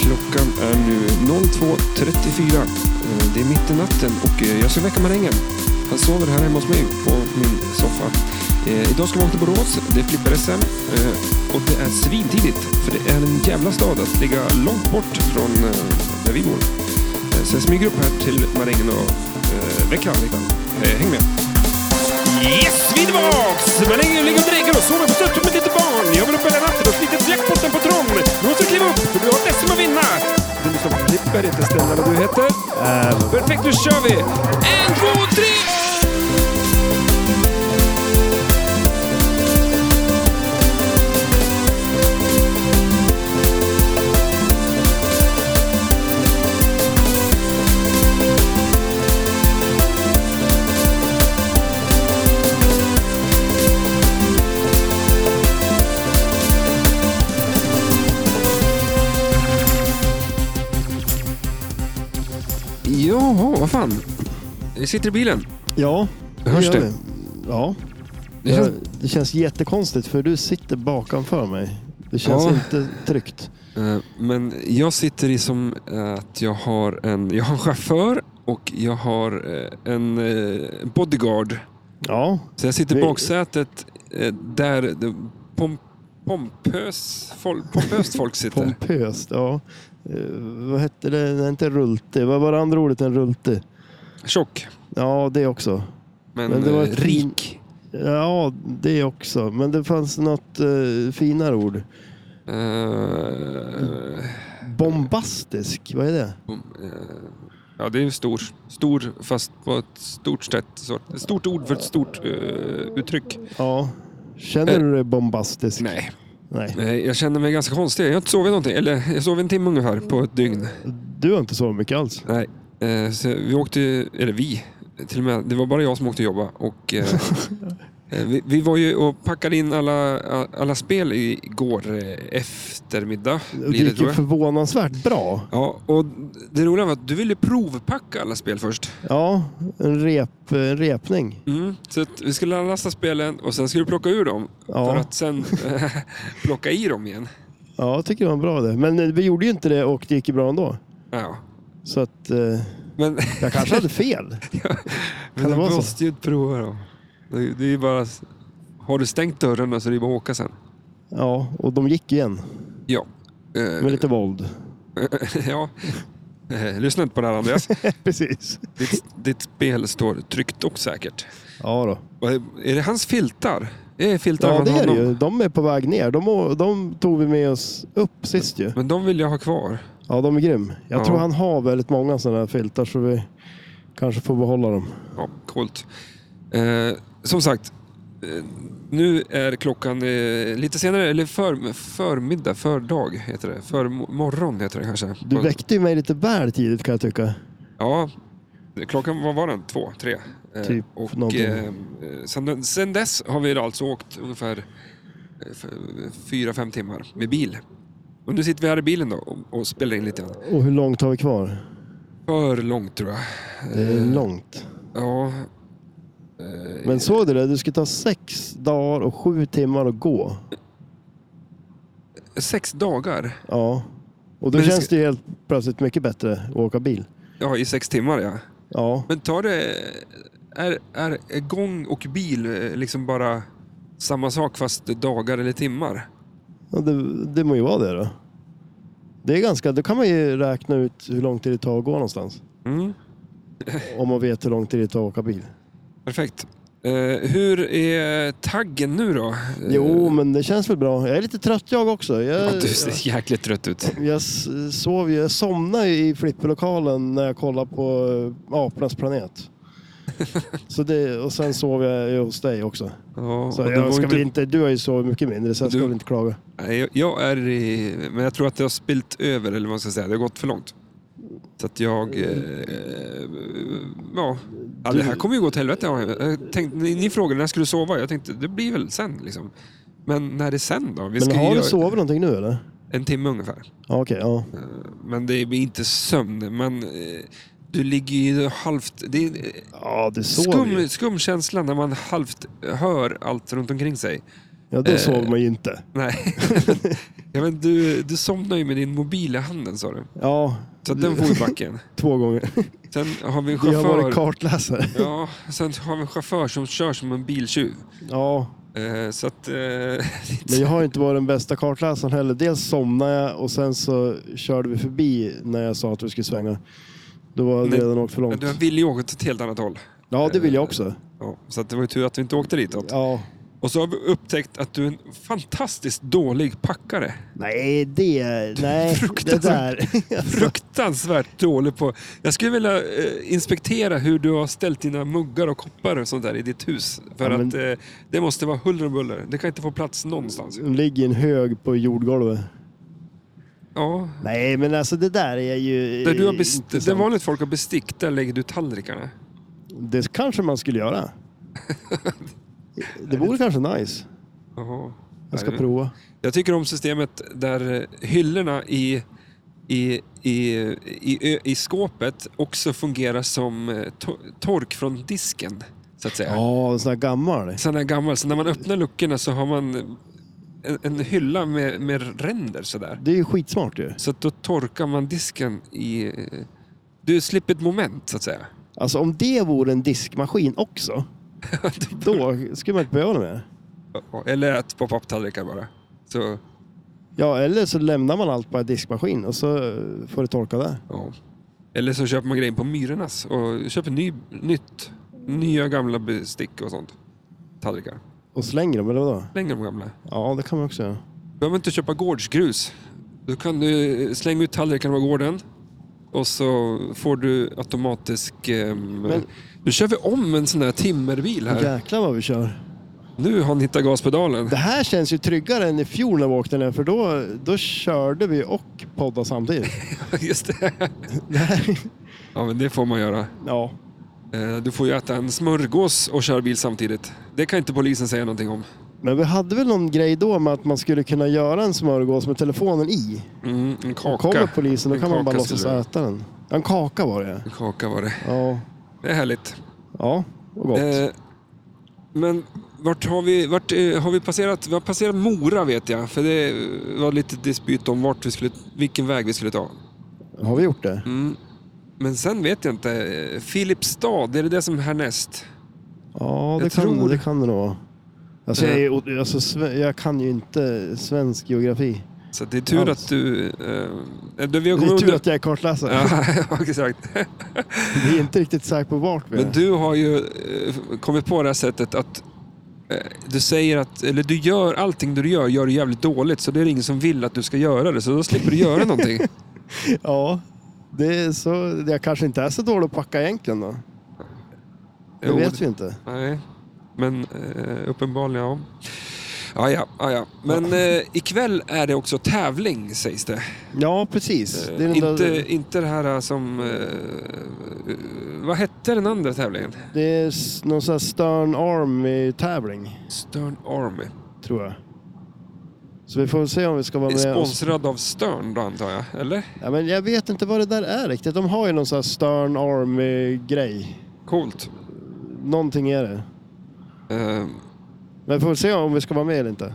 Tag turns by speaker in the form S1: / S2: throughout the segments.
S1: Klockan är nu 02.34. Eh, Det är mitt i natten och eh, jag ska väcka marängen. Han sover här hemma hos mig på min soffa. Eh, Idag ska vi åka till Borås. Det är flippar-SM eh, och det är svintidigt. För det är en jävla stad att ligga långt bort från eh, där vi bor. Eh, Så jag smyger upp här till marängen och eh, väcker han lite. Eh, Häng med! Yes, vi är tillbaks! Man hänger ligger och dregar och sover på stött som ett litet barn. Jag vill upp hela natten och sliter jackpotten på Tron. Du måste kliva upp, för du har ett SM att vinna. Du lyssnar på Flipper, inte Stella vad du heter. Perfekt, nu kör vi! En, två, tre! Jaha, vad fan. Jag sitter i bilen.
S2: Ja.
S1: Hörs
S2: gör
S1: det?
S2: vi. Ja.
S1: Det känns...
S2: Jag- det känns jättekonstigt för du sitter bakomför mig. Det känns
S1: Ja.
S2: inte tryggt.
S1: Eh, Men jag sitter i som eh, att jag har en, jag har en chaufför och jag har eh, en eh, bodyguard.
S2: Ja.
S1: Så jag sitter i
S2: Vi-
S1: baksätet eh, där det pom, pompös, folk, pompöst folk sitter.
S2: Pompöst. Ja. Eh, vad hette det? Nej, inte rulte. Vad var det andra ordet än rulte?
S1: Tjock,
S2: Ja, det också.
S1: men,
S2: Men det var
S1: eh,
S2: ett
S1: rik.
S2: Ja, det också. Men det fanns något eh, finare ord.
S1: Eh,
S2: Bombastisk. Vad är det?
S1: bom- eh, ja, det är ju stor. Stor, fast på ett stort sätt. Så, ett stort ord för ett stort eh, uttryck.
S2: Ja. Känner
S1: Eh.
S2: du dig bombastisk?
S1: Nej,
S2: Nej.
S1: nej, jag känner mig ganska konstig. Jag har inte sovit någonting. Eller jag sov en timme ungefär på ett dygn.
S2: Du har inte så mycket alls.
S1: Nej, eh, så vi åkte, eller vi, till och med, det var bara jag som åkte jobba. Och, eh, eh, vi, vi var ju och packade in alla, alla spel i- igår eh, eftermiddag.
S2: Och det
S1: Blir det,
S2: gick
S1: tror
S2: ju
S1: jag.
S2: förvånansvärt bra.
S1: Ja, och det roliga var att du ville provpacka alla spel först.
S2: Ja, en, rep, en repning.
S1: Mm. Så att vi skulle lasta spelen och sen skulle du plocka ur dem.
S2: Ja.
S1: För att sen eh, plocka i dem igen.
S2: Ja, jag tycker det var en bra det. Men eh, vi gjorde ju inte det och det gick ju bra ändå.
S1: Ja.
S2: Så att eh,
S1: Men,
S2: jag kanske hade fel.
S1: men du
S2: vara så?
S1: måste ju prova dem. Det, det är ju bara... Har du stängt dörrarna så det är bara att åka sen.
S2: Ja, och de gick igen
S1: Ja. Eh,
S2: med lite våld.
S1: ja. Eh, Lyssna inte på det här Andreas.
S2: Precis.
S1: Ditt, ditt spel står tryggt och säkert.
S2: Ja då.
S1: Och är- Är det hans filtar? Är filtar
S2: Ja,
S1: från
S2: det är det
S1: honom?
S2: ju. De är på väg ner. De, å- de tog vi med oss upp sist ju.
S1: Men de vill jag ha kvar.
S2: Ja, de är grym. Jag
S1: Ja.
S2: tror han har väldigt många sådana här filtar så vi kanske får behålla dem.
S1: Ja, coolt. Eh, som sagt, eh, nu är klockan eh, lite senare, eller för, förmiddag, fördag heter det. För morgon heter det kanske.
S2: Du
S1: På-
S2: väckte ju mig lite väl tidigt kan jag tycka.
S1: Ja, klockan, vad var den? Två, tre? Eh,
S2: Typ
S1: och
S2: någonting.
S1: eh, sen, sen dess har vi alltså åkt ungefär eh, f- fyra, fem timmar med bil. Och nu sitter vi här i bilen då och, och spelar in lite grann.
S2: Och hur långt har vi kvar?
S1: För långt tror jag.
S2: Det är
S1: Eh,
S2: långt.
S1: Ja, eh,
S2: Men såg du det? Du skulle ta sex dagar och sju timmar att gå.
S1: sex dagar.
S2: Ja. Och då
S1: Men det
S2: känns
S1: ska-
S2: det ju helt plötsligt mycket bättre att åka bil.
S1: Ja, i sex timmar ja.
S2: Ja.
S1: Men tar det... Är, är gång och bil eh, liksom bara samma sak fast dagar eller timmar?
S2: ja det, det må ju vara det då. Det är ganska... Då kan man ju räkna ut hur lång tid det tar att gå någonstans.
S1: Mm.
S2: Om man vet hur lång tid det tar att åka bil.
S1: Perfekt. Eh, hur är taggen nu då?
S2: Jo, men det känns väl bra. Jag är lite trött jag också.
S1: Eh. Ja,
S2: Jag,
S1: Eh, du ser jäkligt trött ut.
S2: jag, jag s- sov ju... Jag somnade ju i flipperlokalen när jag kollade på eh, Apornas planet. Så det, och sen sov jag ju hos dig också.
S1: Ja,
S2: Så
S1: och det var
S2: jag ska
S1: inte-
S2: väl inte, du har ju sovit mycket mindre så jag ska
S1: Du-
S2: väl inte klaga.
S1: Nej, jag- jag är i... Men jag tror att det har spilt över, eller vad man ska säga. Det har gått för långt. Så att jag... Eh, eh, ja. ja, det här kommer ju gå till helvete. har jag- jag tänkte, ni, ni frågade när jag skulle sova. Jag tänkte, det blir väl sen liksom. Men när är sen då? Vi ska
S2: Men
S1: ju
S2: har du
S1: göra
S2: sovit någonting nu eller?
S1: en timme ungefär.
S2: Ja, Okej, ja.
S1: Men det blir inte sömn. Men eh, du ligger ju halvt... Det är,
S2: Ja, du sov ju.
S1: Skum, skum känsla när man halvt hör allt runt omkring sig.
S2: Ja, då
S1: Eh.
S2: såg man ju inte.
S1: Nej. ja, men du, du somnade ju med din mobil i handen sa du.
S2: Ja,
S1: Så att den får i backen.
S2: två gånger.
S1: Sen har vi en
S2: Det har varit
S1: chaufför.
S2: kartläsare.
S1: Ja, sen har vi en chaufför som kör som en biltjuv.
S2: Ja,
S1: Eh, så att... eh,
S2: men jag har inte varit den bästa kartläsaren heller. Dels somnade jag och sen så körde vi förbi när jag sa att vi skulle svänga. Då var det
S1: Men-
S2: redan åkt för
S1: men
S2: långt.
S1: du ville ju åka åt ett helt annat håll.
S2: Ja, det vill jag också.
S1: Ja, så att det var ju tur att vi inte åkte ditåt.
S2: Ja.
S1: Och så har vi upptäckt att du är en fantastiskt dålig packare.
S2: Nej, det... Nej, det
S1: Fruktansvärt.
S2: där.
S1: Fruktansvärt dålig på... Jag skulle vilja eh, inspektera hur du har ställt dina muggar och koppar och sånt där i ditt hus. För
S2: Ja, men-
S1: att eh, det måste vara huller och buller. Det kan inte få plats någonstans.
S2: De ligger i en hög på jordgolvet.
S1: Ja.
S2: Nej, men alltså det där är ju...
S1: Där, du har best... där
S2: intressant.
S1: vanligt folk har bestick, där lägger du tallrikarna.
S2: Det kanske man skulle göra. Det vore kanske nice.
S1: Jaha.
S2: Jag ska
S1: Nej,
S2: prova.
S1: Jag tycker om systemet där eh, hyllorna i, i, i, i, i, i skåpet också fungerar som eh, to- tork från disken. Så att säga.
S2: Ja, en sån här gammal.
S1: sån här gammal. Så när man öppnar luckorna så har man en, en hylla med, med ränder sådär.
S2: Det är ju skitsmart ju.
S1: Så att då torkar man disken i... eh, Du slipper ett moment så att säga.
S2: Alltså om det vore en diskmaskin också, då skulle man inte behöva det mer.
S1: Eller att poppa upp tallrikar bara. Så,
S2: Ja, eller så lämnar man allt på en diskmaskin och så eh, får det torka där.
S1: ja. Eller så köper man grejer på Myrornas och köper ny, nytt. Nya gamla bestick och sånt. Tallrikar.
S2: Och slänger dem, eller vadå?
S1: Släng de gamla.
S2: Ja, det kan man också göra.
S1: Du behöver inte köpa gårdsgrus. Då kan du slänga ut tallrikarna på gården. Och så får du automatisk... ehm,
S2: Men-
S1: Nu kör vi om en sån här timmerbil här.
S2: Jäklar vad vi kör.
S1: Nu har han hittat gaspedalen.
S2: Det här känns ju tryggare än i fjol när vi åkte ner, för då, då körde vi och poddade samtidigt.
S1: Just det.
S2: Det här,
S1: Ja, men det får man göra.
S2: ja,
S1: Eh, Du får ju äta en smörgås och köra bil samtidigt. Det kan inte polisen säga någonting om.
S2: men vi hade väl någon grej då med att man skulle kunna göra en smörgås med telefonen i.
S1: Mm, en
S2: Och kommer
S1: kaka.
S2: polisen, då
S1: En
S2: kan man bara
S1: kaka skulle
S2: låtsas
S1: du-
S2: äta den. En kaka var det.
S1: En kaka var det.
S2: Ja,
S1: Det är härligt.
S2: ja och gott.
S1: Eh, men vart har vi, vart, eh, har vi passerat? Vi har passerat Mora vet jag. För det var lite dispyt om vart vi skulle, vilken väg vi skulle ta.
S2: Har vi gjort det?
S1: Mm. Men sen vet jag inte. Eh, Filipstad, är det det som är härnäst?
S2: Ja, det
S1: Jag
S2: kan,
S1: tror- Eh.
S2: det kan det nog vara. Alltså, jag, är, ju- alltså, sve- jag kan ju inte svensk geografi.
S1: Så det är tur
S2: Allt.
S1: att du... Eh, du vi
S2: Det
S1: har
S2: är
S1: kommit
S2: tur
S1: under...
S2: att jag är kartläsare.
S1: Ja, exakt.
S2: Vi är inte riktigt säkra på vart vi är.
S1: Men du har ju eh, kommit på det här sättet att eh, du säger att, eller du gör allting du gör, gör du jävligt dåligt så det är ingen som vill att du ska göra det så då slipper du göra någonting.
S2: Ja, det är så, jag kanske inte är så dålig att packa egentligen då. Det
S1: Jo,
S2: vet vi inte.
S1: Nej, men eh, uppenbarligen ja. Ja, ja, ja, ja. Men eh, ikväll är det också tävling sägs det. Eh,
S2: Ja, precis. Det är den,
S1: inte,
S2: där,
S1: inte det här eh, som... Eh, eh, vad hette den andra tävlingen?
S2: det är s- någon sån här Stern Army-tävling,
S1: Stern Army.
S2: tror jag. Så vi får väl se om vi ska vara
S1: Är
S2: med. och-
S1: Sponsrad av Stern då antar jag, eller?
S2: Ja, men jag vet inte vad det där är riktigt. De har ju någon sån här Stern Army-grej.
S1: Coolt.
S2: Någonting är det.
S1: Eh,
S2: Men vi får väl se om vi ska vara med eller inte.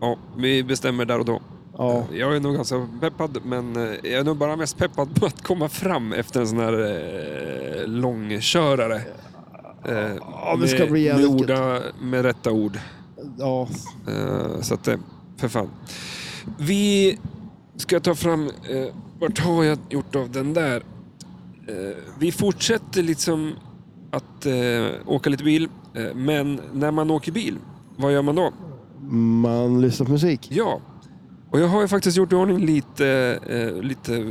S1: ja, vi bestämmer där och då.
S2: Ja,
S1: Jag är nog ganska peppad, men eh, jag är nog bara mest peppad på att komma fram efter en sån här eh, långkörare. Eh,
S2: det ska
S1: med,
S2: bli jävligt
S1: med, orda, med rätta ord.
S2: ja.
S1: Eh, så att det, för fan. Vi ska ta fram, eh, vart har jag gjort av den där? Eh, vi fortsätter liksom att eh, åka lite bil, eh, men när man åker bil, vad gör man då?
S2: man lyssnar på musik.
S1: Ja. Och jag har ju faktiskt gjort i ordning lite, eh, lite, eh,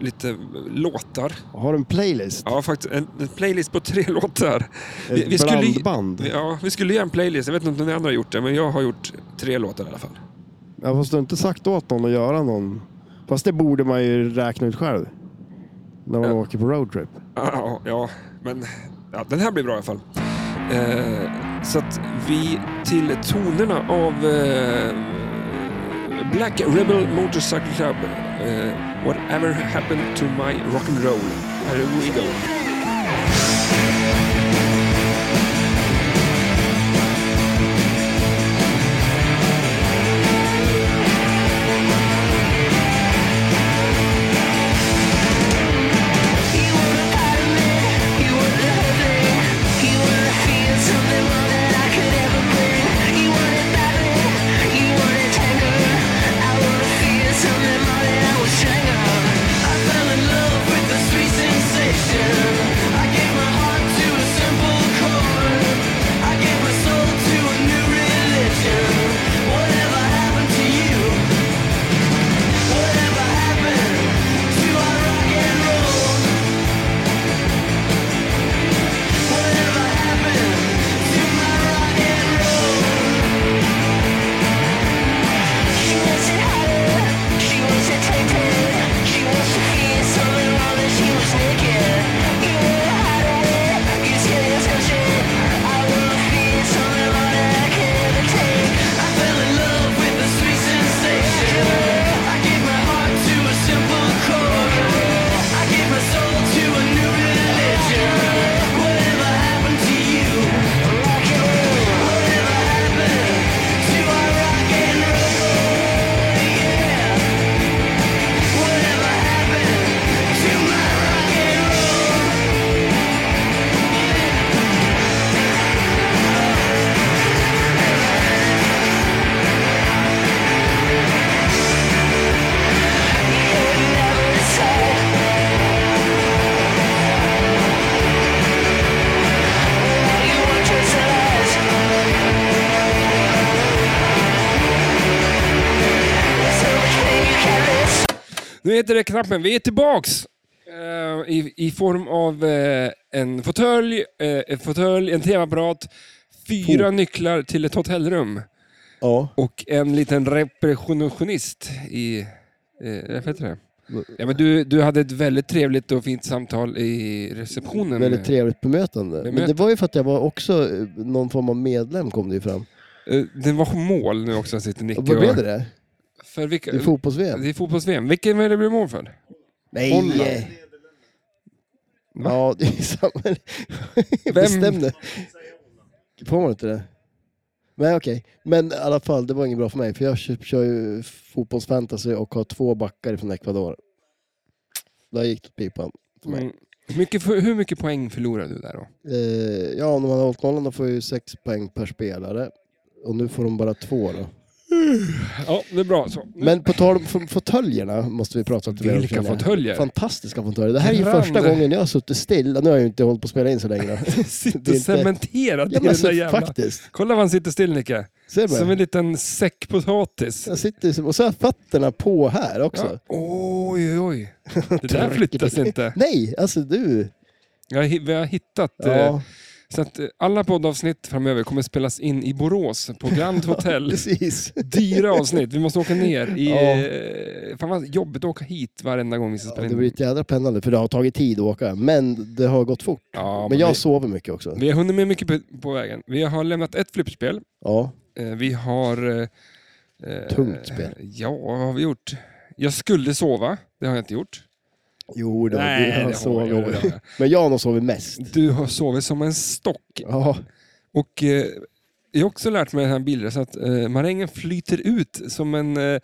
S1: lite låtar.
S2: Har en playlist.
S1: Ja, faktiskt en, en playlist på tre låtar.
S2: Ett
S1: vi skulle ju-
S2: blandband. Ja.
S1: Ja, vi skulle göra en playlist. Jag vet inte om ni andra har gjort det, men jag har gjort tre låtar i alla fall.
S2: fast du har inte sagt åt någon att göra någon. Fast det borde man ju räkna ut själv. När man
S1: Ja.
S2: åker på roadtrip.
S1: Ja, ja men ja, den här blir bra i alla fall. Eh, så att vi till tonerna av eh, Black Rebel Motorcycle Club. Eh, whatever happened to my rock'n'roll. Here we go.
S3: Whatever
S1: Nu heter det knappen. Vi är tillbaks! eh, I, I form av eh, en fåtölj, eh, en, fåtölj, en tv-apparat, fyra nycklar till ett hotellrum
S2: Ja.
S1: och en liten repressionist i... Eh, vad heter det? Ja, men du, du hade ett väldigt trevligt och fint samtal i receptionen.
S2: Väldigt trevligt bemötande. Men det
S1: Bemöt-
S2: var ju för att jag var också eh, någon form av medlem kom det ju fram.
S1: Eh, Det var mål nu också, sitter Nicke
S2: Och vad blev det där?
S1: För vilka,
S2: I fotbolls
S1: det är fotbolls-VM. Vilken var det blev mål för?
S2: Nej!
S1: Holland. Va?
S2: Ja, det är samma. Bestämde. Får man inte det? Nej okej, men i alla fall det var inget bra för mig för jag kör, kör ju fotbollsfantasy och har två backar från Ecuador. Där gick det åt pipan för mig.
S1: Mm. Hur Mycket, hur mycket poäng förlorade du där då?
S2: Eh, ja, om de hade hållit nollan då får jag ju sex poäng per spelare. Och nu får de bara två då.
S1: Ja, det är bra så.
S2: Men på tal om f- fåtöljerna måste vi prata lite mer om.
S1: Vilka
S2: känner jag.
S1: fåtöljer!
S2: Fantastiska fåtöljer. Det här är ju
S1: Grand.
S2: första gången jag har suttit still. Nu har jag ju inte hållit på att spela in så länge. Då.
S1: Sitter
S2: Det är inte-
S1: cementerad
S2: Ja,
S1: i den
S2: men
S1: där
S2: så,
S1: jävla...
S2: faktiskt.
S1: Kolla vad han sitter still Nicke.
S2: Ser du
S1: Som en
S2: mig?
S1: liten säck potatis.
S2: Jag sitter ju som- och så har jag fötterna på här också.
S1: Ja. Oj, oj, oj. Det där flyttas inte.
S2: Nej, alltså du.
S1: Jag, har hi- vi har hittat... Eh,
S2: Ja,
S1: så att eh, alla poddavsnitt framöver kommer spelas in i Borås på Grand Hotel.
S2: precis.
S1: Dyra avsnitt. Vi måste åka ner. I,
S2: Ja.
S1: eh, fan vad jobbigt att åka hit varenda gång vi ska
S2: Ja,
S1: spela
S2: det
S1: in.
S2: blir ett jädra pendlande för det har tagit tid att åka. Men det har gått fort.
S1: Ja,
S2: men
S1: men
S2: jag
S1: vi-
S2: sover mycket också.
S1: Vi har hunnit med mycket på, på vägen. Vi har lämnat ett flippspel.
S2: Ja,
S1: Eh, Vi har... eh, eh,
S2: Tungt spel.
S1: Ja, vad har vi gjort? Jag skulle sova. Det har jag inte gjort.
S2: jo då.
S1: Nej,
S2: du
S1: det har
S2: har
S1: jag,
S2: sovit.
S1: jo, det har jag.
S2: Men jag har nog sovit mest.
S1: Du har sovit som en stock.
S2: Ja,
S1: Och eh, jag har också lärt mig den här bilden att eh, marängen flyter ut som en... Eh,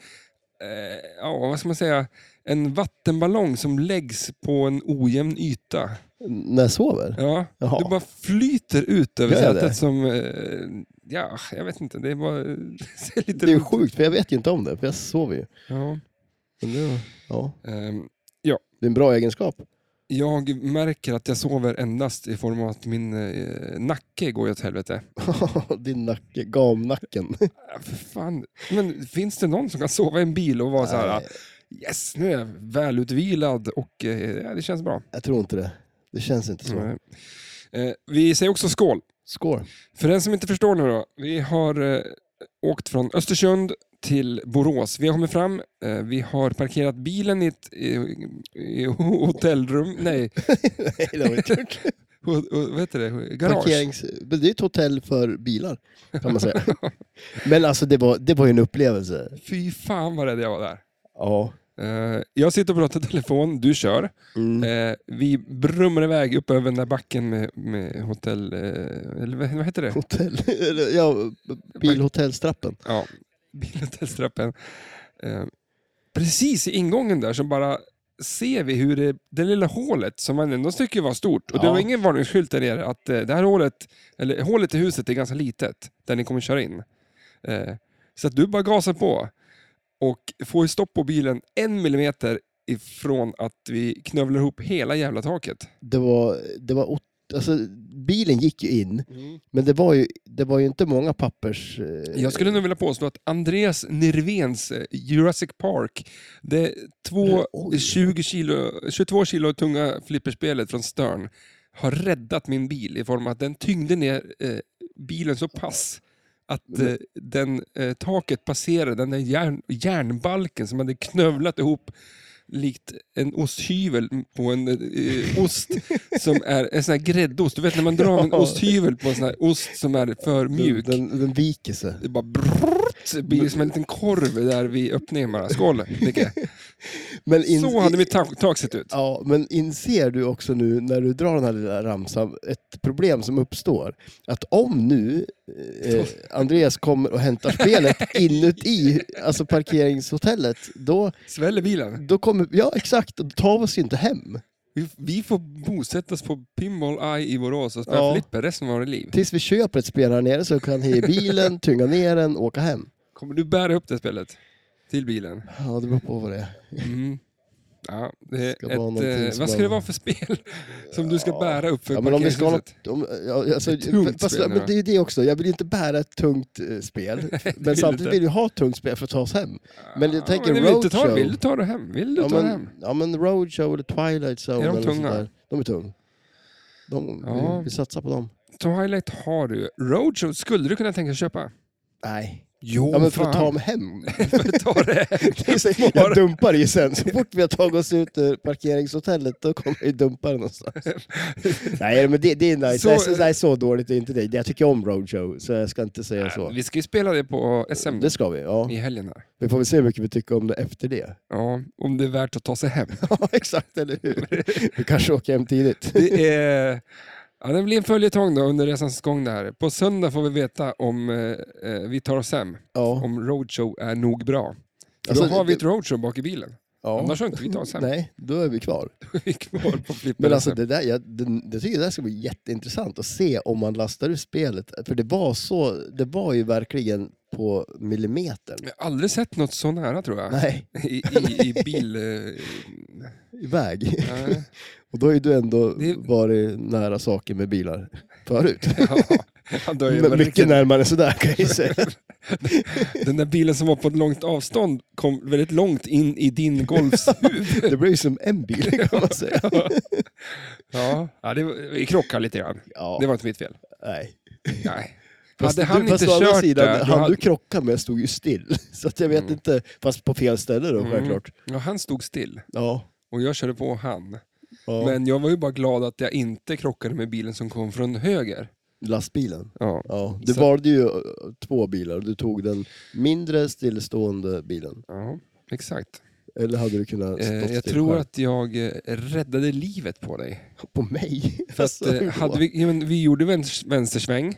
S1: eh, ja, vad ska man säga? En vattenballong som läggs på en ojämn yta.
S2: när jag sover.
S1: Ja,
S2: Jaha.
S1: Du bara flyter ut över
S2: Gör jag
S1: sätet
S2: det?
S1: som... Eh, ja, jag vet inte. Det är bara... ser lite
S2: Det är sjukt för jag vet ju inte om det. För jag sover ju.
S1: Ja.
S2: Men det- Ja,
S1: Ehm,
S2: det är en bra egenskap.
S1: Jag märker att jag sover endast i form av att min eh, nacke går ju åt helvete.
S2: Din nacke, gamnacken.
S1: Äh, för fan. Men finns det någon som kan sova i en bil och vara så här, äh,
S2: Nej,
S1: yes nu är jag välutvilad och eh, ja, det känns bra.
S2: jag tror inte det. Det känns inte så.
S1: Nej. Eh, vi säger också skål.
S2: Skål.
S1: För den som inte förstår nu då. Vi har eh, åkt från Östersund till Borås. Vi har kommit fram, eh, vi har parkerat bilen i ett i, i hotellrum, nej,
S2: Nej, det har vi inte gjort.
S1: ho, ho, vad heter det? Garage.
S2: Parkerings... Det är ett hotell för bilar, kan man säga. Men alltså, det var, det var ju en upplevelse.
S1: Fy fan vad rädd jag var där.
S2: Ja.
S1: Eh, jag sitter och pratar i telefon, du kör.
S2: Mm.
S1: Eh, vi brummar iväg upp över den där backen med, med hotell... eh, eller vad, vad heter det?
S2: Hotell... eller, Ja, bilhotellstrappen.
S1: Ja, bilhotellstrappen. Eh, precis i ingången där så bara ser vi hur det, det lilla hålet, som man ändå tycker var stort, och det
S2: Ja.
S1: var ingen varningsskylt där nere, att eh, det här hålet, eller hålet i huset är ganska litet, där ni kommer köra in. Eh, så att du bara gasar på och får ju stopp på bilen en millimeter ifrån att vi knövlar ihop hela jävla taket.
S2: Det var... Det var ot- alltså, bilen gick ju in, men det var ju, det var ju inte många pappers... eh,
S1: Jag skulle nog vilja påstå att Andreas Nirvens eh, Jurassic Park, det två
S2: Oj.
S1: 20 kilo, 22 kilo tunga flipperspelet från Stern, har räddat min bil i form av att den tyngde ner eh, bilen så pass att eh, den, eh, taket passerade den där järn, järnbalken som hade knövlat ihop likt en osthyvel på en eh, ost som är en sån här gräddost. Du vet när man drar en
S2: Ja.
S1: osthyvel på en sån här ost som är för mjuk.
S2: Den, den, den viker sig.
S1: Det bara brrrt, det blir som en liten korv där vid öppningen bara. Skål Nicke.
S2: Men in-
S1: Så hade mitt tak, tak sett ut.
S2: Ja, men inser du också nu när du drar den här lilla ramsan ett problem som uppstår? Att om nu eh, Andreas kommer och hämtar spelet inuti alltså parkeringshotellet, då,
S1: Sväller bilen.
S2: då kommer... Ja, exakt. Då tar vi oss ju inte hem.
S1: Vi, vi får bosätta oss på Pinball Eye i Borås och spela
S2: Ja.
S1: flipper resten av våra liv.
S2: Tills vi köper ett spel här nere så kan vi i bilen, tynga ner den och åka hem.
S1: Kommer du bära upp det spelet? Till bilen?
S2: Ja, det beror på vad det är.
S1: Mm. Ja, det
S2: Ska
S1: är
S2: vara någonting
S1: ett, eh,
S2: som
S1: vad ska det
S2: bara-
S1: vara för spel som du ska
S2: Ja.
S1: bära upp för
S2: Ja, men om vi ska ha
S1: parkeringshuset?
S2: något, om, ja, alltså,
S1: Ett tungt
S2: fast,
S1: spel,
S2: men det är ju det också, jag vill ju inte bära ett tungt eh, spel. men samtidigt
S1: inte.
S2: vill jag ha ett tungt spel för att ta oss hem. men jag tänker
S1: ja, Ah, men vill, du inte ta,
S2: roadshow.
S1: vill du ta det hem? Vill du
S2: Ja
S1: ta det hem?
S2: men, ja men Roadshow eller Twilight
S1: Är
S2: Zone.
S1: de
S2: eller något
S1: tunga?
S2: sånt där. De är tunga. De,
S1: Ja.
S2: vi, vi satsar på dem.
S1: Twilight har du. Roadshow skulle du kunna tänka dig köpa?
S2: Nej.
S1: Jo,
S2: Ja men för
S1: fan.
S2: att ta mig hem.
S1: för att ta det
S2: Det är så- Jag dumpar ju sen. Så fort vi har tagit oss ut ur parkeringshotellet då kommer jag ju dumpa det någonstans. nej men det, det är
S1: Så-
S2: nice. Så... Nej, så, nej så dåligt är inte det. Jag tycker om Roadshow så jag ska inte säga så.
S1: Vi ska ju spela det på SM
S2: Det ska vi, ja.
S1: i helgen. Här.
S2: Vi får väl se hur mycket vi tycker om det efter det.
S1: Ja, om det är värt att ta sig hem.
S2: Ja exakt, eller hur? Vi kanske åker hem tidigt.
S1: Det, är, ja, det blir en följetong då under resans gång. Det här. På söndag får vi veta om eh, eh, vi tar oss hem,
S2: Ja.
S1: om roadshow är nog bra. För
S2: Alltså,
S1: då har vi
S2: det-
S1: ett roadshow bak i bilen.
S2: ja.
S1: Annars har inte vi tagit oss hem.
S2: Nej, då är vi kvar.
S1: Vi är kvar på flipper.
S2: Men alltså det där, jag, det, det tycker jag det där ska bli jätteintressant att se om man lastar ur spelet. För det var så, det var ju verkligen på millimetern.
S1: Jag har aldrig sett något så nära tror jag.
S2: Nej,
S1: I, i, I bil... eh,
S2: iväg.
S1: nej.
S2: Och då har ju du ändå
S1: Det-
S2: varit nära saker med bilar förut.
S1: Ja, han dör ju
S2: Men
S1: med
S2: mycket närmare än sådär kan jag ju säga.
S1: Den där bilen som var på ett långt avstånd kom väldigt långt in i din Golfs huvud.
S2: Det blir ju som en bil kan man säga.
S1: Ja, ja det var, vi krockade lite grann.
S2: Ja,
S1: Det var inte mitt fel.
S2: nej.
S1: Nej.
S2: Fast
S1: hade han
S2: du, fast
S1: inte
S2: å andra
S1: kört
S2: sidan,
S1: där, då
S2: han
S1: hade-
S2: du krockade med stod ju still. Så att jag vet
S1: Mm.
S2: inte, fast på fel ställe då
S1: Mm.
S2: självklart.
S1: Ja, han stod still
S2: Ja.
S1: och jag körde på han.
S2: ja.
S1: Men jag var ju bara glad att jag inte krockade med bilen som kom från höger.
S2: Lastbilen.
S1: Ja.
S2: Ja, du
S1: Så-
S2: valde ju eh, två bilar och du tog den mindre stillstående bilen.
S1: Ja, exakt.
S2: Eller hade du kunnat stå
S1: Eh, jag
S2: still
S1: tror
S2: själv?
S1: att jag eh, räddade livet på dig.
S2: På mig? Alltså,
S1: För att, eh, hade vi, ja, men vi gjorde vänster, vänstersväng,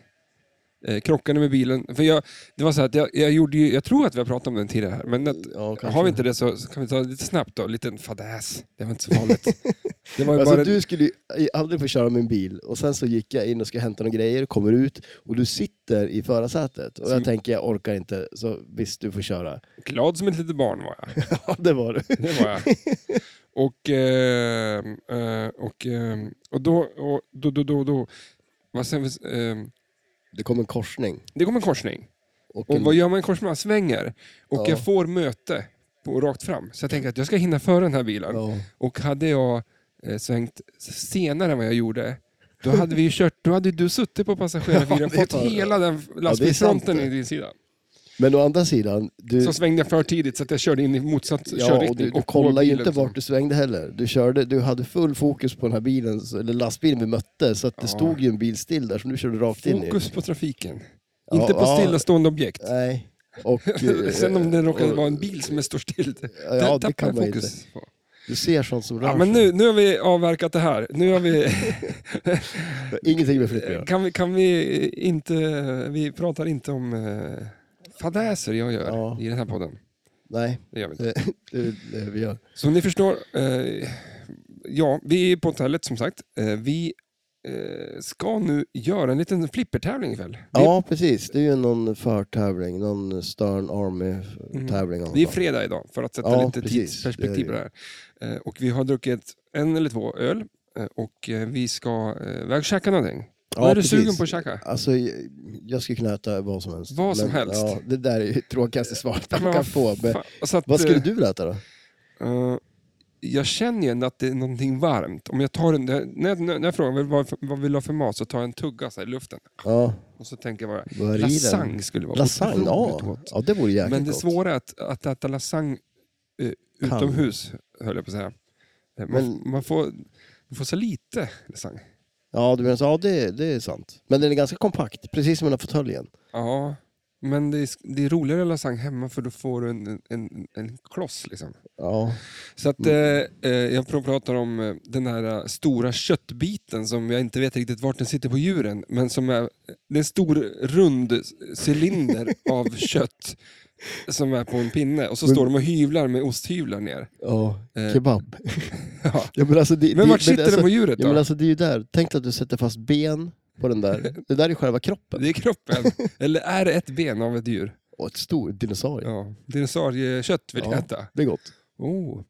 S1: eh, krockade med bilen. För jag, det var så här att jag, jag, gjorde ju, jag tror att vi har pratat om den tidigare här, men att,
S2: ja, Mm, kanske.
S1: har vi inte det så, så kan vi ta det lite snabbt då. En liten fadäs. Det var inte så vanligt. Det var ju
S2: Alltså,
S1: bara...
S2: Du skulle ju aldrig få köra min bil och sen så gick jag in och ska hämta några grejer, kommer ut och du sitter i förarsätet och
S1: Som-
S2: jag tänker jag orkar inte, så visst du får köra.
S1: Glad som ett litet barn var jag.
S2: ja, det var du.
S1: Det var jag. Och, eh, eh, och, eh, och då... Och, då, då, då, då vad sen, eh,
S2: Det kom en korsning.
S1: det kom en korsning.
S2: Och
S1: Och
S2: en...
S1: vad gör man i en korsning? Man svänger. Och
S2: Mm. Ja.
S1: jag får möte på, rakt fram. Så jag tänker att jag ska hinna före den här bilen.
S2: ja.
S1: Och hade jag eh, svängt senare än vad jag gjorde, då hade vi ju kört, då hade ju du suttit på passagerarbilen och
S2: det är
S1: fått
S2: fan-
S1: hela den lastbilsfronten i din sida.
S2: Men å andra sidan, du,
S1: Så svängde jag för tidigt så att jag körde in i motsatt
S2: Ja,
S1: körriktning.
S2: och du, du
S1: och på
S2: kollade ju
S1: bilen liksom.
S2: inte
S1: som-
S2: vart du svängde heller. Du, körde, du hade full fokus på den här bilen, eller lastbilen vi mötte, så att det
S1: Ja.
S2: stod ju en bil still där som du körde rakt in i.
S1: Fokus på trafiken.
S2: Ja,
S1: inte på
S2: ja.
S1: stillastående objekt.
S2: Nej. Och, eh,
S1: Sen om det råkade
S2: och-
S1: vara en bil som är står still, det
S2: Ja, det
S1: tappar
S2: kan man
S1: jag
S2: ju inte.
S1: fokus på.
S2: Du ser sånt som rör
S1: Ja, men
S2: sig.
S1: nu, nu har vi avverkat det här. Nu har vi,
S2: Ingenting med flipp att göra.
S1: kan, vi, kan vi inte... Vi pratar inte om eh, fadäser jag gör
S2: Ja.
S1: i den här podden.
S2: Nej,
S1: Det gör vi inte.
S2: det det är det vi gör.
S1: Som ni förstår, eh, ja, vi är på hotellet som sagt. Eh, vi eh, ska nu göra en liten flippertävling ikväll. Det är,
S2: Ja, precis. Det är ju någon förtävling, någon Stern Army-tävling. av
S1: Mm. det är
S2: något.
S1: fredag idag, för att sätta
S2: Ja,
S1: lite
S2: precis.
S1: tidsperspektiv på det här. Eh, och vi har druckit en eller två öl eh, och eh, vi ska eh, iväg och käka någonting.
S2: Ja,
S1: Vad är du
S2: precis.
S1: sugen på att käka?
S2: Alltså, jag- jag skulle kunna äta vad som helst.
S1: Vad som helst.
S2: Ja, det där är ju tråkigaste svaret
S1: Ja, men
S2: man kan
S1: vad
S2: få. Men,
S1: Fan, så att,
S2: vad skulle
S1: eh,
S2: du vilja äta då?
S1: eh, jag känner ju ändå att det är någonting varmt. Om jag tar en, när, jag, när jag frågar vad, vad vill du ha för mat så tar jag en tugga så här, i luften.
S2: Ja,
S1: Och så tänker jag bara,
S2: vad är det i den?
S1: Lasagne skulle vara
S2: Lasagne,
S1: otroligt
S2: ja.
S1: gott.
S2: ja. Det vore jäkligt
S1: Men det
S2: gott.
S1: svåra är att, att äta lasagne eh,
S2: Kan.
S1: utomhus, höll jag på att säga. Eh, Man,
S2: Men-
S1: man, får, man får så lite lasagne.
S2: Ja, du menar så, ja det, det är sant. Men den är ganska kompakt, precis som den här fåtöljen.
S1: Ja, men det är, sk- det är roligare lasagne hemma för då får du en, en, en, en kloss. Liksom.
S2: Ja.
S1: Så att, eh, eh, jag pr- pratar om eh, den här eh, stora köttbiten som jag inte vet riktigt vart den sitter på djuren. Men som är, det är en stor rund cylinder av kött som är på en pinne. Och så
S2: Men-
S1: står de och hyvlar med osthyvlar ner.
S2: ja.
S1: Eh,
S2: Kebab.
S1: ja.
S2: Ja, men alltså, det, det-
S1: Men vart sitter
S2: alltså,
S1: den på djuret
S2: Ja,
S1: då?
S2: men alltså det är ju där. Tänk dig att du sätter fast ben på den där. Det där är själva kroppen.
S1: Det är kroppen. Eller är det ett ben av ett djur?
S2: Och ett stort dinosaurie.
S1: Ja. Dinosauriekött vill jag
S2: Ja.
S1: äta.
S2: Det är gott.
S1: Oh.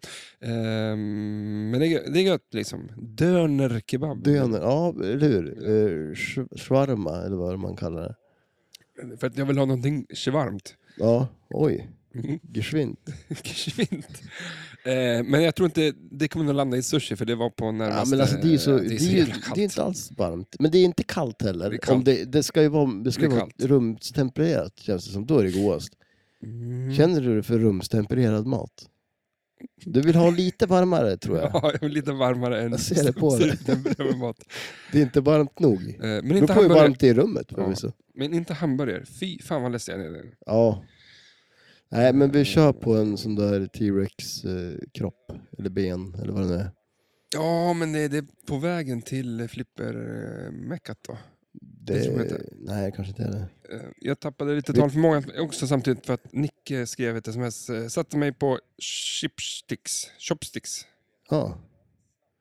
S1: Ehm, men det är, gö- det är gött liksom. Döner kebab.
S2: Döner, ja eller hur? Eh, sh- Shawarma eller vad man kallar det.
S1: För att jag vill ha någonting varmt.
S2: Ja, oj.
S1: Mm.
S2: Geschwind.
S1: Geschwint. Eh, men jag tror inte det kommer att landa i sushi för det var på
S2: Ja,
S1: närmaste...
S2: men alltså, det är ju så,
S1: det
S2: det
S1: är
S2: är
S1: så
S2: ju,
S1: jävla kallt.
S2: det är inte alls varmt. Men det är inte kallt heller.
S1: Det är kallt.
S2: Om det, det ska ju vara, det ska
S1: Det
S2: det
S1: är
S2: vara
S1: kallt.
S2: rumstempererat känns det som. Då är det godast.
S1: Mm.
S2: Känner du dig för rumstempererad mat? Du vill ha lite varmare tror jag.
S1: Ja, jag vill lite varmare än...
S2: Jag ser det på dig.
S1: det. mat.
S2: Det är inte varmt nog.
S1: Eh, Men
S2: Det
S1: inte,
S2: beror på hur
S1: hamburgare.
S2: varmt det är i rummet
S1: Ja.
S2: förvisso.
S1: men inte hamburgare. Fy fan vad ledsen jag är. nu.
S2: Ja. Nej, men vi kör på en sån där T-Rex-kropp, eller ben, eller vad det nu är.
S1: Ja, men det, det är på vägen till flipper-meckat då.
S2: Det,
S1: tror jag inte.
S2: Nej, kanske inte är det.
S1: Eh, Jag tappade lite
S2: Vi-
S1: talförmågan också samtidigt för att Nicke skrev ett sms. eh, Satte mig på chipsticks. Chopsticks.
S2: Ja,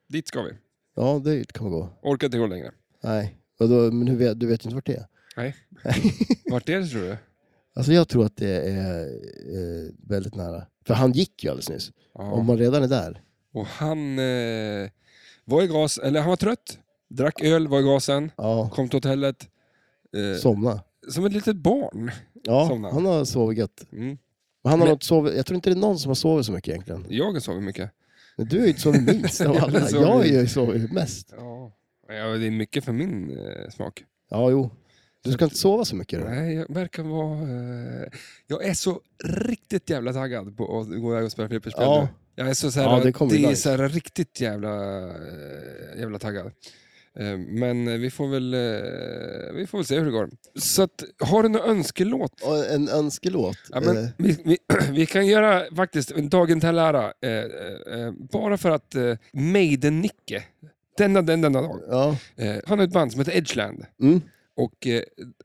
S1: Dit ska vi.
S2: ja det kan man gå.
S1: Orkar inte gå längre.
S2: Nej, Vadå, men hur vet, du vet ju inte vart det är.
S1: Vart är det tror du?
S2: Alltså jag tror att det är eh, väldigt nära. För han gick ju alldeles nyss. Om
S1: Ja.
S2: man redan är där.
S1: Och han eh, var i gas, eller han var trött. Drack öl, var i gasen.
S2: Ja,
S1: Kom till hotellet. Eh,
S2: somna.
S1: som ett litet barn.
S2: Ja,
S1: somna.
S2: han har sovit gött.
S1: Mm.
S2: Men Han har
S1: Men-
S2: nog inte sovit, jag tror inte det är någon som har sovit så mycket egentligen.
S1: Jag sover mycket.
S2: Men du är ju inte sovit minst av
S1: Jag har
S2: alla.
S1: sovit
S2: Jag har ju sovit mest.
S1: Ja. ja, det är mycket för min eh, smak.
S2: Ja, jo. Du ska inte sova så mycket då.
S1: Nej, jag verkar vara... Eh, jag är så riktigt jävla taggad på att gå iväg och spela flipperspel
S2: Ja.
S1: nu. Jag är så, så här,
S2: Ja,
S1: det,
S2: det kommer ju
S1: är
S2: nice.
S1: så här, riktigt jävla, eh, jävla taggad. Eh, men eh, vi får, väl, eh, vi får väl se hur det går. Så att, har du någon önskelåt?
S2: Och en önskelåt.
S1: Ja, men,
S2: eh,
S1: vi, vi, vi kan göra faktiskt en dagen till ära, eh, eh, eh, bara för att eh, Maiden-Nicke, denna, denna, denna dag,
S2: ja.
S1: eh, han har ett band som heter Edgeland.
S2: Mm.
S1: Och eh,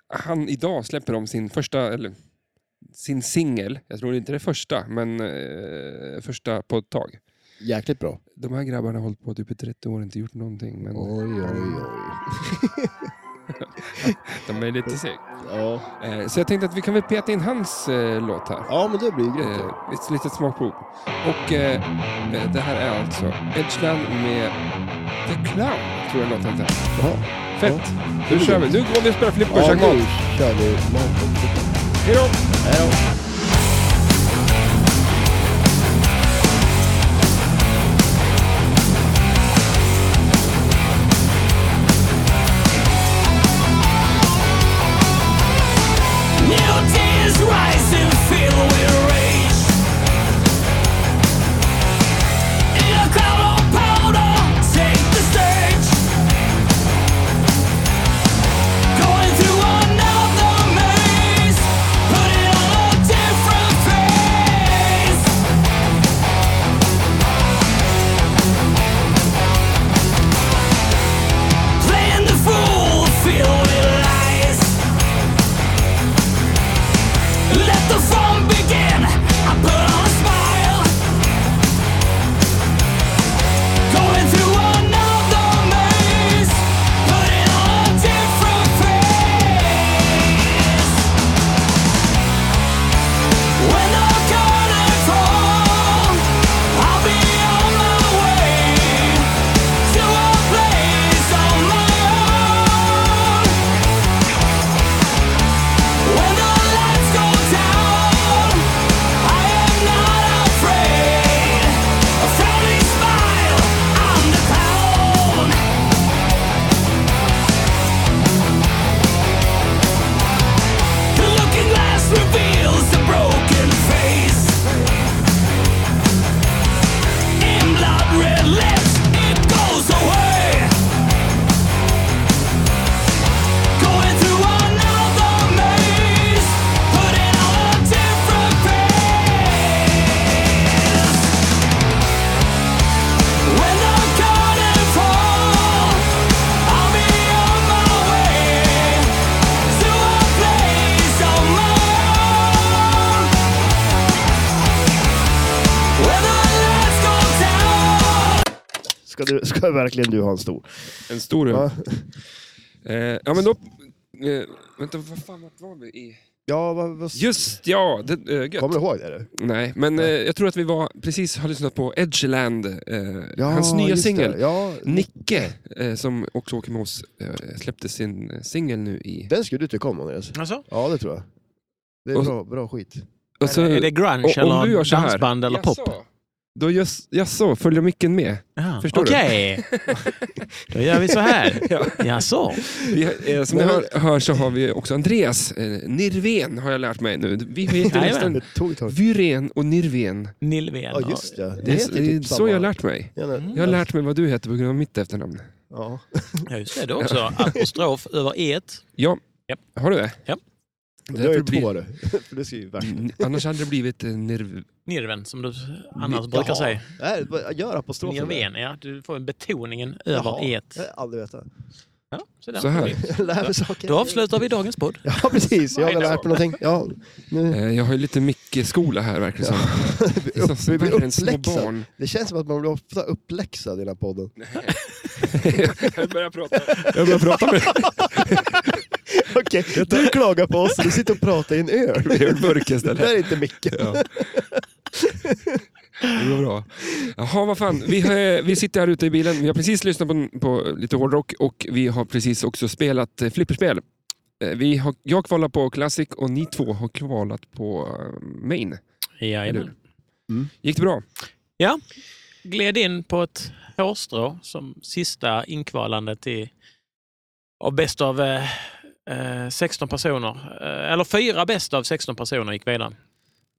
S1: han idag släpper de sin första, eller sin singel. Jag tror inte det är första, men eh, första på ett tag.
S2: Jäkligt bra.
S1: De här grabbarna har hållit på typ i 30 år och inte gjort någonting, men
S2: Oj, oj, oj.
S1: de är lite seg.
S2: Ja,
S1: Eh, så jag tänkte att vi kan väl peta in hans eh, låt här.
S2: ja men det blir ju grymt.
S1: Eh, ett litet smakprov. Och eh, eh, det här är alltså Edgeland med The Clown, tror jag låten heter.
S2: Ja.
S1: Eh, Fett! Nu kör vi! Nu går vi och spelar flipper och
S2: Ja,
S1: käkar
S2: nu
S1: mat.
S2: kör vi. mat.
S1: Hej då!
S2: Hej då.
S3: New day is rising, filled with rage. In a cloud of powder, take the stage. Going through another maze, putting on a different face. Playing the fool, filled with lies. Let the fun begin. I put on a smile. Going through another maze, putting on a different face. When the curtain falls, I'll be on my way to a place on my own. When the lights go down, I am not afraid. A frowny smile, I'm the clown. The looking glass reveals a broken face. In blood red lips, it goes away. Going through another maze, putting on a different face. When the curtain falls, I'll be on my way to a place of my own. When the lights go down.
S2: Ska, du, ska verkligen du ha en stor?
S1: En stor öl.
S2: Ja.
S1: Eh, ja, men då... Eh, vänta, vad fan, vart var vi i...
S2: Ja, vad, vad...
S1: Just ja, det, äh, gött.
S2: Kommer du ihåg det? Du?
S1: Nej, men eh, jag tror att vi var, precis har lyssnat på Edgeland, eh, hans nya
S2: just det.
S1: singel.
S2: Ja,
S1: Nicke, eh, som också åker med oss, eh, släppte sin eh, singel nu i...
S2: den skulle du tycka om Andreas.
S4: Alltså?
S2: Ja, det tror jag. Det är
S1: Och-
S2: bra, bra skit.
S1: Och så-
S4: är, det, är det grunge
S1: Alltså, och- om du gör
S4: eller
S1: så här.
S4: dansband eller pop?
S1: Jaså? Då just, jaså, följer micken med?
S4: Ja,
S1: Förstår du?
S4: Okej, då gör vi så här.
S1: Ja.
S4: Jaså?
S1: Vi, eh, som ni
S2: Nej,
S1: hör, hör så har vi också Andreas eh, Nirven, har jag lärt mig nu. Vi heter
S4: Jajamän.
S1: nästan
S2: Det tog ett tag.
S1: Vyren och Nirven.
S4: Nilven.
S2: Ja, just det.
S1: Det är,
S2: heter
S1: det är
S2: typ
S1: så
S2: samma.
S1: jag har lärt mig.
S2: Ja, nej.
S1: Jag har lärt mig vad du heter på grund av mitt efternamn.
S2: Ja.
S4: Ja, just det. Det är också apostrof över et.
S1: Ja,
S4: Japp.
S1: har du det?
S4: Japp.
S2: Det är ju
S1: Därför blir-
S2: två du. För det ska ju värst.
S1: Mm, Annars hade det blivit eh, nerv...
S4: Nirven, som du annars
S2: Jaha.
S4: brukar säga.
S2: Nej, vad- gör apostrofen.
S4: Nirven, ja. Du får betoningen över
S2: Jaha.
S4: et.
S2: Jag har aldrig vetat.
S4: Ja, så, där.
S1: Så här.
S2: Jag lär mig saker.
S4: Då avslutar vi dagens podd.
S2: Ja, precis. Jag har lärt mig någonting. Ja, nu.
S1: Eh, Jag har ju lite Micke-skola här verkar det som. Det är som
S2: Vi blir
S1: värre än små
S2: uppläxade.
S1: barn.
S2: Det känns som att man blir ofta uppläxad i den här podden.
S1: Jag börjar prata. Jag börjar prata med
S2: Okej, du klagar på oss. Du sitter och pratar i en öl.
S1: med ölburk
S2: Det
S1: istället.
S2: där är inte mycket.
S1: Ja. Det går bra. Jaha, vad fan. Vi, har, vi sitter här ute i bilen. Vi har precis lyssnat på, på lite hårdrock och vi har precis också spelat eh, flipperspel. Eh, Vi har, jag kvalar på Classic och ni två har kvalat på eh, Main.
S4: Jajamän.
S1: Gick det bra?
S4: Ja, gled in på ett hårstrå som sista inkvalande till av bäst av eh, eh, 16 personer. Eh, eller fyra bäst av 16 personer gick vidare.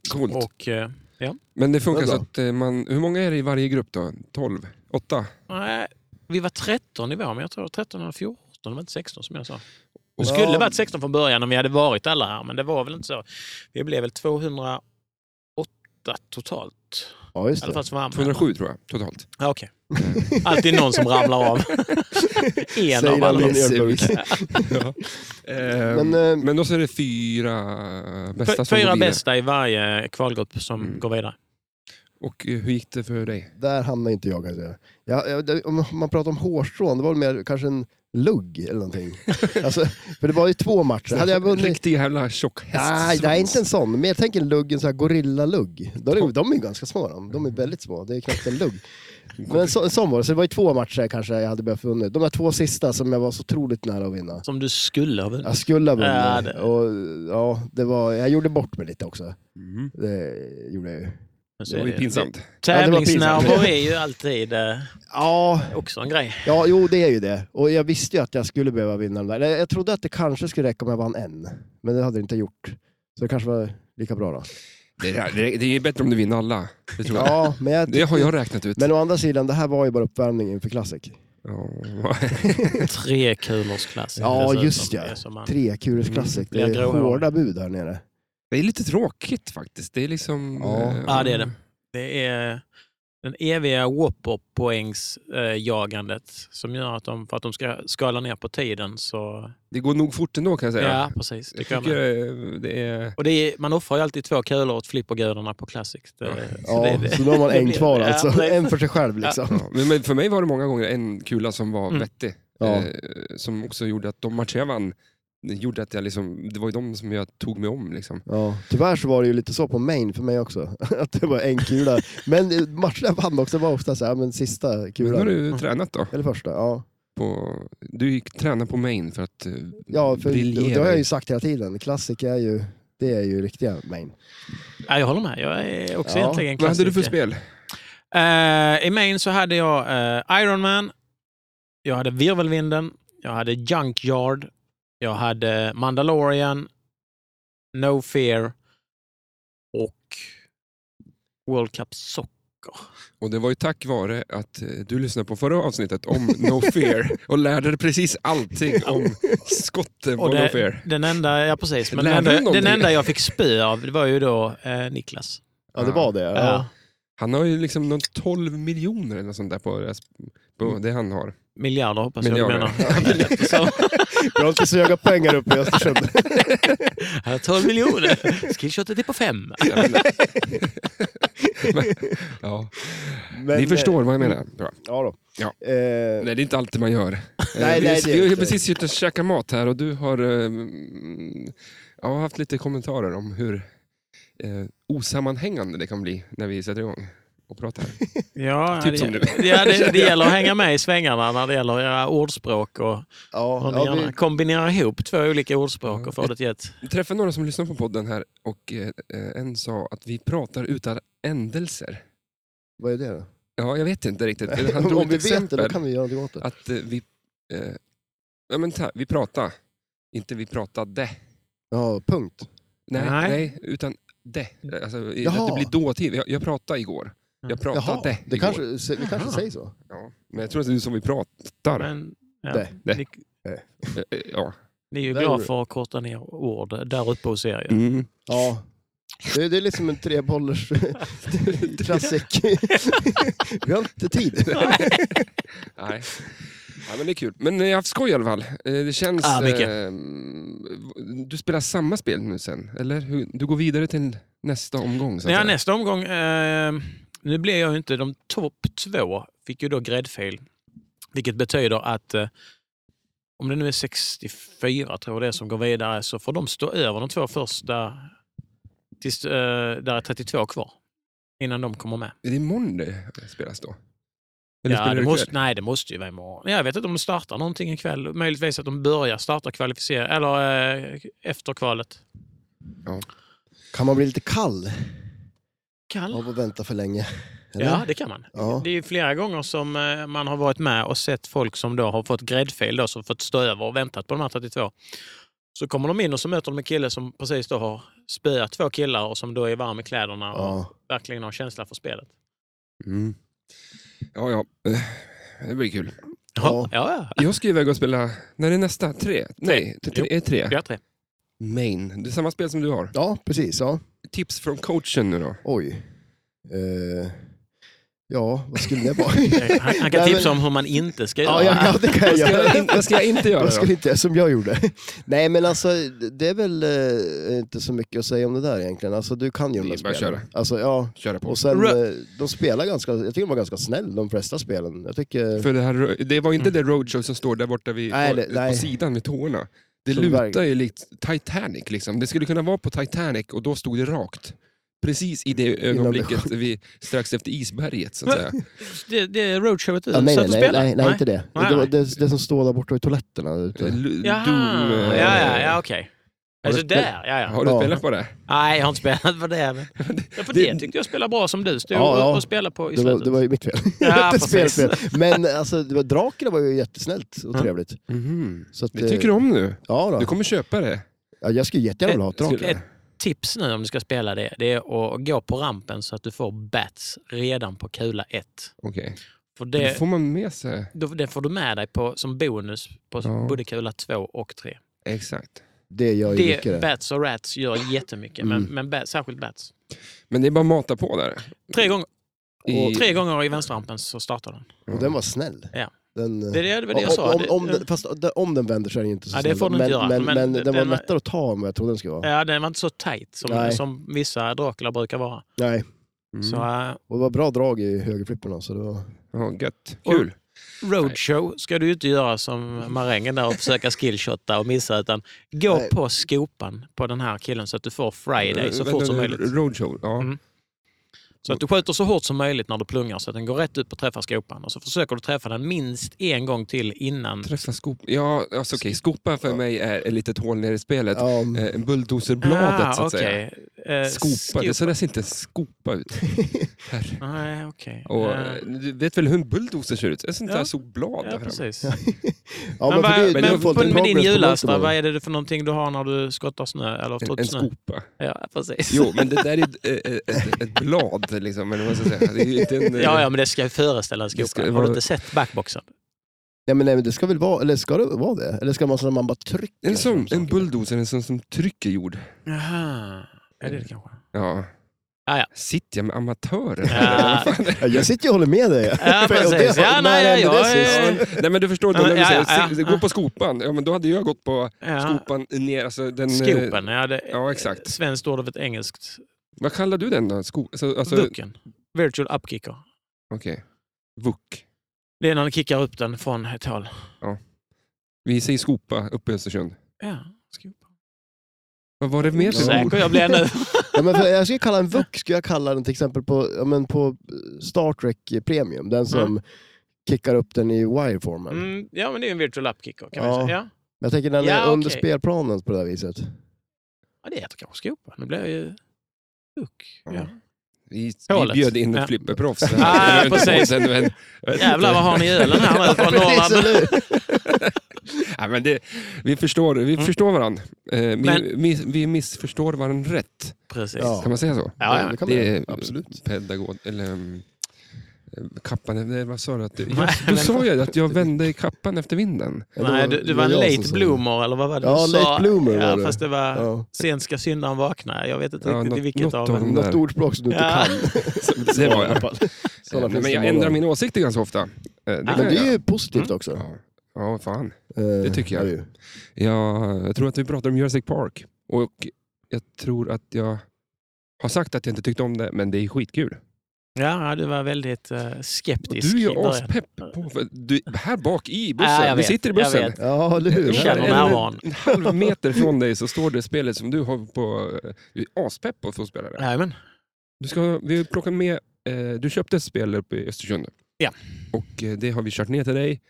S1: Coolt.
S4: Och, eh, ja.
S1: Men det funkar
S2: Det är
S1: så
S2: bra.
S1: att eh, man... Hur många är det i varje grupp då? 12? 8?
S4: nej, vi var 13 i vår, men jag tror det var 13 eller 14. Det var inte 16 som jag sa. Det
S1: Och-
S4: skulle varit 16 från början om vi hade varit alla här, men det var väl inte så. Vi blev väl 208 totalt. Alltså,
S2: Ja,
S4: I
S2: just
S4: alla
S2: det.
S4: fall som var anmälda.
S1: 207 tror jag, totalt.
S4: Ja, okej. Alltid någon som ramlar av. en
S2: Säger han
S4: av
S2: i
S4: alla.
S2: en ölburk.
S1: Men,
S2: Men, eh,
S1: Ehm, men då så är det fyra bästa som går
S4: Fyra
S1: vidare.
S4: bästa i varje kvalgrupp som
S1: Mm.
S4: går vidare.
S1: Och eh, hur gick det för dig?
S2: Där hamnar inte jag kanske. Ja, ja, det, om man pratar om hårstrån, det var väl mer kanske en lugg eller någonting. Alltså, för det var ju två matcher. Hade jag
S1: En
S2: vunnit...
S1: riktig jävla tjock
S2: Nej,
S1: hästsvans.
S2: nej, inte en sån. Men jag tänker luggen, så här gorillalugg. De är, de är ju ganska små de. De är väldigt små. Det är knappt en lugg. Men så, en sån var det. Så det var ju två matcher kanske jag hade behövt vinna. De där två sista som jag var så otroligt nära att vinna.
S4: Som du skulle ha vunnit.
S2: Jag skulle ha vunnit.
S4: Ja, det-
S2: Och, ja, det var, jag gjorde bort mig lite också.
S1: Mm.
S2: Det gjorde jag ju.
S4: Så
S1: Det
S4: är
S1: var ju pinsamt.
S4: Alltså, Tävlingsnerver är ju alltid eh,
S2: Ja,
S4: också en grej.
S2: ja, jo det är ju det. Och jag visste ju att jag skulle behöva vinna den där. Eller, Jag trodde att det kanske skulle räcka om jag vann en. Men det hade det inte gjort. Så det kanske var lika bra då.
S1: Det, där- det, det är bättre om du vinner alla. Det, tror jag.
S2: Ja, men jag
S1: det har jag räknat ut.
S2: Men å andra sidan, det här var ju bara uppvärmning inför Classic.
S1: Ja.
S4: Tre kulors klass.
S2: Ja,
S4: dessutom.
S2: just ja.
S4: Det är som man-
S2: Trekulors Classic. Det
S4: Mm.
S2: är
S4: Jag tror jag.
S2: hårda bud här nere.
S1: det är lite tråkigt faktiskt. Det är liksom...
S2: Ja.
S1: eh,
S4: Ja, det är det. Det är den eviga Whopper-poängsjagandet eh, som gör att de, för att de ska skala ner på tiden så...
S1: Det går nog fort ändå kan jag säga.
S4: Ja, precis. Det
S1: jag
S4: kan man.
S1: tycker eh, det är...
S4: Och det är, man offrar ju alltid två kulor åt flippergudarna på Classic. Det,
S2: Ja, så,
S4: det är det.
S2: då har man
S4: det
S2: en
S4: blir-
S2: kvar
S4: ja,
S2: alltså.
S4: precis.
S2: en för sig själv liksom.
S1: Ja, men men för mig var det många gånger en kula som var
S4: Mm.
S1: vettig.
S2: Ja.
S1: Eh, som också gjorde att de matcher jag vann, det gjorde att jag liksom, det var ju de som jag tog mig om. Liksom.
S2: Ja. Tyvärr så var det ju lite så på main för mig också. Att det var en kula. Men matcherna jag vann också var ofta så här, men sista
S1: Men nu har
S2: kulan.
S1: du tränat då?
S2: Eller första, ja.
S1: På, du gick träna på main för att eh,
S2: ja för
S1: briljera.
S2: det, det har jag ju sagt hela tiden. Classic är ju, det är ju riktiga main.
S4: Ja, jag håller med. Jag är också
S2: Ja.
S4: egentligen
S1: Vad hade du för
S4: klassiker.
S1: spel?
S4: Eh, I main så hade jag eh, Iron Man, jag hade Virvelvinden, jag hade Junkyard, jag hade Mandalorian, No Fear och World Cup Soccer.
S1: Och det var ju tack vare att eh, du lyssnade på förra avsnittet om No Fear och lärde dig precis allting om skotten på
S4: Och det-
S1: No Fear.
S4: Den enda, ja, precis, men den,
S1: Lärde du
S4: enda,
S1: någonting?
S4: den enda jag fick spö av det var ju då eh, Niklas.
S2: Ja, det var det. Ja.
S4: Ja.
S1: Han har ju liksom någon 12 miljoner eller något sånt där på, det här-
S2: Mm.
S1: på det han har.
S4: Miljarder hoppas
S1: Miljarder.
S4: jag du menar. Eftersom-
S2: Jag har inte så höga pengar uppe i Östersund.
S4: Han har 12 miljoner. Skillshotet är på fem. Typ
S1: Ja, men- Men- ja.
S2: Men,
S1: Ni
S2: eh,
S1: förstår vad jag menar. Bra.
S2: Ja då.
S1: Ja.
S2: Eh,
S1: Nej, det är inte alltid man gör. Eh,
S2: nej, det
S1: vi
S2: är
S1: vi har ju
S2: inte.
S1: precis suttit och käkat mat här och du har eh, mm, Jag har haft lite kommentarer om hur eh, osammanhängande det kan bli när vi sätter igång och pratar.
S4: Ja,
S1: Typ
S4: det,
S1: som du.
S4: Ja, det, det gäller att hänga med i svängarna när det gäller att göra ordspråk. Och,
S2: Ja,
S4: och
S2: ja,
S4: gärna
S2: vi,
S4: Kombinera ihop två olika ordspråk
S1: Ja.
S4: och få det till ett...
S1: Jag träffade några som lyssnar på podden här och eh, eh, en sa att vi pratar utan ändelser.
S2: vad är det då?
S1: Ja, jag vet inte riktigt. Han drog
S2: Om
S1: ett
S2: vi vet det,
S1: exempel
S2: då kan vi göra något åt det.
S1: att eh, vi... Eh, ja, men ta, vi pratar. Inte vi pratade.
S2: Ja, punkt.
S1: Nej, nej.
S4: Nej.
S1: utan det. Alltså, i-
S2: Jaha.
S1: att det blir dåtid. Jag, jag pratade igår. Jag pratade
S2: Jaha, det
S1: igår.
S2: kanske, se- vi kanske
S4: Jaha.
S2: säger så.
S1: Ja. Men jag tror att det är som vi pratar.
S4: Men, ja,
S2: Det.
S1: Det.
S4: Ni,
S1: Eh, eh, Ja.
S4: ni är ju
S2: Där är
S4: glada
S2: du.
S4: för att korta ner ord. Där uppe hos er ju.
S1: Mm.
S2: Ja. Det, det är liksom en trebollers klassik. vi har inte tid.
S1: Nej. Ja, men det är kul. Men eh, jag har haft skoj i alla fall. Eh, Det känns...
S4: Ja, mycket.
S1: eh, du spelar samma spel nu sen, eller? Hur- Du går vidare till nästa omgång? Så att
S4: Ja,
S1: säga.
S4: nästa omgång. Eh, nu blev jag ju inte de topp två. Fick ju då gräddfil. Vilket betyder att eh, om det nu är 64 tror jag det är som går vidare så får de stå över de två första tills eh, där är 32 kvar. Innan de kommer med.
S1: Är det imorgon det spelas då?
S4: ja, det
S1: ikväll?
S4: måste, nej, det måste ju vara imorgon. Jag vet inte om de startar någonting ikväll. Möjligtvis att de börjar starta kvalificera eller eh, efter kvalet.
S2: Kan man bli lite kall
S4: Kan.
S2: av att vänta för länge? Eller?
S4: Ja, det kan man.
S2: ja.
S4: Det är ju flera gånger som eh, man har varit med och sett folk som då har fått gräddfil, då, som fått stå över och väntat på de här 32. Så kommer de in och så möter de en kille som precis då har spöat två killar och som då är varm i kläderna och
S2: Ja.
S4: verkligen har känsla för spelet.
S1: Mm. Ja, ja. Eh, Det blir kul.
S2: Ja.
S4: Ja, ja,
S1: Jag ska iväg och spela... När är nästa? Tre? Nej, det tre, är tre.
S4: ja. Jag tre.
S1: Main. Det är samma spel som du har.
S2: ja, precis. Ja.
S1: Tips från coachen nu då.
S2: Oj. Eh, ja, vad skulle det vara?
S4: Han, han kan
S2: Nej,
S4: tipsa
S2: men-
S4: om hur man inte ska
S2: ja,
S4: göra.
S2: ja, ja, det kan jag
S1: Vad ska
S2: göra.
S1: jag, in, vad ska jag inte göra
S2: Vad
S1: då?
S2: skulle inte jag, som jag gjorde. Nej, men alltså det är väl eh, inte så mycket att säga om det där egentligen. Alltså du kan ju de
S1: Det
S2: där
S1: är bara att
S2: spelen.
S1: köra.
S2: Alltså, ja.
S1: Köra på.
S2: Och sen,
S4: Rö-
S2: eh, de spelar ganska, jag tycker de var ganska snäll de flesta spelen. Jag tycker...
S1: För det, här, det var inte det roadshow som står där borta vid,
S2: Nej,
S1: på,
S2: det- nej.
S1: på sidan vid tårna. Det
S2: Som
S1: lutar
S2: verk-
S1: ju likt Titanic. Liksom. Det skulle kunna vara på Titanic och då stod det rakt. Precis i det ögonblicket vi, strax efter isberget. Så att säga.
S4: Det, det är roadshowet du
S2: Ja, nej,
S4: satt
S2: nej,
S4: och
S2: nej,
S4: spelade?
S2: nej, nej, inte det.
S4: Nej,
S2: det, var,
S4: nej.
S2: det. Det som står där borta i toaletterna. Ute.
S1: L-
S4: Jaha,
S1: Doom, eh,
S4: ja, ja, ja, okej. Alltså
S1: du
S4: där, ja, ja.
S1: Har du
S2: Ja.
S1: spelat på det?
S4: Nej, jag har inte spelat på det. Men... Ja, för det tyckte jag spelade bra som du stod
S2: Ja, ja.
S4: och spelade på i
S2: Det var,
S4: slutet.
S2: det var ju mitt fel.
S4: Ja,
S2: Inte
S4: precis.
S2: spelfel. Men alltså, det var, Dracula var ju jättesnällt och
S4: Ja.
S2: trevligt.
S1: Mhm.
S2: Så att, eh,
S1: Det tycker du om nu.
S2: Ja, då.
S1: Du kommer köpa det.
S2: ja, jag skulle jättegärna vilja ha ett Dracula.
S1: Skulle-
S4: Ett tips nu om du ska spela det, det är att gå på rampen så att du får bats redan på kula 1.
S1: Okej.
S4: För
S1: Då
S4: det,
S1: får man med sig.
S4: då- det får du med dig på, som bonus på
S1: Ja.
S4: både kula 2 och 3.
S1: Exakt.
S2: Det gör ju mycket
S4: Det,
S2: det.
S4: bats och rats gör jättemycket, men,
S2: Mm.
S4: men bats, särskilt bats.
S1: Men det är bara att mata på där.
S4: Tre gånger,
S1: I-
S4: tre gånger i vänsterrampen så startar den.
S2: Och den var snäll.
S4: Ja.
S2: Den, eh,
S4: Det, det, det var det jag
S2: om,
S4: sa.
S2: Om, om,
S4: Det-
S2: den, fast de- om den vänder så är den ju inte så
S4: Ja, det
S2: snäll.
S4: får den inte
S2: men,
S4: göra,
S2: Men,
S4: men
S2: men, den,
S4: den
S2: var
S4: var-
S2: lättare att ta än vad jag trodde den skulle vara.
S4: Ja, den var inte så tight som,
S2: Nej.
S4: som vissa Dracula brukar vara.
S2: Nej.
S1: Mm.
S4: Så, äh,
S2: Och det var bra drag i högerflipporna. Så det var...
S1: Ja, gött.
S4: Och-
S1: Kul.
S4: Roadshow ska du ju inte göra som marängen där och försöka skillshotta och missa. Utan gå
S2: Nej.
S4: på skopan på den här killen så att du får Friday så
S1: Äh, Vänta,
S4: fort som
S1: nu,
S4: möjligt.
S1: Roadshow. Ja.
S4: Mm. Så att du skjuter så hårt som möjligt när du plungar så att den går rätt upp och träffar skopan. Och så försöker du träffa den minst en gång till innan.
S1: Träffa skopa. Ja, alltså, okej. Skopa för mig är ett litet hål nere i spelet.
S2: Ja,
S1: Eh, en bulldozerbladet,
S4: Ah,
S1: så att säga.
S4: säga.
S1: Skopa. Det, så där ser inte skopa ut. Eh. Herre.
S4: Nej, okej.
S1: Och,
S4: Eh,
S1: eh, du vet väl hur en bulldozer ser ut? Ett sånt där
S4: Ja.
S1: solblad
S4: ja,
S1: där framme.
S4: precis.
S2: ja, men, för
S4: men vad-
S2: det,
S4: men,
S2: det är
S1: på-
S2: folk i
S4: med din
S2: progress på
S4: jullastra,
S2: Baltimore.
S4: vad är det för någonting du har när du skottar snö? Eller har
S1: En,
S4: trott
S1: en
S4: snö?
S1: skopa.
S4: Ja, precis.
S1: Jo, men det där är ett, eh, eh, ett, ett blad liksom. Eller vad ska jag säga. Det är ju inte en, eh,
S4: Ja, ja, men det ska ju föreställa en
S1: Det ska
S4: skopa. Har
S1: vara-
S4: du inte sett backboxen?
S2: Nej, men, nej, men det ska väl vara, eller ska det vara det? Eller ska man så att man bara trycker?
S1: eh, en, sån,
S2: fram
S1: en
S2: saker?
S1: bulldozer, en sån som trycker jord.
S4: Jaha. Eh, Är det det kanske?
S1: Ja.
S4: Ja, ja.
S1: Sitter jag med amatörer?
S4: Ja.
S2: Ja, jag sitter ju och håller med dig.
S4: Ja,
S2: För- och det-
S4: precis. Ja,
S2: när
S4: nej,
S2: hände
S4: ja,
S2: det
S4: ja,
S2: sist?
S4: ja,
S1: Nej men du förstår, då,
S4: Ja,
S1: när du
S4: ja,
S1: säger,
S4: ja,
S1: se-
S4: ja.
S1: gå på skopan. Ja, men då hade jag gått på
S4: Ja.
S1: skopan ner. Alltså den, eh,
S4: Skopen, ja. Det,
S1: ja, exakt.
S4: Svenskt ord av ett engelskt.
S1: Vad kallar du den då? Sko, alltså, alltså,
S4: Vucken. Virtual upkicker.
S1: Okej. Vuk.
S4: Det är när du kickar upp den från ett hål.
S1: Vi säger skopa uppe i Östersund.
S4: Ja, skopa.
S1: Vad var det mer för ord?
S4: Säker jag blir nu.
S2: Ja, men för, jag skulle kalla en VUX, skulle jag kalla den till exempel på, ja, men på Star Trek Premium. Den som kickar upp den i wireformen.
S4: Mm, ja, men det är ju en virtual upkick kan
S2: Ja.
S4: man säga. Ja.
S2: Men jag tänker den
S4: Ja,
S2: är
S4: okej.
S2: under spelplanen på det här viset.
S4: ja, det heter kanske skopa. Nu blir jag ju... Uck. Ja.
S1: Ja. Vi, vi
S4: Hålet.
S1: bjöd in
S4: Ja.
S1: ett flipperproffs. här.
S4: Ah,
S1: Det var inte
S4: precis.
S1: sen, men- jag vet
S4: Jävlar
S1: inte.
S4: vad har ni i ölen här nu från
S2: Precis,
S4: Norrland?
S2: eller hur?
S1: Nej, men det, vi förstår, vi
S4: Mm.
S1: förstår varandra. Eh, vi,
S4: Men-
S1: vi, vi missförstår varandra rätt.
S4: Precis.
S2: Ja.
S1: Kan man säga så?
S4: Ja, ja.
S2: Det kan man
S1: Det
S2: göra.
S1: är
S2: Absolut.
S1: pedagog... Eller, um, kappan, nej, vad sa du? Att du,
S4: Nej,
S1: jag, du
S4: men-
S1: sa ju att jag vände i kappan efter vinden.
S2: Ja, det
S4: Nej, du, du
S2: det
S4: var en
S2: jag som
S4: late
S2: sa det.
S4: bloomer, eller vad var det du
S2: Ja,
S4: sa?
S2: late bloomer
S4: ja,
S2: var det.
S4: Fast det var
S2: Ja.
S4: sent ska syndaren vakna. Jag vet inte
S1: Ja,
S4: riktigt i
S1: något-
S4: vilket
S1: något
S4: av
S1: av
S4: dem.
S1: dem.
S2: Något
S1: Där.
S2: ordspråk som du inte
S4: Ja.
S2: kan.
S1: Det var
S2: i alla
S1: jag.
S2: fall. Sådana
S1: Eh, Men
S2: finns det
S1: jag
S2: många
S1: ändrar
S2: av.
S1: mina åsikter ganska ofta. Eh, det
S4: Ah.
S1: kan
S2: Men det
S1: jag.
S2: är ju
S4: Mm.
S2: positivt också. Eh,
S1: Ja, ja fan.
S2: Det
S1: tycker jag.
S2: ju.
S1: Jag, jag tror att vi pratade om Jurassic Park. Och jag tror att jag har sagt att jag inte tyckte om det, men det är skitkul.
S4: Ja, du var väldigt eh,
S1: Och
S4: skeptisk.
S1: du är
S4: i
S1: ju
S4: början.
S1: aspepp på... för Du, här bak i bussen.
S4: Ja, jag
S1: vi
S4: vet,
S1: sitter i
S4: jag
S1: bussen.
S4: vet.
S2: Ja, eller hur?
S1: Jag
S4: Känner
S1: Eller-
S4: närvaron.
S1: En halv meter från dig så står det spelet som du har på... Du är aspepp på att få spela det.
S4: Jajamän.
S1: Du ska, vi plockar med... Eh, du köpte ett spel uppe i Östersund.
S4: Ja.
S1: Och eh, det har vi kört ner till dig.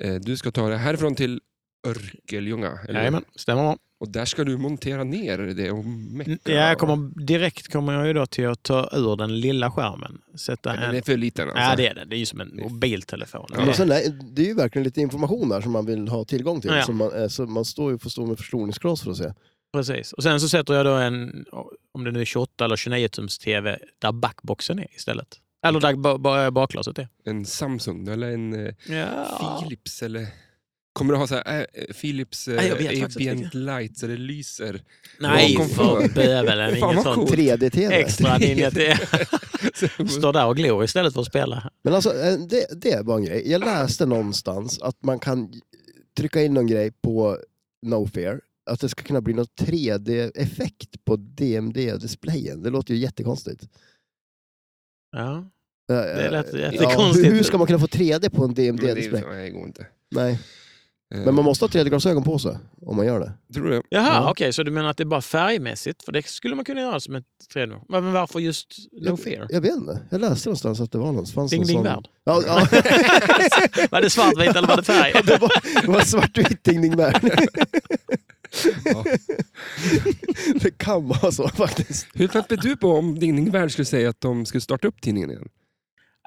S1: Eh, du ska ta det härifrån till Örkeljunga. eller?
S4: Jajamän, stämmer bra.
S1: Och där ska du montera ner det och mecka.
S4: Mm, Ja, jag kommer, direkt kommer jag ju då till att ta ur den lilla skärmen. Sätta
S1: Men
S4: en...
S1: det är för liten alltså.
S4: Ja, det är det. Det är ju som en mobiltelefon.
S1: Ja.
S2: Men sen är, det är ju verkligen lite information där som man vill ha tillgång till.
S4: Ja.
S2: Som man, eh, så man står ju får stå med förstoringsglas för att se.
S4: Precis. Och sen så sätter jag då en, om det nu är 28 eller 29 tums TV, där backboxen är istället. Eller där ba- ba- baklaset är.
S1: En Samsung eller en... Eh,
S4: Ja.
S1: Philips eller... Kommer du ha så här, äh, Philips
S4: Nej, jag
S1: äh,
S4: vet faktiskt
S1: ambient light så det lyser?
S4: Nej,
S1: Bakom
S4: för
S1: för.
S4: bövelen.
S1: Fan,
S4: Inget
S1: vad
S4: sånt
S1: coolt.
S2: 3D-TV.
S4: extra ninja till.
S1: Så-
S4: Står där och glor istället för att spela.
S2: Men alltså, eh, det, det var en grej. Jag läste någonstans att man kan trycka in någon grej på No Fear. Att det ska kunna bli någon 3D-effekt på DMD-displayen. Det låter ju jättekonstigt.
S4: Ja.
S2: Eh,
S4: Det lät
S2: eh,
S4: jättekonstigt.
S2: Ja, hur, hur ska man kunna få 3D på en
S1: Men det är ju
S2: DMD-display?
S1: så- Nej, det går inte.
S2: Nej,
S1: Eh,
S2: men man måste ha 3D-glasögon på sig om man gör det.
S1: Tror du det?
S4: Jaha,
S2: Ja.
S4: okej. så du menar att det är bara färgmässigt? För det skulle man kunna göra som ett 3D. Men varför just No Fear?
S2: Jag vet inte. Jag läste någonstans att det var någon. Fanns
S4: Ding
S2: någon
S4: Ding
S2: sån-
S4: Värld.
S2: Ja, ja.
S4: Var det svartvitt eller var det färg?
S2: det, var, det var svartvitt Ding Ding Värld.
S1: Ja.
S2: Det kan vara så faktiskt.
S1: Hur pepp är du på om Ding Ding Värld skulle säga att de skulle starta upp tidningen igen?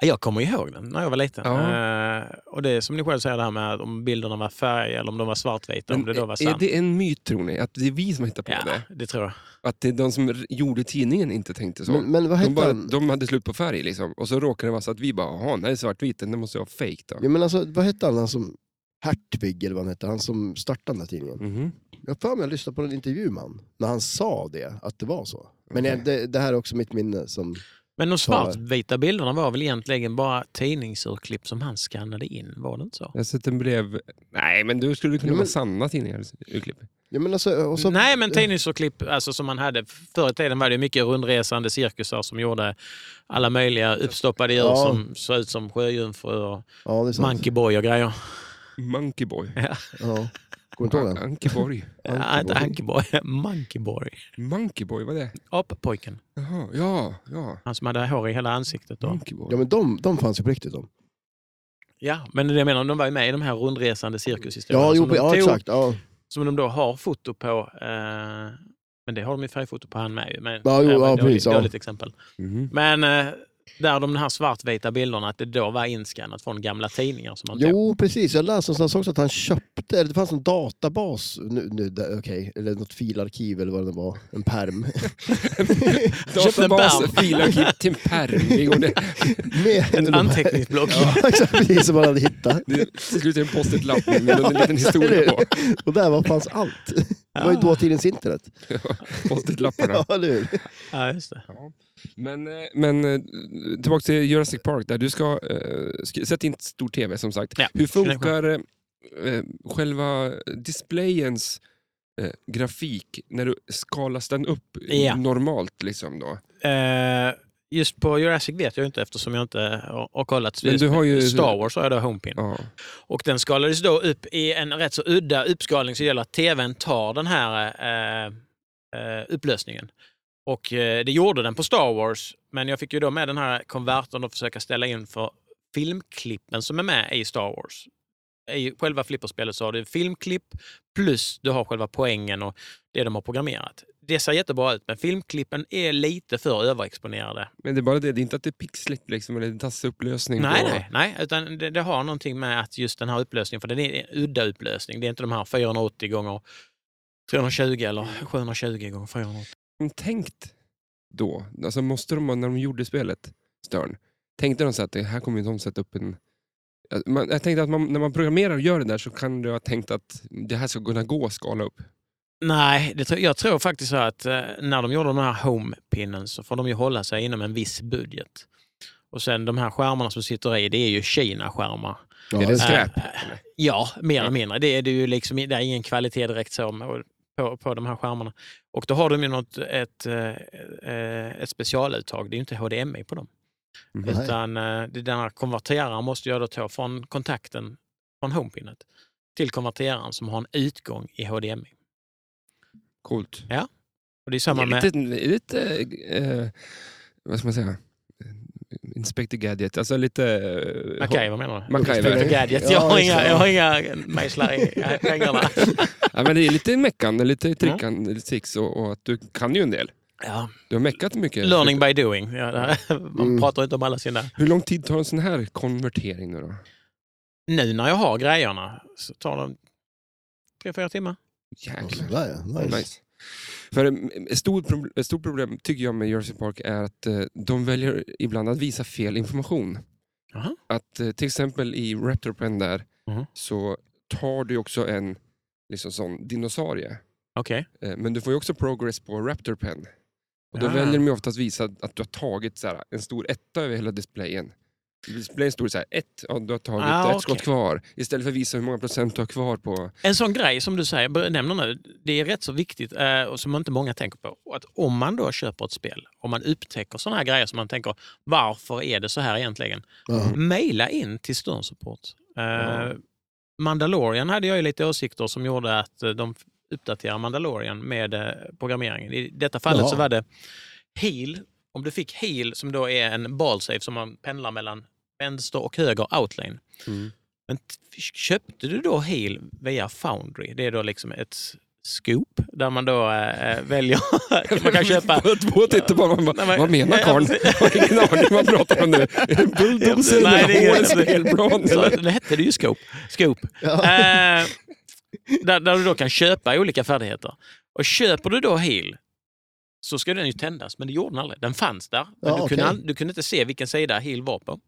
S4: Jag kommer ihåg den när jag var liten.
S1: Ja.
S4: Eh, och det är som ni själv säger, det här med om bilderna var färg eller om de var svartvita, om det då var
S1: eh, är är
S4: sant.
S1: det en myt tror ni? Att det är vi som hittar på
S4: Ja,
S1: det?
S4: det tror jag.
S1: Att det är de som r- gjorde tidningen inte tänkte så?
S2: Men, men vad
S1: de,
S2: hette
S1: bara,
S2: han?
S1: de hade slut på färg liksom. Och så råkade det vara så att vi bara, jaha, den är svartvit, den måste jag ha fake då.
S2: Ja, men alltså, vad hette han, han som... Hertvig eller vad han hette, han som startade den här tidningen.
S1: Mhm.
S2: Jag har för mig att jag lyssnade på en intervju med han, när han sa det, att det var så. Men
S1: Okej.
S2: jag, det, det här är också mitt minne som...
S4: Men
S2: Färg.
S4: de svartvita bilderna var väl egentligen bara tidningsurklipp som han skannade in, var det inte så?
S1: Jag sett den blev... Nej, men du skulle kunna
S2: Ja, men-
S1: vara sanna tidningar. urklipp.
S2: Ja, men alltså, och så
S4: Nej, men tidningsurklipp alltså, som man hade. Förr i tiden var det ju mycket rundresande cirkusar som gjorde alla möjliga uppstoppade djur
S2: Ja.
S4: som såg ut som sjöjungfrur och
S2: Ja, det är sant.
S4: monkeyboy och grejer.
S1: Monkeyboy.
S2: Ja. Kommer du inte ihåg den?
S1: Ankeborg.
S4: Ja, Äh, inte monkeyboy. Monkeyboy.
S1: Monkeyboy, vad är det?
S4: Appojken.
S1: Jaha, ja, ja.
S4: Han som hade hår i hela ansiktet.
S2: Mm.
S4: Då.
S1: Monkeyboy.
S2: Ja, men de, de fanns ju på riktigt. De.
S4: Ja, men det jag menar, de var ju med i de här rundresande cirkushistorierna
S2: Ja, jo,
S4: som,
S1: alltså,
S4: de
S2: ja,
S4: tog,
S2: exakt. Ja.
S4: som de då har foto på. Eh, men det har de ju färgfoto på han med. ju, Men,
S2: Ja, jo,
S4: men
S2: ja,
S4: dåligt,
S2: precis, ja.
S4: dåligt exempel.
S1: Mhm.
S4: Men eh, där de här svartvita bilderna, att det då var inskannat från gamla tidningar som man tog.
S2: Jo, precis. Jag läste någonstans också att han köpte, eller det fanns en databas, nu, nu, där- okej, eller något filarkiv eller vad det var, en perm.
S4: köpte en
S1: Databas,
S4: pärm.
S1: filarkiv till en pärm. Det går det.
S2: Med
S4: Ett anteckningsblock.
S2: Ja, exakt, precis som han hade hittat.
S1: Det är Till slut är det en post-it-lapp med med en liten historia på. Ah.
S2: Och där var, fanns allt. Det var ju dåtidens internet.
S1: Post-it-lapparna.
S2: Ja, eller hur?
S4: Ja, just det.
S1: Men, eh, men eh, tillbaka till Jurassic Park. Där du ska äh, sätta in stor tv som sagt.
S4: Ja.
S1: Hur funkar eh, själva displayens eh, grafik när du skalas den upp
S4: Ja.
S1: normalt? liksom då?
S4: Eh, just på Jurassic vet jag ju inte eftersom jag inte har, har kollat.
S1: Men du har ju-
S4: Star Wars har jag då Homepin.
S1: Ja.
S4: Och den skalades då upp i en rätt så udda uppskalning så det gäller att tvn tar den här eh, eh, upplösningen. Och eh, det gjorde den på Star Wars, men jag fick ju då med den här konvertern och försöka ställa in för filmklippen som är med i Star Wars. I själva flipperspelet så har du filmklipp plus du har själva poängen och det de har programmerat. Det ser jättebra ut, men filmklippen är lite för överexponerade.
S1: Men det är bara det, det är inte att det är pixligt liksom, eller en tassig upplösning.
S4: Nej,
S1: på...
S4: nej, nej, utan det, det har någonting med att just den här upplösningen, för den är en udda upplösning. Det är inte de här 480 gånger 320 eller 720 gånger 480.
S1: de tänkt då? Alltså måste de, när de gjorde spelet, Stern, tänkte de så att det här kommer ju de sätta upp en... att Man, jag tänkte att man, när man programmerar och gör det där så kan du ha tänkt att det här ska kunna gå att skala upp.
S4: Nej, det, tror- jag tror faktiskt så att eh, när de gjorde den här homepinnen så får de ju hålla sig inom en viss budget. Och sen de här skärmarna som sitter i, det är ju Kina-skärmar.
S2: Ja,
S1: är det
S2: det-
S1: skräp?
S4: Eh, Ja, mer eller mindre. Det är, det är ju liksom, det är ingen kvalitet direkt så med- på, på de här skärmarna. Och då har de ju något, ett, eh, eh, ett specialuttag. Det är ju inte HDMI på dem.
S1: Mhm.
S2: Nej.
S4: Utan eh, det- den här konverteraren måste jag då ta från kontakten från homepinnet till konverteraren som har en utgång i HDMI.
S1: Coolt.
S4: Och det är
S1: Det
S4: samma
S1: är
S4: med...
S1: lite, det är lite eh, vad ska man säga? Inspector Gadget, alltså lite... eh,
S4: MacGyver menar du?
S1: MacGyver.
S4: Inspector Gadget. Jag
S2: Ja,
S4: har
S2: just
S4: inga,
S2: det.
S4: jag har inga mejslar i hängarna.
S1: Ja, men det är lite meckan, lite
S4: Mm.
S1: trickan, lite tricks och, och att du kan ju en del.
S4: Ja.
S1: Du har meckat mycket.
S4: Learning by doing. Ja, det här, man
S2: Mm.
S4: pratar inte om alla sina...
S1: Hur lång tid tar en sån här konvertering nu då?
S4: Nu när jag har grejerna så tar de tre, fyra timmar.
S2: Ja,
S1: Jäklar.
S2: sådär, ja. Nice.
S1: Alltså, Nice. För mm, ett stort, problem, ett stort problem tycker jag med Jersey Park är att eh, de väljer ibland att visa fel information.
S4: Jaha.
S1: Att eh, till exempel i Raptor Pen där
S4: Mhm.
S1: så tar du också en liksom sån dinosaurie.
S4: Okej.
S1: Eh, men du får ju också progress på Raptor Pen. Och då
S4: Ah.
S1: väljer de ju ofta att visa att du har tagit så här, en stor etta över hela displayen. Displayen står så här, ett, ja, du har tagit
S4: Ah,
S1: ett
S4: okej.
S1: skott kvar. Istället för att visa hur många procent du har kvar på...
S4: En sån grej som du säger, bör- nämner nu, det är rätt så viktigt eh, och som inte många tänker på. Och Att om man då köper ett spel och man upptäcker såna här grejer som man tänker, varför är det så här egentligen?
S2: Ja.
S1: Mm.
S4: Mejla in till Stern Support. Eh,
S1: Ja.
S4: Mandalorian hade jag ju lite åsikter som gjorde att eh, de uppdaterar Mandalorian med eh, programmeringen. I detta fallet
S2: Jaha.
S4: så var det heal. Om du fick heal, som då är en ballsave som man pendlar mellan vänster och höger outlane.
S1: Mm.
S4: Men t- köpte du då heal via Foundry? Det är då liksom ett scoop där man då eh, väljer... man kan köpa...
S1: Två tittar på varandra och bara,
S4: Nej, men-
S1: vad menar
S4: Ja,
S1: karln? Jag har ingen aning vad han pratar om nu. Är det en bulldozer
S4: Nej, det är
S1: eller
S4: ingen-
S1: årets spelplan?
S4: Så,
S1: eller?
S4: det hette det ju scope. scope.
S2: Ja.
S4: Eh, där, där du då kan köpa olika färdigheter. Och köper du då heal så ska den ju tändas, men det gjorde den aldrig. Den fanns där, men
S2: Ja,
S4: du,
S2: okej.
S4: kunde, ald- du kunde inte se vilken sida heal var på.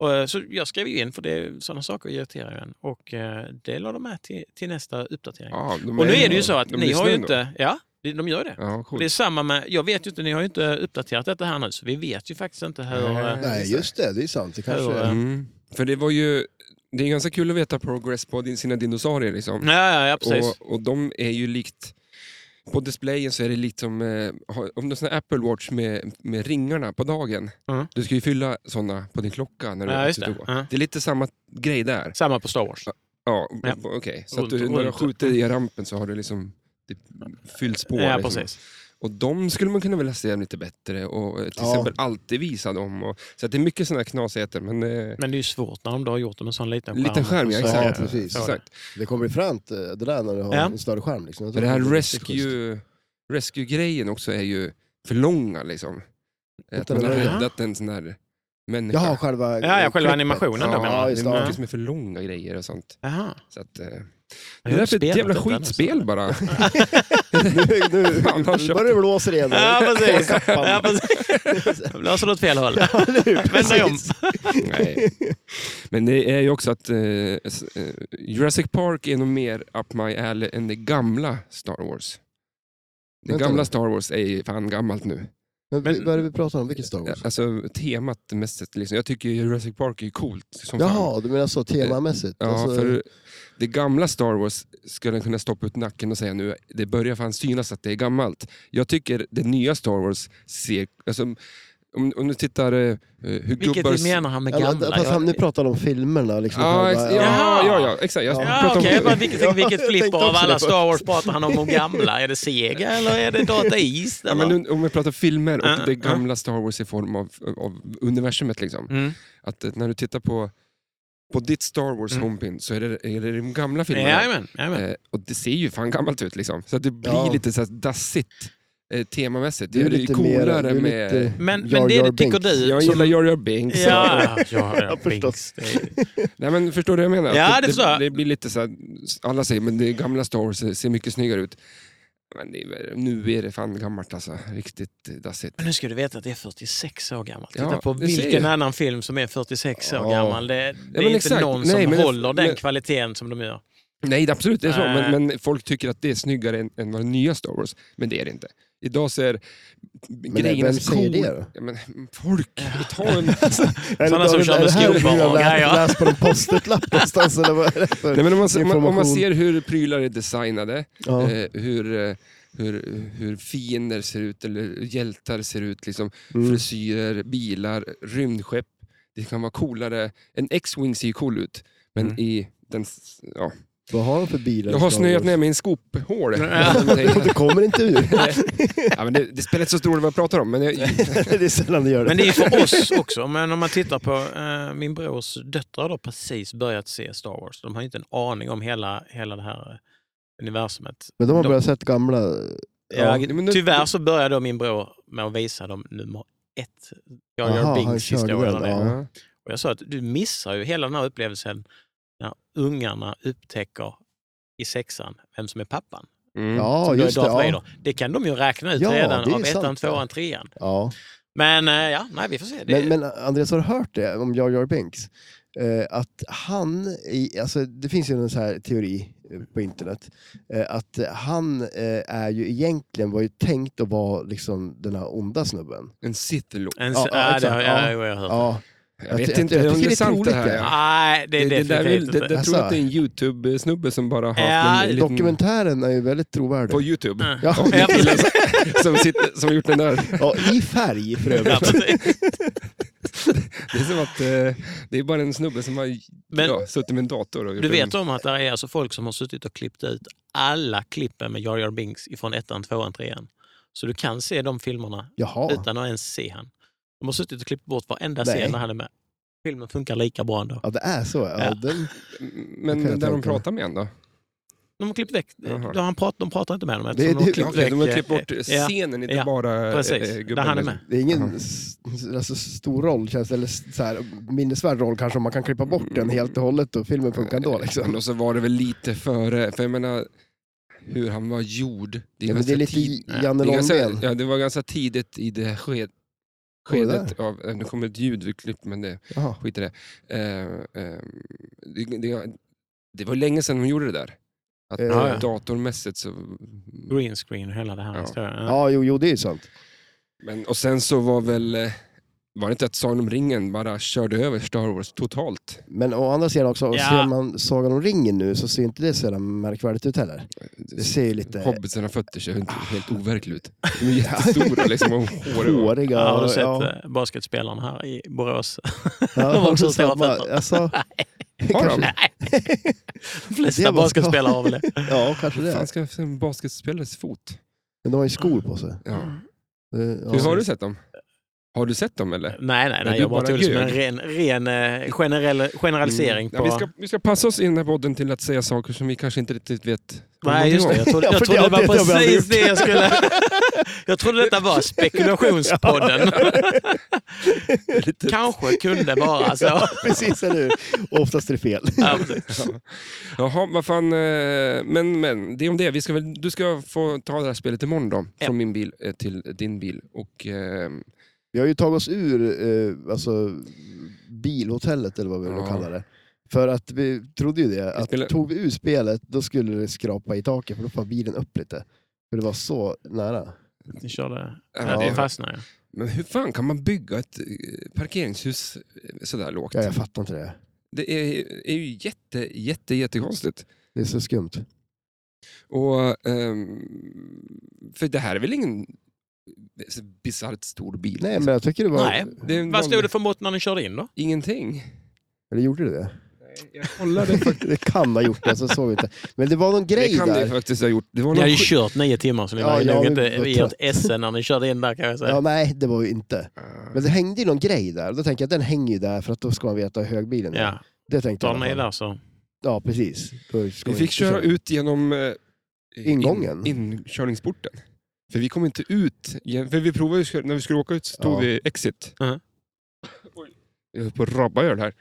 S4: Och, eh, så jag skrev ju in, för det, sådana saker irriterar ju en. Och eh, det la de med till, till nästa uppdatering.
S1: Ja, de
S4: och nu är det ju så att
S1: de
S4: ni
S1: lyssnar
S4: har ju
S1: ändå.
S4: inte... Ja, de- de gör det.
S1: Ja,
S4: Och
S1: coolt.
S4: det är samma med, jag vet ju inte, ni har ju inte uppdaterat detta här nu, så vi vet ju faktiskt inte hur...
S1: Nej.
S4: eh,
S2: Nej, just det. Det är sant. Det kanske...
S4: Ja, ja.
S1: Mm. För det var ju, det är ganska kul att veta progress på din- sina dinosaurier liksom.
S4: Ja, ja, ja, precis.
S1: Och, och de är ju likt, på displayen så är det lite som, eh, ha- om du har sån här Apple Watch med, med ringarna på dagen.
S4: Mm.
S1: Du ska ju fylla sådana på din klocka när du
S4: Ja, just
S1: sitter
S4: det.
S1: och går.
S4: Ja.
S1: Det är lite samma grej där.
S4: Samma på Star Wars.
S1: Ja,
S4: Ja.
S1: b- okej. Så att
S4: Runt-
S1: du, när du
S4: runt.
S1: skjuter i rampen så har du liksom det fyllts på.
S4: Ja,
S1: liksom.
S4: precis.
S1: Och de skulle man kunna vilja se lite bättre och eh, till
S2: Ja.
S1: exempel alltid visa dem. Och, så att det är mycket sådana här knasigheter. Men, eh,
S4: Men det är ju svårt när de då har gjort det med en sån liten skärm.
S1: Liten skärm, ja,
S4: Och så-
S1: exakt.
S2: Ja, precis.
S4: så-
S1: exakt.
S2: Det kommer bli fränt eh, det där när du har
S4: Ja.
S2: en större skärm. Liksom. Jag
S1: För
S2: tror
S1: det här
S2: är riktigt schysst.
S1: rescue, rescue-grejen också är ju för långa liksom. Eh, Att
S2: Vänta,
S1: man har
S2: vad
S4: är det?
S1: räddat en sån här människa.
S2: Jaha, själva...
S4: Ja, ja, själva
S2: klippet.
S4: animationen då
S1: Ja,
S4: menar
S2: Ja,
S4: jag.
S2: just
S1: det är mycket
S2: det.
S1: som är för långa grejer och sånt.
S4: Jaha.
S1: Så att, eh,
S4: Jag
S1: det där är
S4: har
S1: för ett
S4: spelat
S1: jävla
S4: detta,
S1: skitspel
S4: alltså.
S1: bara.
S2: Nu, nu,
S1: Fan, vad
S2: nu börjar det blåsa igen.
S4: Ja, precis. Ja, precis. Jag blåser åt fel håll. Vända om.
S1: Nej. Men det är ju också att eh, s- eh, Jurassic Park är nog mer up my alley än det gamla Star Wars. Det
S2: Vänta
S1: gamla
S2: nu.
S1: Star Wars är ju fan gammalt nu.
S2: Men, vi- vad är det vi pratar om? Vilken Star Wars?
S1: Alltså temat mest, liksom. jag tycker ju Jurassic Park är ju coolt som fan.
S2: Jaha, du menar så temamässigt?
S1: Ja,
S2: Alltså-
S1: för det gamla Star Wars skulle den kunna stoppa ut nacken och säga nu, det börjar fan synas att det är gammalt. Jag tycker det nya Star Wars ser, alltså, Om, om du tittar eh, eh, hur
S4: Vilket
S1: gubbar...
S4: vi menar han med
S2: Ja,
S4: gamla.
S2: men, fast han, nu pratar han om filmerna. Liksom,
S1: Ja, ex-
S2: Själva-
S1: ja,
S4: Jaha.
S1: ja, ja, exakt. Jag
S2: Ja.
S4: Ja,
S1: pratar
S4: okej. Jag
S1: om...
S4: bara, vilket, vilket
S2: jag tänkte
S4: flipper av
S2: också
S4: alla
S2: det.
S4: Star Wars pratar han om de gamla? Är det Sega eller är det Data East?
S1: Ja,
S4: Eller?
S1: men nu, om vi pratar filmer och
S4: Ja,
S1: det
S4: ja.
S1: gamla Star Wars i form av, av universumet. Liksom.
S4: Mm.
S1: Att eh, när du tittar på, på ditt Star Wars
S4: Mm.
S1: homepin så är det, är det de gamla filmerna.
S4: Jajamän, jajamän.
S1: Eh, och det ser ju fan gammalt ut liksom. Så att det blir
S2: Ja.
S1: lite så här dassigt eh, temamässigt.
S2: Det är ju
S1: det är
S2: lite
S1: ju
S2: mer... Det
S1: coolare
S2: är
S1: med...
S2: lite
S4: Men,
S2: Jar
S4: men det
S2: Jar
S4: tycker
S2: Binks.
S4: du
S1: Jag
S4: som-
S1: gillar Jar Jar Binks.
S4: Ja, ja, ja,
S2: förstås.
S4: Binks.
S1: Nej, men förstår du vad jag menar?
S4: Ja,
S1: Att
S4: det förstår jag.
S1: det, det blir lite så här, alla säger men det gamla Star Wars ser- ser mycket snyggare ut. Men det, är- nu är det fan gammalt alltså. Riktigt eh, dassigt.
S4: Men nu ska du veta att det är 46 år gammalt.
S1: Ja,
S4: Titta på
S1: du ser
S4: vilken
S1: ju.
S4: annan film som är 46 år
S2: Ja.
S4: gammal. Det, det
S1: men
S4: är inte
S1: exakt.
S4: någon
S1: Nej,
S4: som
S1: men-
S4: håller den
S1: men-
S4: kvaliteten som de gör.
S1: Nej, det- absolut, det är så.
S4: Nej.
S1: Men, men folk tycker att det är snyggare än, än vad det nya Star Wars. Men det är det inte. Idag ser grejerna
S2: vem
S1: så
S2: säger
S1: cool-
S2: det då?
S1: Ja, men folk, ta en...
S2: Är
S4: Sådana
S2: det-
S4: som
S2: är det
S4: kör med
S2: här
S4: skopa
S2: hur jag
S4: och
S2: lä-
S4: grejer.
S2: Läst på en post-it-lapp någonstans eller vad är det för
S1: Nej, men om, man, ser- om man- om man
S2: information?
S1: ser hur prylar är designade,
S2: Ja.
S1: eh, hur, eh, hur, hur fiender ser ut, eller hjältar ser ut, liksom,
S2: Mm.
S1: frisyrer, bilar, rymdskepp. Det kan vara coolare. En X-Wing ser ju cool ut, men
S4: Mm.
S1: i den... s- Ja.
S2: Vad har de för bilar?
S1: Jag har snöat ner mig i en skophål.
S2: Det kommer inte ur.
S1: ja, men det, det spelar inte så stor roll vad jag pratar om, men jag,
S2: det är sällan det gör det.
S4: Men det är ju för oss också. Men om man tittar på eh, min brors döttrar har då precis börjat se Star Wars. De har ju inte en aning om hela, hela det här eh, universumet.
S2: Men de har
S4: de-
S2: börjat sett gamla...
S1: Mm.
S4: Ja,
S1: Ja, men nu-
S4: tyvärr så började då min bror med att visa dem nummer ett. Jag
S2: Aha,
S4: gör
S2: han
S4: Bings
S2: körde
S4: historia.
S2: den,
S4: där.
S2: ja.
S1: Ja.
S4: Och jag sa att du missar ju hela den här upplevelsen när ungarna upptäcker i sexan vem som är pappan.
S1: Mm.
S2: Ja,
S4: Som då är
S2: just det.
S4: Darth
S2: Ja.
S4: Vader. det kan de ju räkna ut
S2: Ja, det
S4: redan
S2: är
S4: av ettan,
S2: sant, ja.
S4: tvåan, trean.
S2: Ja.
S4: Men eh, ja, nej, vi får se. Det,
S2: Men, men Andreas, har du hört det om Jar Jar Binks? Eh, att han, i, alltså, det finns ju en sån här teori eh, på internet, eh, att eh, han eh, är ju egentligen, var ju tänkt att vara liksom den här onda snubben.
S1: En Sith-lord.
S4: en,
S2: ja,
S4: ja,
S2: ja,
S4: det
S2: exakt,
S4: har jag,
S2: ja.
S4: jag, jag har hört.
S2: Ja,
S1: Jag
S2: Jag
S1: vet
S2: ty-
S1: inte
S2: jag tycker
S1: om det
S2: det
S1: är
S2: är
S1: sant det
S2: troligt
S1: här.
S2: det.
S1: ja.
S4: Nej, det är
S1: det, där
S4: definitivt
S1: vill, det,
S4: inte.
S1: jag tror att det är en
S2: Alltså.
S1: YouTube-snubbe som bara haft
S4: Ja,
S1: en liten...
S2: dokumentären är ju väldigt trovärdig.
S1: På YouTube.
S4: Mm.
S2: Ja.
S1: Ja, det är killen som- som, sitter, som har gjort den där.
S2: Ja, I färg för
S4: Ja,
S2: övrigt.
S4: precis.
S1: Det är som att eh, det är bara en snubbe som har
S4: Men-
S1: ja, suttit med en dator och gjort
S4: du
S1: en...
S4: vet om att det är alltså folk som har suttit och klippt ut alla klippen med Jar Jar Binks ifrån ettan, tvåan, trean. Så du kan se de filmerna
S2: Jaha.
S4: utan att ens se han. De har suttit och klippt bort varenda
S2: Nej.
S4: scen när han är med. Filmen funkar lika bra ändå.
S2: Ja, det är så. Ja,
S4: Ja.
S2: Den,
S1: Mm, Men
S2: Det kan jag
S1: där de
S2: tänka mig.
S1: pratar med en då?
S4: De har klippt väck.
S1: Jaha.
S4: De, han pratar, de pratar inte med honom
S2: Det-
S4: eftersom de har
S2: det-
S1: Ja, okej,
S4: klippt väck.
S1: de har klippt bort
S4: ja,
S1: scenen, inte
S4: ja,
S1: bara
S4: precis.
S1: eh,
S4: Där
S1: gubben.
S4: han är
S1: liksom.
S4: med.
S2: det är ingen
S1: Jaha.
S2: s- alltså, stor roll, känns, eller s- så här, minnesvärd roll kanske om man kan klippa bort den helt och hållet och filmen funkar ändå. Liksom.
S1: Men Och så var det väl lite före, för jag menar hur han var gjord. är
S2: Ja, men det
S1: ganska
S2: är lite
S1: tid-
S2: Janne
S1: det är
S2: Långbben.
S1: ganska, ja, det var ganska tidigt i det här sked,
S2: Var det
S1: skedet av... eh, Nu kommer ett ljud ur klipp, men det,
S2: Jaha.
S1: skit i det. Eh, eh, det, det. Det var länge sedan de gjorde det där. Att
S2: Eh,
S4: Ja, ja.
S1: datormässigt så...
S4: Green screen och hela det här.
S1: Ja.
S4: historien. Ja.
S2: Ja, jo, jo, det är ju sant.
S1: Men, och sen så var väl... eh, Var det inte att Sagan om ringen bara körde över Star Wars totalt?
S2: Men å andra sidan också,
S4: Ja.
S2: ser man Sagan om ringen nu så ser inte det så jävla märkvärdigt ut heller. Det ser ju lite
S1: Hobbitsarna fötter ser helt, helt overkliga ut. De är jättestora liksom och håriga.
S2: håriga.
S4: har du sett
S2: ja.
S4: eh, basketspelarna här i Borås?
S2: Ja,
S4: de har också
S2: samma-
S4: stora fötter.
S2: Alltså,
S1: Har de?
S2: kanske,
S4: De flesta
S2: Det var-
S4: basketspelare har väl det.
S2: ja, kanske
S1: Hur fan
S2: det.
S1: ska jag se en basketspelares fot?
S2: Men de har ju skor på sig.
S4: Mm.
S1: Ja.
S2: Det- Ja.
S1: Hur har du sett dem? Har du sett dem eller?
S4: Nej, nej,
S1: Men
S4: nej.
S1: du
S4: Jag bara
S1: bara
S4: tog det som en
S1: ljög.
S4: ren, ren eh, generell, generalisering.
S1: Mm. Ja,
S4: På...
S1: vi, ska, vi ska passa oss i den här podden till att säga saker som vi kanske inte riktigt vet. om
S4: Nej, just det.
S1: någonting
S4: Jag trodde,
S2: Ja,
S4: jag
S2: för
S4: trodde
S2: det-
S4: det var
S2: det har vi aldrig
S4: precis det jag skulle... Jag trodde detta var spekulationspodden.
S1: om. Lite-
S4: Kanske kunde vara så.
S2: alltså. Precis, eller hur? Och Oftast är det fel.
S4: Ja, precis.
S1: Jaha, vad fan. eh, Men, men, det är om det. Vi ska väl, du ska få ta det här spelet imorgon då.
S4: Ja.
S1: Från min bil eh, till din bil. Och, eh,
S2: Vi har ju tagit oss ur eh, alltså, bilhotellet eller vad vi nu
S1: Ja.
S2: kallar det. För att vi trodde ju det, att
S1: spelar-
S2: tog vi ur spelet då skulle det skrapa i taket för då far bilen upp lite. För det var så nära.
S4: Ni körde...
S1: Ja.
S4: Ja, det fastnade jag.
S1: men hur fan kan man bygga ett eh, parkeringshus eh, sådär lågt?
S2: Ja, jag fattar inte det.
S1: Det är, är ju jätte, jätte, jättekonstigt.
S2: Det är så skumt.
S1: Och, ehm, för det här är väl ingen bisarrt stor bil. liksom.
S2: Nej, men jag tycker det var...
S4: Nej.
S1: Det är en
S4: Vad stod
S1: vanlig-
S4: det för mått när den körde in då?
S1: Ingenting.
S2: Eller gjorde det det?
S1: Jag kollade.
S2: det kan ha gjort det, så såg vi inte. Men det var någon grej
S1: Det kan
S2: där.
S1: det faktiskt ha gjort. Det var
S4: Ni
S1: någon
S4: hade ju
S1: skit-
S4: kört nio timmar, så ni
S2: Ja,
S4: var ju
S2: jag
S4: nog
S2: var
S4: inte i
S2: trött.
S4: ert esse när ni körde in där kan jag säga.
S2: Ja, nej, det var ju inte.
S1: Ah.
S2: Men det hängde ju någon grej där. Då tänker jag att den hänger ju där för att då ska man veta hur hög bilen är.
S4: Ja,
S2: Det tänkte
S4: tar
S2: jag. i alla
S4: den i
S2: fall.
S4: där så.
S2: Ja, precis. Då ska
S1: Vi
S2: man
S1: fick
S2: inte
S1: köra ut genom eh,
S2: Ingången.
S1: In, inkörningsporten. För vi kom inte ut. igen. För vi provade, ju skö- när vi skulle åka ut så tog
S2: Ja.
S1: vi exit.
S4: Mhm.
S1: Oj. Jag höll på att rabba öl här.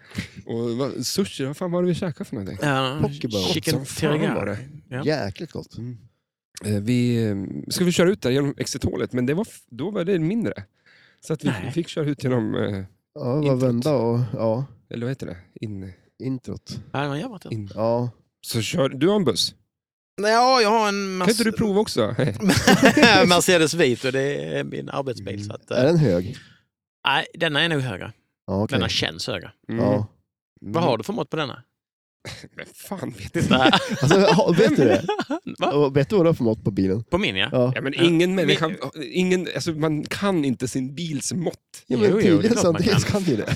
S1: Och vad, sushi, vad fan var det vi käkade för någonting?
S4: Ja,
S2: Pockeball.
S4: chicken
S1: Som fan var
S4: teriyaki.
S1: det.
S4: Ja.
S2: Jäkligt gott.
S1: Eh, Vi eh, skulle köra ut där genom exithålet, men det var, f- då var det mindre. Så att vi
S4: Nej.
S1: fick köra ut genom, eh,
S2: Ja, det var
S1: Introt.
S2: vända och ja,
S1: eller vad heter det? In,
S2: introt.
S4: Nej, men jag var inte.
S1: in.
S2: Ja.
S1: Så kör, du har en buss.
S4: Nej, Ja, jag har en
S1: Kan inte du prova också?
S4: Mercedes vit och det är min arbetsbil. Så att, eh,
S2: Mm. Är den hög?
S4: nej, denna är nog högre.
S2: Ja, okej.
S4: Denna känns högre.
S1: Mm.
S2: Ja.
S4: Vad har du för mått på denna?
S1: Men fan vet inte.
S4: Va?
S2: Alltså, ja, vet du det? Och vet du vad det var för mått på bilen?
S4: På min ja.
S2: Ja.
S1: Ja, men ingen människa, ingen, alltså man kan inte sin bils mått.
S2: Ja,
S4: Jo,
S2: men
S4: jo, det är
S2: tydligen
S4: klart
S2: så
S4: man
S2: Andreas
S4: kan.
S2: kan ju det.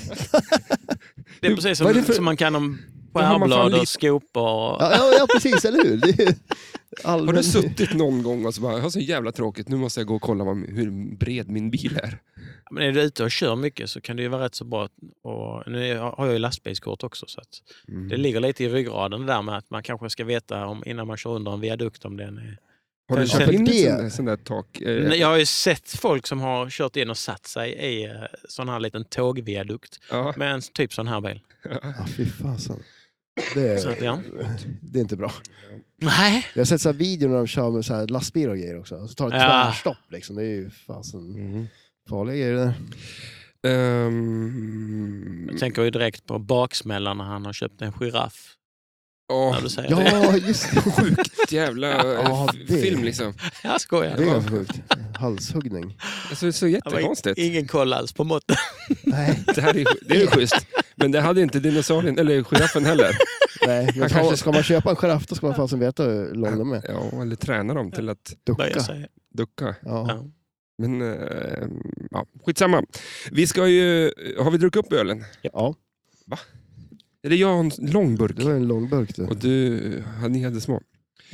S4: Det är precis
S1: Vad är
S4: som,
S1: det för-
S4: som man kan om
S1: Då har man fan
S4: skärblad
S1: lite-
S4: och skopor. och-
S2: Ja, ja, ja precis, eller hur? Det är ju allmän...
S1: Har du suttit någon gång och så bara, jag har så jävla tråkigt, nu måste jag gå och kolla vad, hur bred min bil är.
S4: Men är du ute och kör mycket så kan det ju vara rätt så bra. Och nu är- har jag ju lastbilskort också. Så att
S1: Mm.
S4: det ligger lite i ryggraden det där med att man kanske ska veta om, innan man kör under en viadukt om den är...
S1: Har du
S4: Sen-
S1: köpt
S4: sen-
S1: in ett
S2: det-
S1: sånt där- sånt där tak? eh,
S4: Jag har ju sett folk som har kört in och satt sig i eh, sån här liten tågviadukt
S1: Ja.
S4: med en typ sån här bil.
S2: Ja, fy fasen. Det
S4: Så att,
S2: är,
S4: ja.
S2: det är inte bra.
S4: Nej,
S2: Jag har sett så här videor när de kör med så här lastbilar och grejer också. Så tar det
S4: Ja.
S2: tvärstopp liksom. Det är ju fasen
S1: Mm.
S2: farliga grejer det där.
S1: Ehm,
S4: jag tänker ju direkt på baksmällan när han har köpt en giraff.
S1: ja,
S4: När du säger det.
S2: Ja, just det.
S1: sjukt jävla eh,
S2: Ja,
S1: f-
S2: det-
S1: film liksom.
S4: Jag skojar.
S2: Det är ganska sjukt. Halshuggning.
S1: Alltså, det är så
S4: Det var
S1: jättekonstigt.
S4: Ingen koll alls på måtten.
S2: Nej,
S1: Det här är ju det är ju schysst. Men det hade inte dinosaurien, eller giraffen heller.
S2: nej. Men
S1: kanske-
S2: tar, ska man köpa en giraff då ska man fasen veta hur lång de är.
S1: Ja, eller träna dem till att
S4: vad jag
S2: Ducka.
S4: säger.
S1: ducka.
S2: Ja.
S4: Ja.
S1: Men eh, ja, skitsamma. Vi ska ju... Har vi druckit upp ölen?
S2: ja,
S1: Eller jag har en lång burk.
S2: det var en lång burk du.
S1: Och du, ja, ni hade små.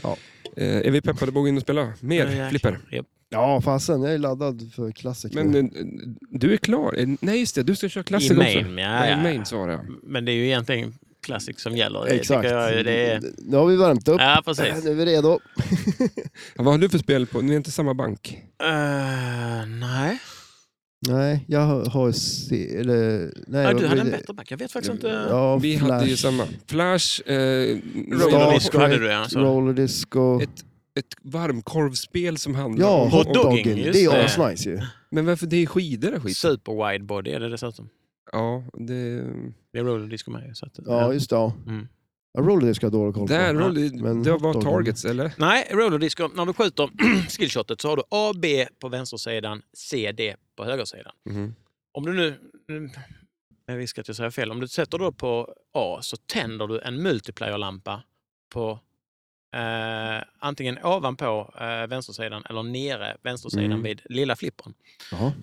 S2: Ja.
S1: Eh, är vi peppade på att gå in och spela mer
S4: Ja,
S1: flipper?
S4: japp.
S2: Ja, fasen. Jag är laddad för klassiker.
S1: Men eh, du är klar. Eh, Nej, just det. Du ska köra
S4: I
S1: klassiker också.
S4: main, ja,
S1: Nej,
S4: ja.
S1: main svarar jag.
S4: Men det är ju egentligen Classic som gäller.
S2: Exakt.
S4: Det tycker jag ju, det är...
S2: Nu har vi värmt upp.
S4: Ja, precis. Eh,
S2: Nu är vi redo.
S1: Ja, Vad har du för spel på? Ni är inte samma bank?
S4: Eh, nej.
S2: Nej, jag har- har... Se, eller, nej,
S4: Ja,
S2: vad
S4: du hade
S2: blir
S4: en
S2: det?
S4: bättre back. Jag vet faktiskt inte.
S2: Ja,
S1: Vi
S2: Flash,
S1: hade ju samma. Flash, eh,
S4: Roller
S2: Star
S4: disco hade
S2: Trek,
S4: du ja. Alltså, så.
S2: Roller disco.
S1: ett, ett varmkorvsspel som handlar
S2: Ja,
S1: om...
S4: hotdog.
S2: hotdoggen.
S4: hotdogging, just
S2: Det
S4: det.
S2: är asnice ju.
S1: Men varför? Det är skidor och skit.
S4: Super wide body är det dessutom.
S1: Ja, det...
S4: Det är roller disco med ju, så att,
S2: Ja, just det. Ja.
S4: Mm.
S2: Ja, Roller disco har jag dålig koll på.
S1: Där, roll,
S2: Men
S1: det var
S2: hotdoggen.
S1: targets, eller?
S4: Nej, roller disco. När du skjuter skillshotet så har du A, B på vänstersidan, C, D på högersidan.
S2: Mhm.
S4: Om du nu... nu- Med risk att jag säger fel. Om du sätter då på A så tänder du en multiplayer-lampa på eh, antingen ovanpå eh, vänstersidan eller nere vänstersidan
S1: Mm.
S4: vid lilla flippern.
S2: Jaha,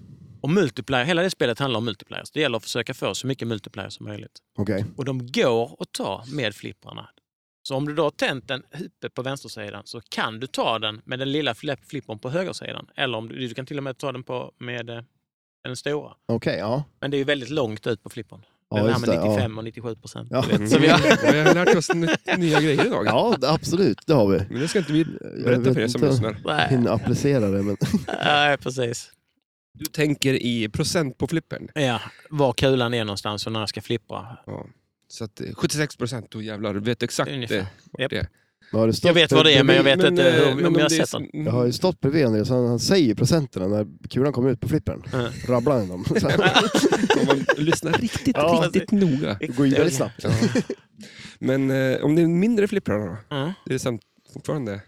S4: Och multiplayer, hela det spelet handlar om multiplayer. Så det gäller att försöka få så mycket multiplayer som möjligt.
S2: okej.
S4: Och de går att ta med flipprarna. Så om du då har tänt den uppe på vänstersidan så kan du ta den med den lilla flipp- flippern på högersidan. Eller om du, du kan till och med ta den på, med eh, den stora.
S2: Okej, ja.
S4: Men det är ju väldigt långt ut på flippern.
S2: Ja,
S4: det här
S2: just
S4: med
S2: det, ja.
S4: 95 och 97 procent.
S2: Ja.
S4: Du vet,
S1: Så
S4: som
S1: vi
S4: jag...
S1: har, vi har lärt oss n- nya grejer idag.
S2: Ja, det- absolut. Det har vi.
S1: Men det ska inte vi
S2: Jag
S1: berätta
S2: vet
S1: för er som
S2: inte.
S1: lyssnar.
S4: Nej,
S2: Hinna applicera det, men...
S4: Nej, precis.
S1: Du tänker i procent på flippern.
S4: Ja, var kulan är någonstans och när jag ska flippra.
S1: Ja. Så att eh, 76 procent, då jävlar, du vet exakt
S4: Ungefär.
S1: eh, vart
S4: Japp.
S1: det är.
S2: Jag, har ju stått
S4: Jag vet vad det är, men jag vet inte
S1: eh,
S4: hur, om jag har
S1: det är
S4: sett den.
S1: så-
S2: Jag har ju stått bredvid Andreas, han, han säger procenterna när kulan kommer ut på flippern.
S4: Ja.
S2: Rabblar han dem. Så här.
S1: Om man lyssnar riktigt,
S4: Ja.
S1: riktigt noga.
S2: Det går ju väldigt snabbt.
S1: Ja. Men eh, om det är mindre flipprar då?
S4: Ja.
S1: Det är samt fortfarande...
S4: Mm.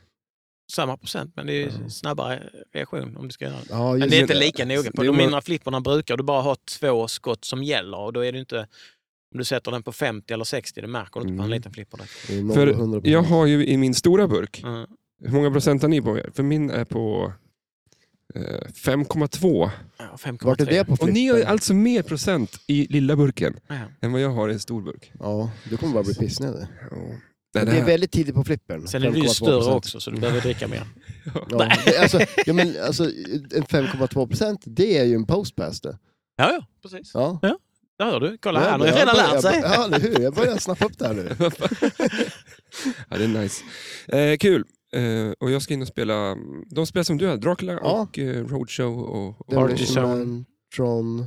S4: Samma procent, men det är ju snabbare reaktion om du ska göra det.
S2: Ja,
S4: Men
S2: just
S4: det är
S1: men-
S4: inte lika noga. På
S1: det är
S4: de
S1: bara-
S4: mindre flipporna brukar du bara ha två skott som gäller och då är det inte... Om du sätter den på 50 eller 60, det märker du inte på en
S1: Mm.
S4: liten flipper. Där.
S2: det är noll och
S1: För
S2: 100%.
S1: jag har ju i min stora burk,
S4: Mm.
S1: hur många procent har ni på er? För min är på... eh, 5,2.
S4: Ja, 5,3.
S2: Vart är det på
S1: Och ni har ju
S2: flippen?
S1: alltså mer procent i lilla burken
S4: Ja.
S1: än vad jag har i en stor burk.
S2: Ja, du kommer bara bli pissnödig.
S1: Ja.
S2: Det,
S1: Nej, det
S2: är
S1: här,
S2: väldigt tidigt på flippen.
S4: Sen är det ju
S2: 5,2%.
S4: större också, så du behöver dricka mer.
S2: Ja, det- alltså, ja, men, alltså, en 5,2 procent, det är ju en postpass det.
S4: Ja, ja, precis.
S2: Ja.
S4: Där hör du. Kolla
S2: Ja,
S4: här, nu har
S2: jag
S4: jag redan
S2: börjar-
S4: lärt sig.
S2: jag bör- Ja, eller hur? Jag börjar snappa upp det här nu.
S1: ja, det är nice. Eh, kul. Eh, och jag ska in och spela de spel som du har, Dracula
S2: Ja.
S1: och eh, Roadshow och, och
S4: Party
S2: Demolition
S4: Zone.
S2: Man, Tron,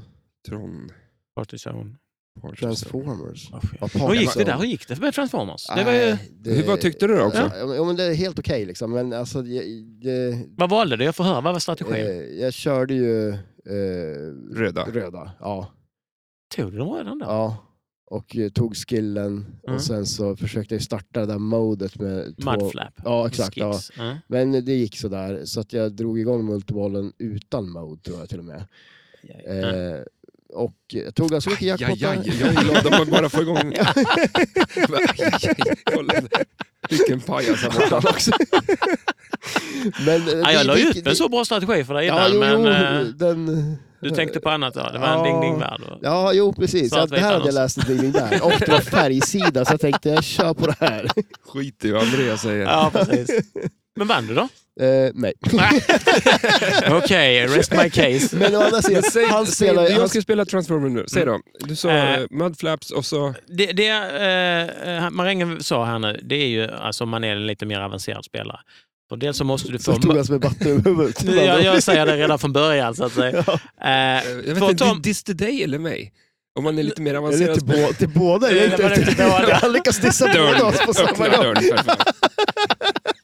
S1: Tron.
S4: Partizan.
S1: Party Zone.
S2: Transformers.
S4: Oh,
S2: Ja,
S4: ja.
S2: Party
S4: Hur gick det
S2: Zone.
S4: där? Hur gick det med Transformers? Det var ju,
S2: Nej, det-
S1: Hur, vad tyckte du då också?
S2: Ja, men- ja, men det är helt okej liksom. Men alltså, jag, det,
S4: vad valde du? Jag får höra. Vad var strategin?
S2: eh, jag körde ju eh,
S1: Röda.
S2: röda. Ja.
S4: Tog du dem redan där?
S2: ja. Och eh, tog skillen.
S4: Mm.
S2: Och sen så försökte jag starta det där modet med två...
S4: Mudflap.
S2: Ja, exakt. Ja. Eh,
S4: Skips. Ja.
S2: Men det gick sådär, så att jag drog igång multibollen utan mode tror jag till och med.
S4: Ja.
S2: Eh, och jag tog ganska mycket
S1: Aj, aj,
S2: jackpottar.
S1: aj, jag är glad om man bara får igång... Aj, aj, aj, kolla. Vilken pajas han var.
S2: också. men, eh,
S4: Ja, jag
S2: det
S4: la
S2: gick-
S4: ut
S2: det-
S4: en så bra strategi för dig innan,
S2: Ja, jo,
S4: men
S2: jo,
S4: eh,
S2: den...
S4: du tänkte på annat. Ja. Det var en
S2: Ja.
S4: ding-ding-värld. och-
S2: Ja, jo precis.
S4: Så
S2: Ja,
S4: att
S2: det
S4: vi
S2: här hade
S4: hittar
S2: jag läst i tidning där. Och det var färgsida, så jag tänkte jag kör på det här.
S1: Skit i vad Andreas säger.
S4: Ja, precis. Men vann du då?
S2: Eh, nej.
S4: Okej, rest my case.
S2: Men å andra sidan, han
S1: Säg,
S2: spelar ju...
S1: jag
S2: Han,
S1: ska spela Transformer nu. Säg då. Du sa
S4: Eh.
S1: eh, Mudflaps och så...
S4: Det, det eh, eh, Marängen sa här nu, det är ju alltså om man är en lite mer avancerad spelare. Och dels så måste du få...
S2: så stod han som en batte över huvudet.
S4: Nu, jag, jag säger det redan från början så att säga. Eh,
S1: Jag vet
S4: för
S1: inte,
S4: Tom-
S1: dis till dig eller mig? Om man är lite mer
S2: Eller
S1: avancerad.
S2: till, bå- till båda. Jag är
S4: Det var
S2: inte-
S4: inte båda.
S2: Han lyckas dissa båda oss på samma
S1: Öppna
S2: gång.
S1: dörren för fan.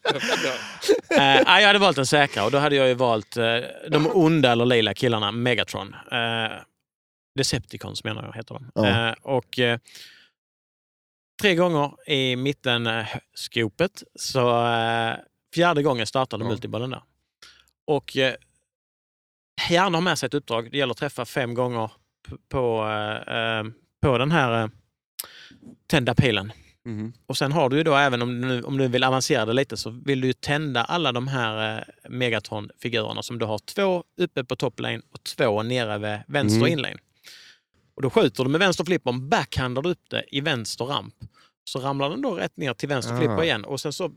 S4: Eh, nej, jag hade valt den säkra och då hade jag ju valt eh, de onda eller lila killarna, Megatron. Eh, Decepticons menar jag heter de.
S2: Ja.
S4: Eh, och eh, tre gånger i mitten eh, skopet, så eh, fjärde gången startade
S1: Ja.
S4: multibollen där. Och eh, hjärnan har med sig ett uppdrag. Det gäller att träffa fem gånger p- på, eh, eh, på den här eh, tända pilen.
S1: Mhm.
S4: Och sen har du ju då, även om du, nu- om du vill avancera det lite, så vill du ju tända alla de här eh, Megatron-figurerna som du har två uppe på top lane och två nere vid vänster
S1: Mm.
S4: inlane. Och då skjuter du med vänster flippern, backhandar du upp det i vänster ramp. Så ramlar den då rätt ner till vänster
S1: Ah.
S4: flipper igen och sen så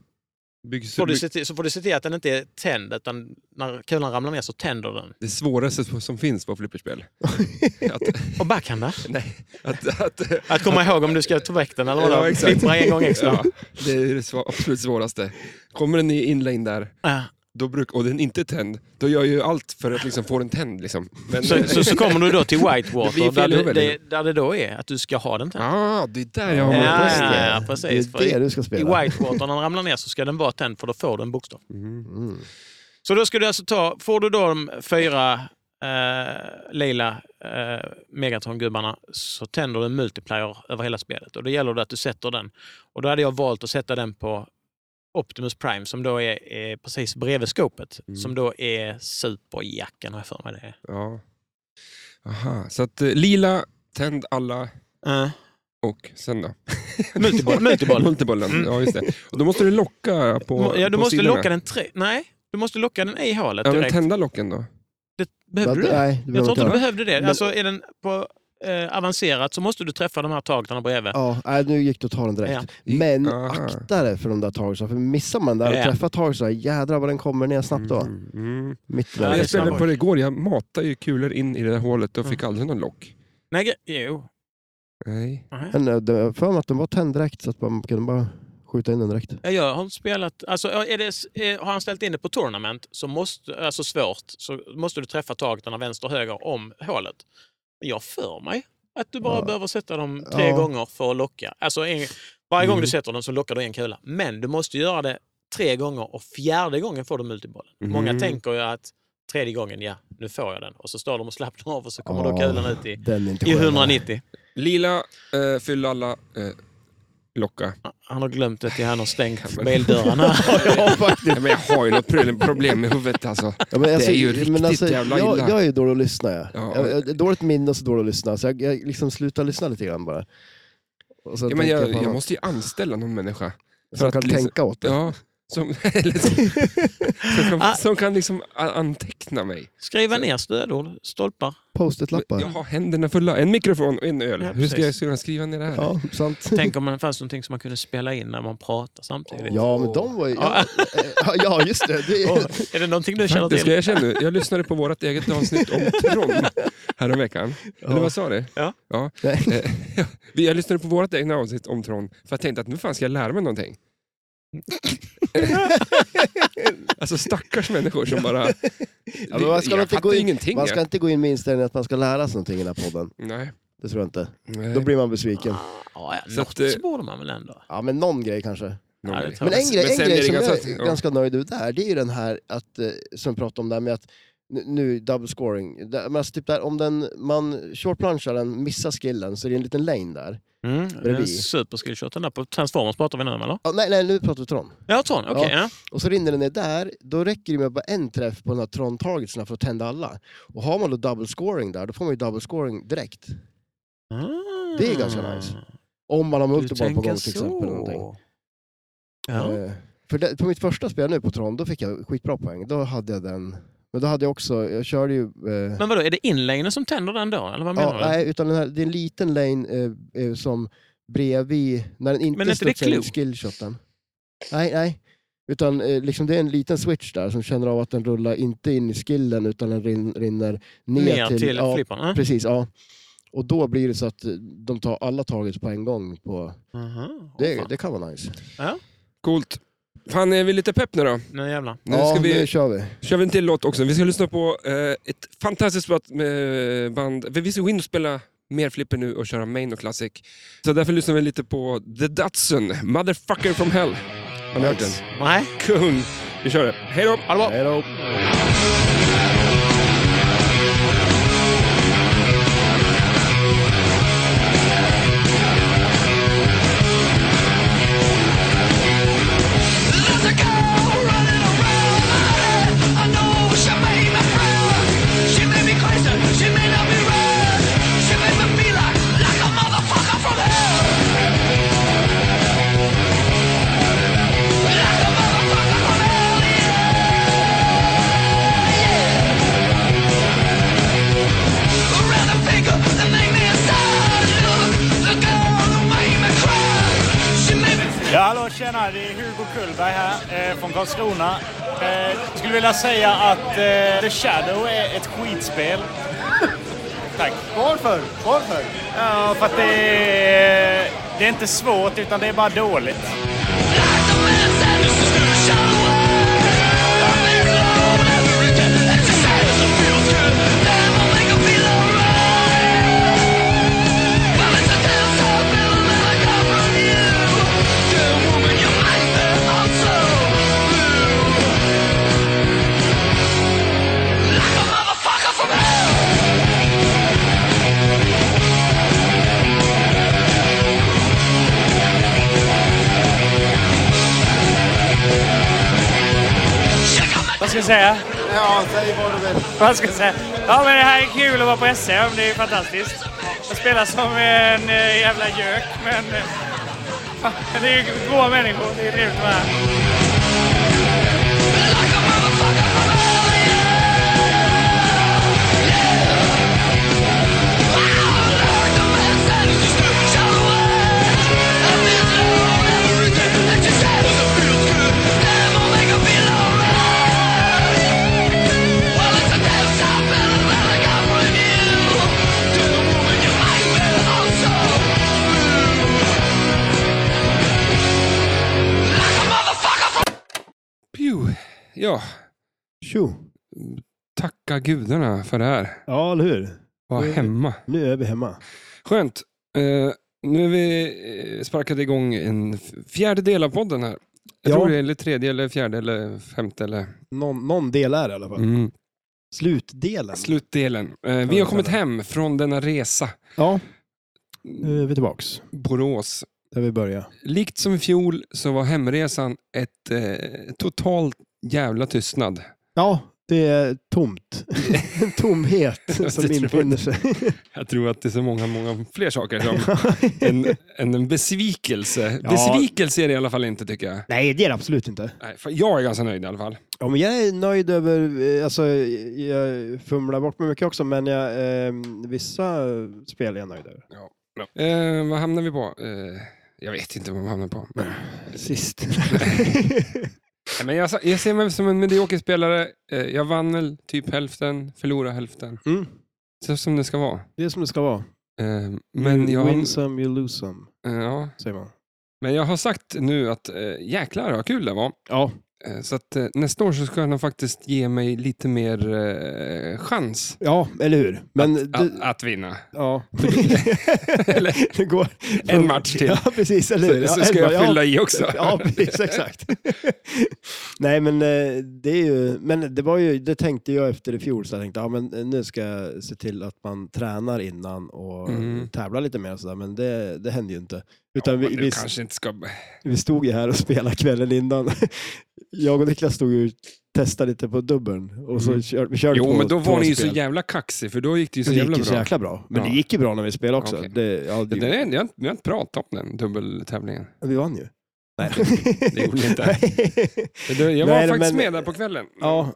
S1: Bygg-
S4: får, du se till, så får du se till att den inte är tänd utan när kulan ramlar ner så tänder den.
S1: Det svåraste som finns på flipperspel. Att,
S4: Och backhanda.
S1: nej, att, att,
S4: Att komma ihåg om du ska ta väck den eller vad
S1: Ja,
S4: det är.
S1: exakt.
S4: Flippra en gång extra.
S1: Ja, det är det svå- absolut svåraste. Kommer den i inlane där
S4: Ja.
S1: då bruk, och den inte är tänd, då gör jag ju allt för att liksom få den tänd. Liksom. Men,
S4: Så, så, så kommer du då till
S1: Det blir
S4: Whitewater
S1: fel
S4: där, du,
S1: huvud,
S4: det,
S1: liksom.
S4: där det då är att du ska ha den tänd.
S1: ah, det är där jag har
S4: Ja,
S1: ja.
S4: ja, ja, ja, precis.
S2: Det är det du ska
S4: I
S2: spela.
S4: Whitewater, när den ramlar ner så ska den vara tänd för då får du en bokstav.
S2: Mm.
S4: Så då ska du alltså ta, får du då de fyra eh, lila eh, Megatron-gubbarna så tänder du en multiplier över hela spelet. Och då gäller det att du sätter den. Och då hade jag valt att sätta den på Optimus Prime som då är, är precis bredvid skopet.
S1: Mm.
S4: Som då är superjacken har jag för mig det är.
S1: Ja. Aha, så att eh, lila, tänd alla
S4: Eh,
S1: och sen då?
S4: multiboll. multiboll.
S1: Multibollen,
S4: Mm.
S1: ja just det. Och då måste du locka på
S4: ja, du
S1: på
S4: måste
S1: sidorna.
S4: locka den tre... Nej, du måste locka den i hålet
S1: Ja, men
S4: direkt.
S1: tända locken då.
S4: Det, behöver du det?
S2: Nej, det
S4: Jag
S2: behöver
S4: tror
S2: inte
S4: inte du
S2: göra.
S4: behövde det. Alltså, är den på eh, avancerat så måste du träffa de här taglarna bredvid.
S2: Ja, nej, nu gick du att ta den direkt. Men
S1: Aha.
S2: akta dig för de där tagelserna, för missar man där och
S4: Ja.
S2: träffar tagelserna, jädrar vad den kommer ner snabbt då.
S1: Mm, mm.
S2: Mitt i
S4: Ja, det är
S1: jag
S2: vägen.
S1: spelade
S4: snabbare.
S1: på det igår, jag matade ju kulor in i det där hålet och fick aldrig någon lock.
S4: Nej, gre- jo.
S1: Nej.
S4: Nej.
S2: Men eh, det- jag har för mig att den var tänd direkt, så att man kunde bara skjuta in den direkt.
S4: Ja, Jag har inte spelat... Alltså, är det, s- eh, har han ställt in det på tournament, så måste, alltså svårt, så måste du träffa taglarna vänster och höger om hålet. Men jag för mig att du bara
S2: Ja.
S4: behöver sätta dem tre
S2: Ja.
S4: gånger för att locka. Alltså, en, varje gång
S1: Mm.
S4: du sätter dem så lockar du en kula. Men du måste göra det tre gånger och fjärde gången får du multibollen. Många
S1: Mm.
S4: tänker ju att tredje gången, ja, nu får jag den. Och så står de och slappnar av och så kommer då
S2: Ja,
S4: kulan ut i
S2: Den är inte
S4: I
S2: skön.
S4: 190.
S1: Lila, eh, fyll alla, eh, locka.
S4: Han har glömt det till han har stängt
S1: men-
S4: bildörren här.
S2: ja, faktiskt.
S1: Nej, men jag har ju något pro- problem med huvudet alltså.
S2: Ja, men alltså,
S1: det är ju
S2: men
S1: riktigt
S2: alltså,
S1: jävla
S2: jag,
S1: illa.
S2: jag är ju dålig att lyssna. Jag.
S1: Ja.
S2: Jag, jag, är dåligt minne och så dålig att lyssna, så jag, jag liksom slutar lyssna lite grann bara. Och så
S1: Ja, men
S2: tänker
S1: jag,
S2: på
S1: jag
S2: annat.
S1: måste ju anställa någon människa.
S2: Så
S1: för
S2: jag
S1: att
S2: kan
S1: liksom-
S2: tänka åt det.
S1: Ja, Som, eller som, som, kan, som kan liksom a- anteckna mig.
S4: Skriva ner stödord, stolpar.
S2: Post-it-lappar.
S1: Jag har händerna fulla, en mikrofon och en öl.
S4: Ja,
S1: Hur ska jag
S4: precis.
S1: kunna skriva ner det här?
S2: Ja, sant.
S4: Tänk om det fanns någonting som man kunde spela in när man pratar samtidigt.
S2: Ja, men de var ju...
S4: Ja.
S2: Ja, ja just det. det
S4: Åh, är det någonting du känner
S1: Det ska
S4: till?
S1: jag erkänna nu. Jag lyssnade på vårt eget avsnitt om Tron häromveckan. Eller vad sa du?
S4: Ja.
S1: ja.
S2: Nej.
S1: Eh, ja. Vi- Jag lyssnade på vårt egna avsnitt om Tron, för jag tänkte att nu fan ska jag lära mig någonting. alltså stackars människor som bara...
S2: Ja, men man ska
S1: jag
S2: inte
S1: fattar
S2: gå in-
S1: ingenting.
S2: Man ska inte gå in med inställningen att man ska lära sig någonting i den här podden.
S1: jag. Nej.
S2: Det tror jag inte.
S1: Nej.
S2: Då blir man besviken.
S4: Ah. Ja, ja,
S1: Så
S4: något
S1: att, eh,
S4: så borde man väl ändå.
S2: Ja, men någon grej kanske.
S1: Någon
S4: Ja, det
S1: grej.
S4: tror
S2: Men en grej, en
S1: sen är
S2: grej
S1: det
S2: som jag
S1: ganska-
S2: är
S1: ja.
S2: ganska nöjd ut där, det är ju den här att, eh, som vi pratade om där med att nu- nu double scoring. Där- Men alltså typ där, om den, man shortplanchar den, missar skillen, så är det en liten lane där.
S4: Mm, det är en
S2: Bredvid.
S4: superskillshot den där. På Transformers pratar vi nu om, eller?
S2: Ja, nej, nej, nu pratar vi Tron.
S4: Ja, Tron. Okej. ja.
S2: Och så rinner den ner där, då räcker det med bara en träff på den här Tron-targetsen för att tända alla. Och har man då double scoring där, då får man ju double scoring direkt.
S4: Ah.
S2: Det är ganska nice. Om man har
S4: Du
S2: multiball på
S4: tänker
S2: gång till exempel. eller Någonting.
S4: så. Ja.
S2: Eh, För det, på mitt första spel nu på Tron, då fick jag skitbra poäng. Då hade jag den. Men då hade jag också, jag körde ju... Eh,
S4: Men vadå, är det inlanen som tänder den då? Eller vad menar
S2: ja,
S4: du?
S2: nej, utan den här, det är en liten lane eh, eh, som bredvid, när den
S4: Men är
S2: inte
S4: inte det
S2: studsar in
S4: Clue?
S2: skillshoten. Nej, nej. Utan eh, liksom, det är en liten switch där som känner av att den rullar inte in i skillen utan den rin, rinner ner,
S4: Ner till,
S2: ja,
S4: flipparna?
S2: Precis, ja. Och då blir det så att eh, de tar alla targets på en gång. På,
S4: Aha, åh,
S2: det,
S4: fan.
S2: det kan vara nice.
S1: Coolt. Fan, är vi lite pepp nu då?
S4: Nu jävlar.
S1: Nu
S2: ja,
S1: ska vi...
S2: nu kör vi.
S1: kör vi en till låt också. Vi ska lyssna på eh, ett fantastiskt bra eh, band. Vi ska gå in och spela mer flipper nu och köra main och classic. Så därför lyssnar vi lite på The Datsun, Motherfucker from Hell. Har ni hört den?
S4: Nej.
S1: Kung! Vi kör det. Hej då!
S4: Ha det bra.
S2: Hej då.
S3: There's a girl running around my head. I know she made me proud. She made me crazy. She made me be red. She made me feel like like a motherfucker from hell. Like a motherfucker from hell. Yeah. Yeah. Around the finger that made me a sad look. The girl who made me cry. She made me.
S5: Ja, hallå, tjena. Det är Hugo Kullberg här eh, från Karlskrona. Eh, skulle vilja säga att eh, The Shadow är ett skitspel. Tack. Varför? Varför? Ja, för att det är, det är inte svårt, utan det är bara dåligt.
S3: Motherfucker from hell!
S5: Vad ska jag säga? Vad ska jag säga? Ja, men det här är kul att vara på SM. Det är fantastiskt. Jag spelar som en eh, jävla gök, men... eh, fan, Det är ju goa människor. Det är trevligt att vara här.
S1: Pew. Ja,
S2: Tjo.
S1: tacka gudarna för det här.
S2: Ja, eller hur?
S1: Var
S2: Mm.
S1: hemma.
S2: Nu är vi hemma.
S1: Skönt. Eh, nu har vi eh, sparkat igång en f- fjärde del av podden här. Jag
S2: Ja.
S1: tror det är eller tredje, eller fjärde, eller femte. Eller...
S2: Någon, någon del är det i alla fall.
S1: Mm.
S2: Slutdelen.
S1: Slutdelen. Eh, vi
S2: vi
S1: har kommit
S2: kalla
S1: hem från denna resa.
S2: Ja, nu är vi tillbaks.
S1: Borås.
S2: Där vi började.
S1: Likt som i fjol så var hemresan ett eh, total jävla tystnad.
S2: Ja, Det är tomt. En tomhet som
S1: Det tror jag
S2: infinner sig.
S1: Jag tror att det är så många, många fler saker som en, en, en besvikelse.
S2: Ja.
S1: Besvikelse är det i alla fall inte tycker jag.
S2: Nej, det är det absolut inte.
S1: Nej, för jag är ganska nöjd i alla fall.
S2: Ja, men jag är nöjd över, eh, alltså jag fumlar bort mig mycket också, men jag, eh, vissa spel är jag nöjd över.
S1: Eh, vad hamnar vi på? Eh, jag vet inte vad man hamnar på. Men,
S2: Sist.
S1: Nej, men jag, sa- jag ser mig som en medioker spelare. Eh, jag vann väl typ hälften, förlorade hälften.
S2: Mm.
S1: Så som det ska vara.
S2: Det är som det ska vara.
S1: Eh, men,
S2: you
S1: jag,
S2: win some, you lose some,
S1: eh, ja,
S2: säger man.
S1: men jag har sagt nu att eh, jäklar vad kul det var.
S2: Ja,
S1: Eh, Så att eh, nästa år så ska han faktiskt ge mig lite mer eh, chans
S2: ja eller hur? Men
S1: att,
S2: du,
S1: att, att vinna.
S2: ja.
S1: Eller-
S2: det går.
S1: En match till.
S2: Ja, precis, eller hur?
S1: Så, så
S2: Ja,
S1: ska
S2: en-
S1: jag
S2: ja,
S1: fylla i också.
S2: Ja, precis, exakt. Nej, men eh, det är ju, men det var ju, det tänkte jag efter i fjol, så jag tänkte, ja men eh, nu ska jag se till att man tränar innan och
S1: Mm.
S2: tävlar lite mer och sådär, men det, det hände ju inte. Utan
S1: Ja,
S2: vi,
S1: du
S2: vi,
S1: kanske inte ska...
S2: vi stod ju här och spelade kvällen innan. jag och Niklas stod ju och testade lite på dubbeln och så
S1: Mm.
S2: kör, vi körde
S1: Jo,
S2: två,
S1: men då
S2: två
S1: var ni ju så
S2: spel.
S1: jävla kaxig, för då gick det ju så
S2: det gick
S1: jävla
S2: ju så
S1: bra.
S2: jäkla bra. Men
S1: Ja.
S2: det gick ju bra när vi spelade också.
S1: Okej.
S2: Det, ja, det,
S1: Det där är, jag, har inte- vi har inte pratat om den dubbeltävlingen.
S2: Vi vann ju. Nej,
S1: det gjorde ni inte.
S2: Nej.
S1: Det där- Jag var
S2: Nej,
S1: faktiskt
S2: men-
S1: med där på kvällen.
S2: Ja,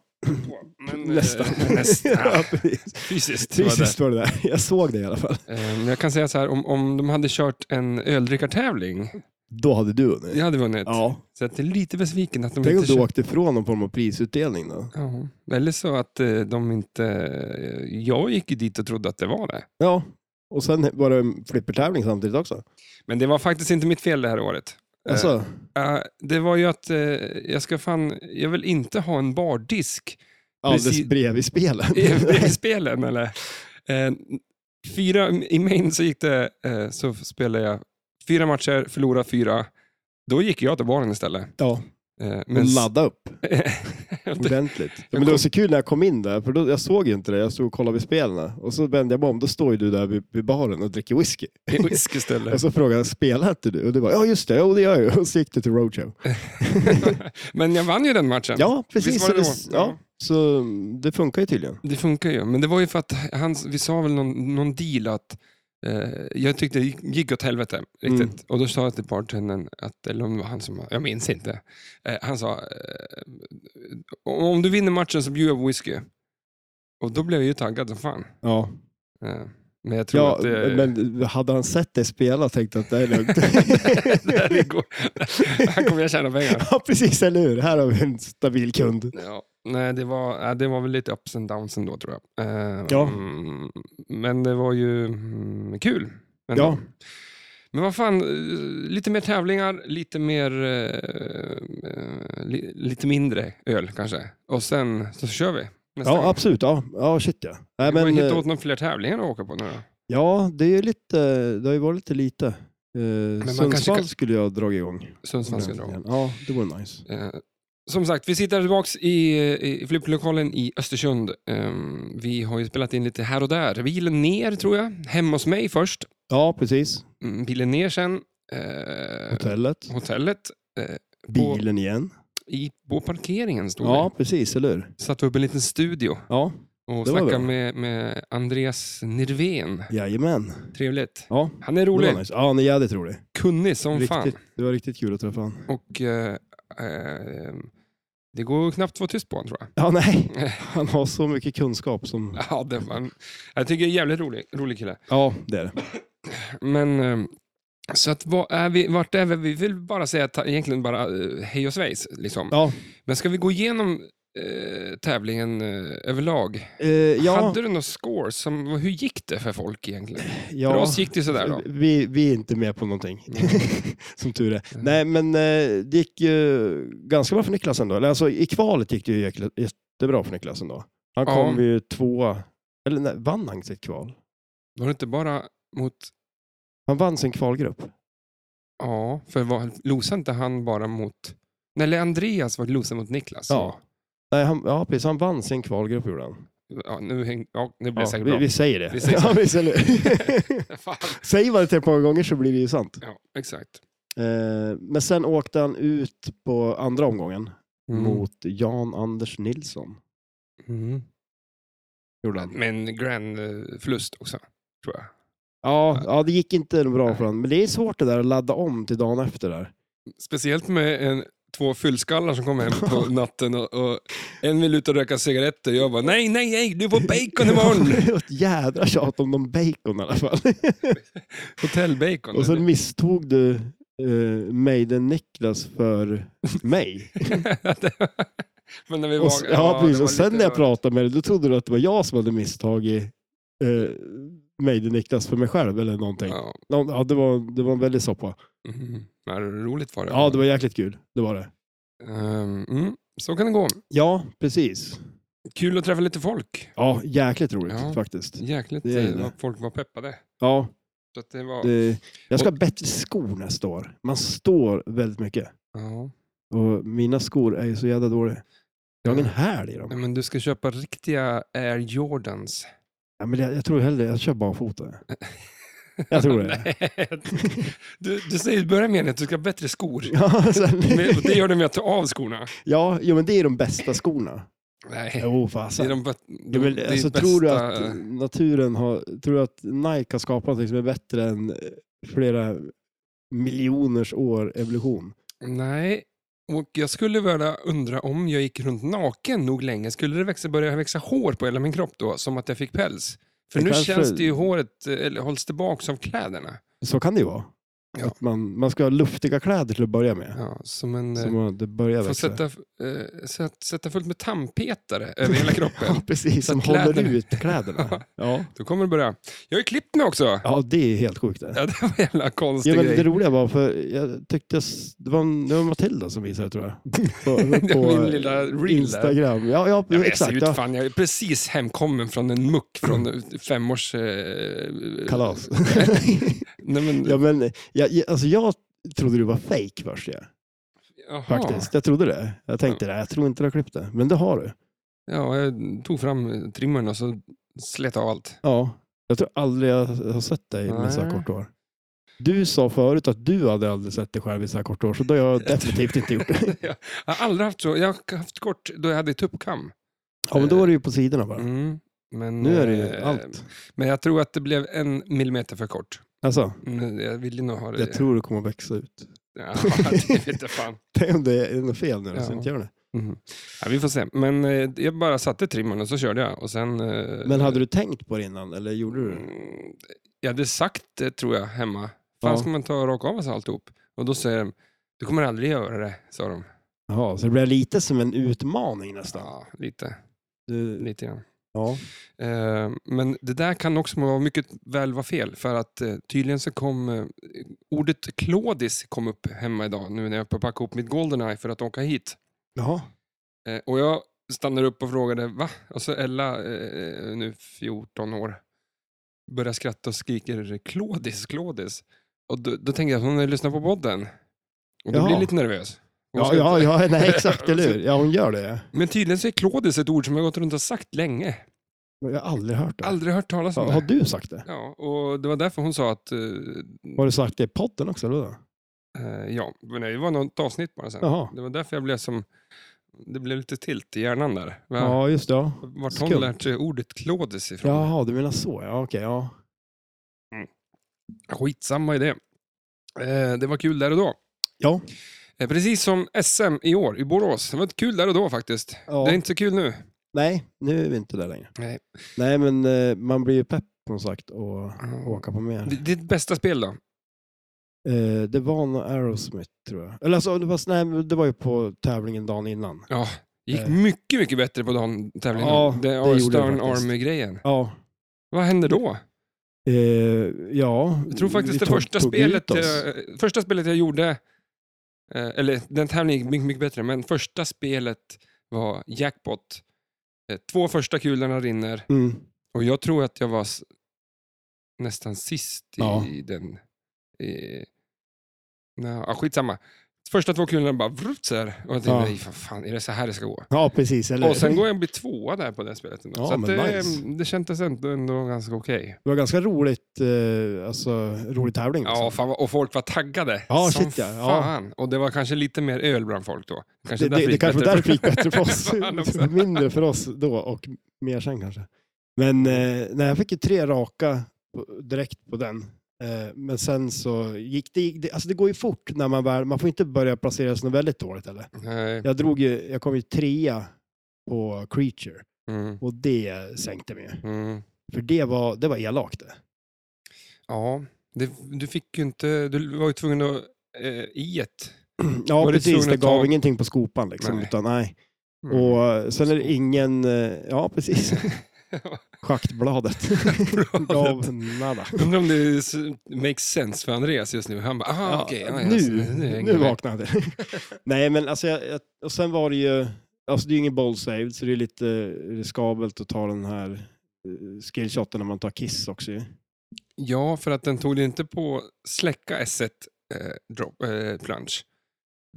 S1: Men, eh,
S2: nästan.
S1: nästan.
S2: ja, precis.
S1: Fysiskt var det.
S2: Fysiskt var det där. Jag såg det i alla fall.
S1: Eh, men Jag kan säga så här, om, om de hade kört en öldrickartävling,
S2: Då hade du vunnit.
S1: jag hade vunnit.
S2: Ja.
S1: Så att det är lite besviken att de
S2: Tänk om
S1: inte
S2: du
S1: kör-
S2: åkte ifrån någon form av prisutdelning då.
S1: Ja, eller så att eh, de inte... eh, Jag gick ju dit och trodde att det var det.
S2: Ja. Och sen var det en flippertävling samtidigt också.
S1: Men det var faktiskt inte mitt fel det här året. Eh,
S2: Alltså,
S1: eh, det var ju att eh, jag ska fan... Jag vill inte ha en bardisk
S2: alldeles
S1: precis.
S2: bredvid spelen.
S1: i i spelen. Eller? Eh, fyra, I main så gick det... Eh, så spelade jag fyra matcher, förlorade fyra. Då gick jag till baren istället.
S2: Ja,
S1: Eh,
S2: men
S1: men
S2: ladda upp
S1: det,
S2: ordentligt. Ja, men det var så kul när jag kom in där, för då, jag såg ju inte det. Jag stod och kollade vid spelen och så vände jag mig om. Då står ju du där vid, vid baren och dricker whisky.
S1: det är whisky istället.
S2: Och så frågade jag, spelar inte du? Och du bara, ja just det, jo det gör jag ju. Och så gick du till roadshow.
S1: men jag vann ju den matchen.
S2: Ja, precis.
S1: Visst var
S2: Så
S1: det då?
S2: det,
S1: Ja.
S2: ja, så det funkar ju tydligen.
S1: Det funkar ju, men det var ju för att han, vi sa väl någon, någon deal att eh, jag tyckte det gick åt helvete riktigt.
S2: Mm.
S1: Och då sa jag till bartendern, att, eller om det var han som, jag minns inte. Eh, han sa, eh, om du vinner matchen så bjuder jag på whisky. Och då blev jag ju taggad som fan.
S2: Ja,
S1: Eh, men jag tror
S2: ja
S1: att eh, det,
S2: men hade han sett dig spela tänkte jag att det är lugnt.
S1: det här är go- här kommer jag tjäna pengar.
S2: ja, precis, eller hur? Här har vi en stabil kund.
S1: Ja, nej, det var, ja, det var väl lite ups and downs ändå tror jag. Eh,
S2: Ja.
S1: mm, Men det var ju mm, kul. ändå.
S2: Ja,
S1: Men vad fan, eh, lite mer tävlingar, lite mer... eh, eh, li, lite mindre öl kanske. Och sen så kör vi. Nästa
S2: ja
S1: gång.
S2: absolut. Ja, ja shit ja. Nej,
S1: Har
S2: men,
S1: du hittat
S2: eh,
S1: åt några fler tävlingar att åka på nu då?
S2: ja, det, är ju lite, det har ju varit lite lite. Eh,
S1: man kanske
S2: Sundsvall
S1: kan-
S2: skulle jag dra igång.
S1: Sundsvallska drag.
S2: Ja, det vore nice.
S1: Eh, Som sagt, vi sitter tillbaka i, eh, i flipplokalen i Östersund. Eh, Vi har ju spelat in lite här och där. Bilen ner tror jag. Hemma hos mig först.
S2: Ja, precis.
S1: Mm, Bilen ner sen. Eh,
S2: Hotellet,
S1: Hotellet. Eh, på-
S2: bilen igen.
S1: I, på parkeringen stod
S2: Ja, precis, eller hur?
S1: vi. Satte upp en liten studio.
S2: Ja,
S1: Och
S2: Det var
S1: snacka
S2: bra.
S1: med, med Andreas Nirven.
S2: jajamän.
S1: Trevligt.
S2: Ja,
S1: Han är
S2: det var
S1: rolig,
S2: nice. Ja, han är jävligt rolig.
S1: kunnig som fan.
S2: Riktigt, det var riktigt kul att träffa honom.
S1: Och eh, eh, det går knappt att få tyst på honom tror jag.
S2: Ja, nej. Han har så mycket kunskap som...
S1: Ja, det var en, jag tycker det är jävligt rolig, rolig kille.
S2: Ja, det är det.
S1: Men eh, så att vad är vi, vart är vi? Vi vill bara säga ta, egentligen bara eh, hej och svejs. Liksom.
S2: Ja,
S1: Men ska vi gå igenom eh, tävlingen eh, överlag?
S2: eh, ja,
S1: Hade du några scores? Som, hur gick det för folk egentligen?
S2: ja.
S1: För oss gick det sådär då.
S2: Vi, vi är inte med på någonting, som tur är.
S1: Mm.
S2: Nej, men eh, det gick ju ganska bra för Niklas ändå. Eller, alltså, I kvalet gick det ju jäkla- jättebra för Niklas ändå. Han
S1: Ja.
S2: kom ju tvåa. Eller nej, vann han sitt kval?
S1: Var det inte bara mot
S2: Han vann sin kvalgrupp.
S1: Ja, för var, losade inte han bara mot... Nej, eller Andreas var losade mot Niklas. så.
S2: Ja. Nej, han, ja, precis. Han vann sin kvalgrupp, gjorde han.
S1: Ja, nu, häng, ja, nu blir det
S2: Ja,
S1: säkert
S2: vi,
S1: bra.
S2: vi säger det.
S1: Vi säger så.
S2: ja, vi säger det.
S1: Fan.
S2: Säg vad det är på många gånger så blir det ju sant.
S1: Ja, exakt.
S2: Eh, men sen åkte han ut på andra omgången
S1: Mm.
S2: mot Jan Anders Nilsson. Mm. Gjorde han.
S1: Men grand eh, förlust också, tror jag.
S2: Ja, ja, det gick inte bra för honom. Men det är svårt det där att ladda om till dagen efter där.
S1: Speciellt med en, två fyllskallar som kom hem på natten och, och en vill ut och röka cigaretter. Jag bara, nej, nej, nej, du får bacon imorgon!
S2: Det var ett jädra tjat om de bacon i alla fall.
S1: Hotellbacon.
S2: Och sen misstog du eh, Maiden-Niklas för mig.
S1: Men när vi
S2: Och, s-
S1: vaknade-
S2: ja,
S1: det
S2: precis.
S1: var
S2: Och sen
S1: lite-
S2: när jag
S1: det var-
S2: pratade med dig, då trodde du att det var jag som hade misstagit eh, Maiden-Niklas för mig själv eller någonting.
S1: Ja.
S2: Någon- Ja, det, var, det var en väldig soppa.
S1: Mm. Ja, roligt var det.
S2: Ja, det var jäkligt kul. Det var det.
S1: Ehm, mm. Så kan det gå.
S2: Ja, precis.
S1: Kul att träffa lite folk.
S2: Ja, jäkligt roligt
S1: Ja.
S2: faktiskt.
S1: Jäkligt.
S2: Det är
S1: eh,
S2: det.
S1: vad Folk var peppade.
S2: Ja,
S1: Så att det var...
S2: det, jag ska ha bättre skor nästa år. Man står väldigt mycket.
S1: Ja.
S2: Och mina skor är ju så jävla dåliga. Jag har ingen häl i
S1: Nej,
S2: dem.
S1: men du ska köpa riktiga Air Jordans.
S2: Ja, men jag, jag tror hellre jag kör barfota. Jag tror det.
S1: Nej. du, du säger i början meningen att du ska ha bättre skor.
S2: Ja, sen,
S1: Men- och Det gör du med att ta av skorna.
S2: ja, jo, men det är de bästa skorna.
S1: Nej.
S2: Jo,
S1: Eh, Det
S2: fasen.
S1: är de, bä- de,
S2: Jo, men,
S1: det är
S2: alltså,
S1: bästa...
S2: Tror du att naturen har, tror du att Nike har skapat någonting som är bättre än eh, flera miljoners år evolution?
S1: Nej. Och jag skulle vilja undra om jag gick runt naken nog länge, skulle det växa, börja växa hår på hela min kropp då? Som att jag fick päls? För
S2: Det
S1: nu
S2: kanske-
S1: känns det ju håret, eh, eller hålls tillbaka av kläderna.
S2: Så kan det ju vara.
S1: Ja.
S2: Att man, man ska ha luftiga kläder till att börja med.
S1: Ja, som en... eh,
S2: Så man, det börjar
S1: Får
S2: växa.
S1: sätta, eh, sätt, sätta fullt med tandpetare över hela kroppen.
S2: ja, precis.
S1: så
S2: Som
S1: att kläderna-
S2: håller ut kläderna. ja.
S1: Då kommer det börja. Jag har ju klippt mig också!
S2: ja, det är helt sjukt det.
S1: Ja, det var en jävla konstig
S2: Ja, men
S1: grej.
S2: det roliga var, för jag tyckte jag, s- det, var, en- det var Matilda som visade det, tror jag. På,
S1: Det var min lilla reel där.
S2: Instagram. Ja, ja
S1: Ja, men jag
S2: exakt.
S1: ser ut
S2: Ja.
S1: fan, jag är precis hemkommen från en muck från femårs... Eh,
S2: Kalas.
S1: nej men,
S2: ja, men, jag, jag- alltså, jag trodde du var fake först. Ja.
S1: jaha.
S2: Faktiskt. Jag trodde det. Jag tänkte det. Jag tror inte du har klippt det. Men det har du.
S1: Ja, jag tog fram trimmern och så slet av allt.
S2: Ja. Jag tror aldrig jag har sett dig med så här
S1: Nej.
S2: kort hår. Du sa förut att du hade aldrig sett dig själv i så här kort hår, så då har jag definitivt inte gjort det.
S1: jag har aldrig haft så. Jag har haft kort då jag hade tuppkam.
S2: Ja, men då är det ju på sidorna bara.
S1: Mm, men,
S2: Nu är det ju
S1: eh,
S2: allt.
S1: Men jag tror att det blev en millimeter för kort.
S2: Alltså,
S1: Men Jag ville nog ha det.
S2: jag tror det kommer växa ut.
S1: Ja, det vet jag fan.
S2: Tänk om det är något fel nu,
S1: Ja.
S2: så inte gör det.
S1: Ja, vi får se. Men eh, jag bara satte trimmern och så körde jag. Och sen, eh,
S2: Men hade du tänkt på det innan, eller gjorde du det?
S1: Mm, Jag hade sagt det tror jag hemma. Fan
S2: Ja.
S1: ska man ta och raka av sig alltihop? Och då säger de, du kommer aldrig göra det, sa de.
S2: Jaha, så det blev lite som en utmaning nästan.
S1: Ja, lite,
S2: Du,
S1: lite grann.
S2: ja.
S1: Eh, Men det där kan också vara mycket väl vara fel. För att eh, tydligen så kom eh, ordet klådis kom upp hemma idag. Nu när jag packade ihop mitt Goldeneye för att åka hit.
S2: Jaha.
S1: Eh, Och jag stannade upp och frågade va? Och så Ella, eh, nu 14 år, börjar skratta och skriker klådis, klådis. Och då, då tänkte jag att hon har lyssnat på podden. Och då
S2: Jaha.
S1: blir jag lite nervös. Hon
S2: Ja,
S1: ska
S2: ja,
S1: inte-
S2: ja, nej exakt, eller hur? Ja, hon gör det.
S1: Men tydligen så är klådis ett ord som jag gått runt och sagt länge.
S2: Men jag har aldrig hört det.
S1: Aldrig hört talas om
S2: Ja, har
S1: det.
S2: du sagt det?
S1: Ja, och det var därför hon sa att, eh,
S2: Har du sagt det i podden också? Eller? vadå?
S1: eh, ja, men det var något avsnitt bara sen.
S2: Jaha.
S1: Det var därför jag blev som, det blev lite tilt i hjärnan där. Va?
S2: Ja, just det. Ja.
S1: Vart
S2: skumt.
S1: hon lärt sig ordet klådis ifrån.
S2: Jaha, du menar så. Ja, okej. Ja.
S1: Skitsamma i det. Eh, det var kul där och då.
S2: Ja.
S1: Eh, precis som SM i år i Borås. Det var kul där och då faktiskt.
S2: Ja.
S1: Det är inte så kul nu.
S2: Nej, nu är vi inte där längre.
S1: Nej.
S2: Nej, men eh, man blir ju pepp som sagt och åka på mer.
S1: D- Ditt bästa spel då?
S2: Eh, det var nog Aerosmith tror jag. Eller alltså, det var, nej, men det var ju på tävlingen dagen innan.
S1: Ja, det gick
S2: Eh.
S1: mycket, mycket bättre på den tävlingen.
S2: Ja,
S1: det
S2: det
S1: Ar-
S2: gjorde det
S1: Stern
S2: faktiskt.
S1: Army-grejen.
S2: Ja.
S1: Vad hände då?
S2: Eh, ja.
S1: Jag tror faktiskt
S2: vi
S1: det
S2: tog-
S1: första,
S2: tog
S1: spelet eh,
S2: ut oss.
S1: jag, första spelet jag gjorde, eh, eller den tävlingen gick mycket, mycket bättre, men första spelet var jackpot. Eh, två första kulorna rinner.
S2: Mm.
S1: Och jag tror att jag var s- nästan sist i
S2: Ja.
S1: den... I, nej, ja, skitsamma. Första två kulorna bara vrrt så här. Och jag tänkte,
S2: Ja.
S1: nej för fan, är det så här det ska gå?
S2: Ja, precis. Eller?
S1: Och sen går jag och blir tvåa där på det spelet. Ändå.
S2: Ja,
S1: så att
S2: men
S1: det,
S2: nice.
S1: det kändes ändå, ändå ganska okej.
S2: Det var ganska roligt, eh, alltså, rolig tävling.
S1: Ja,
S2: liksom.
S1: fan, vad- och folk var taggade.
S2: Ja,
S1: som
S2: shit, ja. Ja.
S1: fan. Och det var kanske lite mer öl bland folk då. Kanske
S2: det, det, det kanske
S1: bättre.
S2: var därför det gick bättre för
S1: Fan
S2: oss.
S1: också.
S2: Mindre för oss då och mer sen kanske. Men eh, nej, jag fick ju tre raka på, direkt på den. Eh, men sen så gick det, det, alltså det går ju fort när man väl, man får inte börja placera sig något väldigt dåligt eller?
S1: Nej.
S2: Jag drog ju, jag kom ju trea på Creature
S1: Mm.
S2: och det sänkte mig ju.
S1: Mm.
S2: För det var, det var elakt det.
S1: Ja, det, du fick ju inte... Du var ju tvungen att... Eh, I ett.
S2: Ja,
S1: Var det
S2: precis.
S1: tvungen
S2: Det
S1: att ta-
S2: gav ingenting på skopan liksom.
S1: Nej.
S2: Utan, nej.
S1: Mm.
S2: Och sen är det ingen, eh, ja precis. Schaktbladet. gav nada.
S1: Undrar om det s- makes sense för Andreas just nu. Han bara, aha,
S2: Ja,
S1: okej. ja,
S2: nu,
S1: jag- hänger jag
S2: nu
S1: med."
S2: vaknade jag. Nej, men alltså, jag, jag, och sen var det ju, alltså det är ju ingen ball saved, så det är lite riskabelt att ta den här eh, skillshoten när man tar kiss också ju.
S1: Ja, för att den tog det inte på släcka S1 eh, drop, eh, plunge.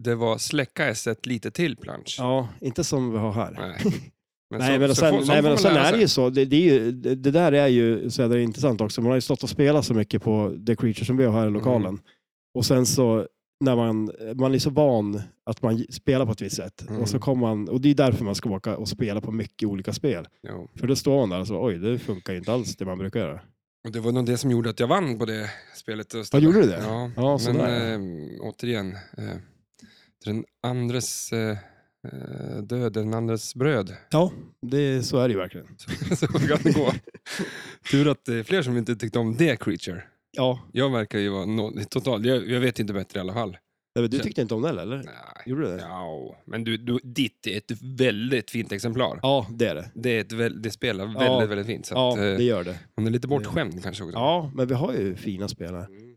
S1: Det var släcka S1 lite till plunge.
S2: Ja, inte som vi har här.
S1: Nej, men,
S2: Nej, men och sen,
S1: får-
S2: nej,
S1: får
S2: men
S1: man
S2: och sen
S1: lära
S2: är det
S1: sig.
S2: ju så. Det, det, är ju, det det där är ju så jädra intressant också. Man har ju stått och spelat så mycket på The Creature som vi har här i
S1: Mm.
S2: lokalen. Och sen så, när man, man är så van att man spelar på ett visst sätt.
S1: Mm.
S2: Och, så kommer man, och det är därför man ska åka och spela på mycket olika spel.
S1: Jo.
S2: För då står man där och så, oj, det funkar ju inte alls det man brukar göra.
S1: Och det var nog det som gjorde att jag vann på det spelet.
S2: Ja, gjorde du det?
S1: Ja,
S2: Ja,
S1: men
S2: sådär.
S1: eh, återigen. Eh, den andres eh, eh, död, den andres bröd.
S2: Ja, det, så är det ju verkligen.
S1: Så, så kan det gå. Tur att det är fler som inte tyckte om det creature.
S2: Ja,
S1: Jag verkar ju vara no, total, jag, jag vet inte bättre i alla fall.
S2: nej, men du tyckte inte om det heller, eller?
S1: Nej.
S2: Gjorde du det?
S1: Ja, men du, du, ditt är ett väldigt fint exemplar.
S2: Ja, det är det.
S1: Det, är ett, väl- det spelar väldigt,
S2: Ja.
S1: väldigt fint. Så
S2: Ja,
S1: att, eh,
S2: det gör det.
S1: hon är lite bortskämd kanske också.
S2: Ja, men vi har ju fina spel här.
S1: Mm.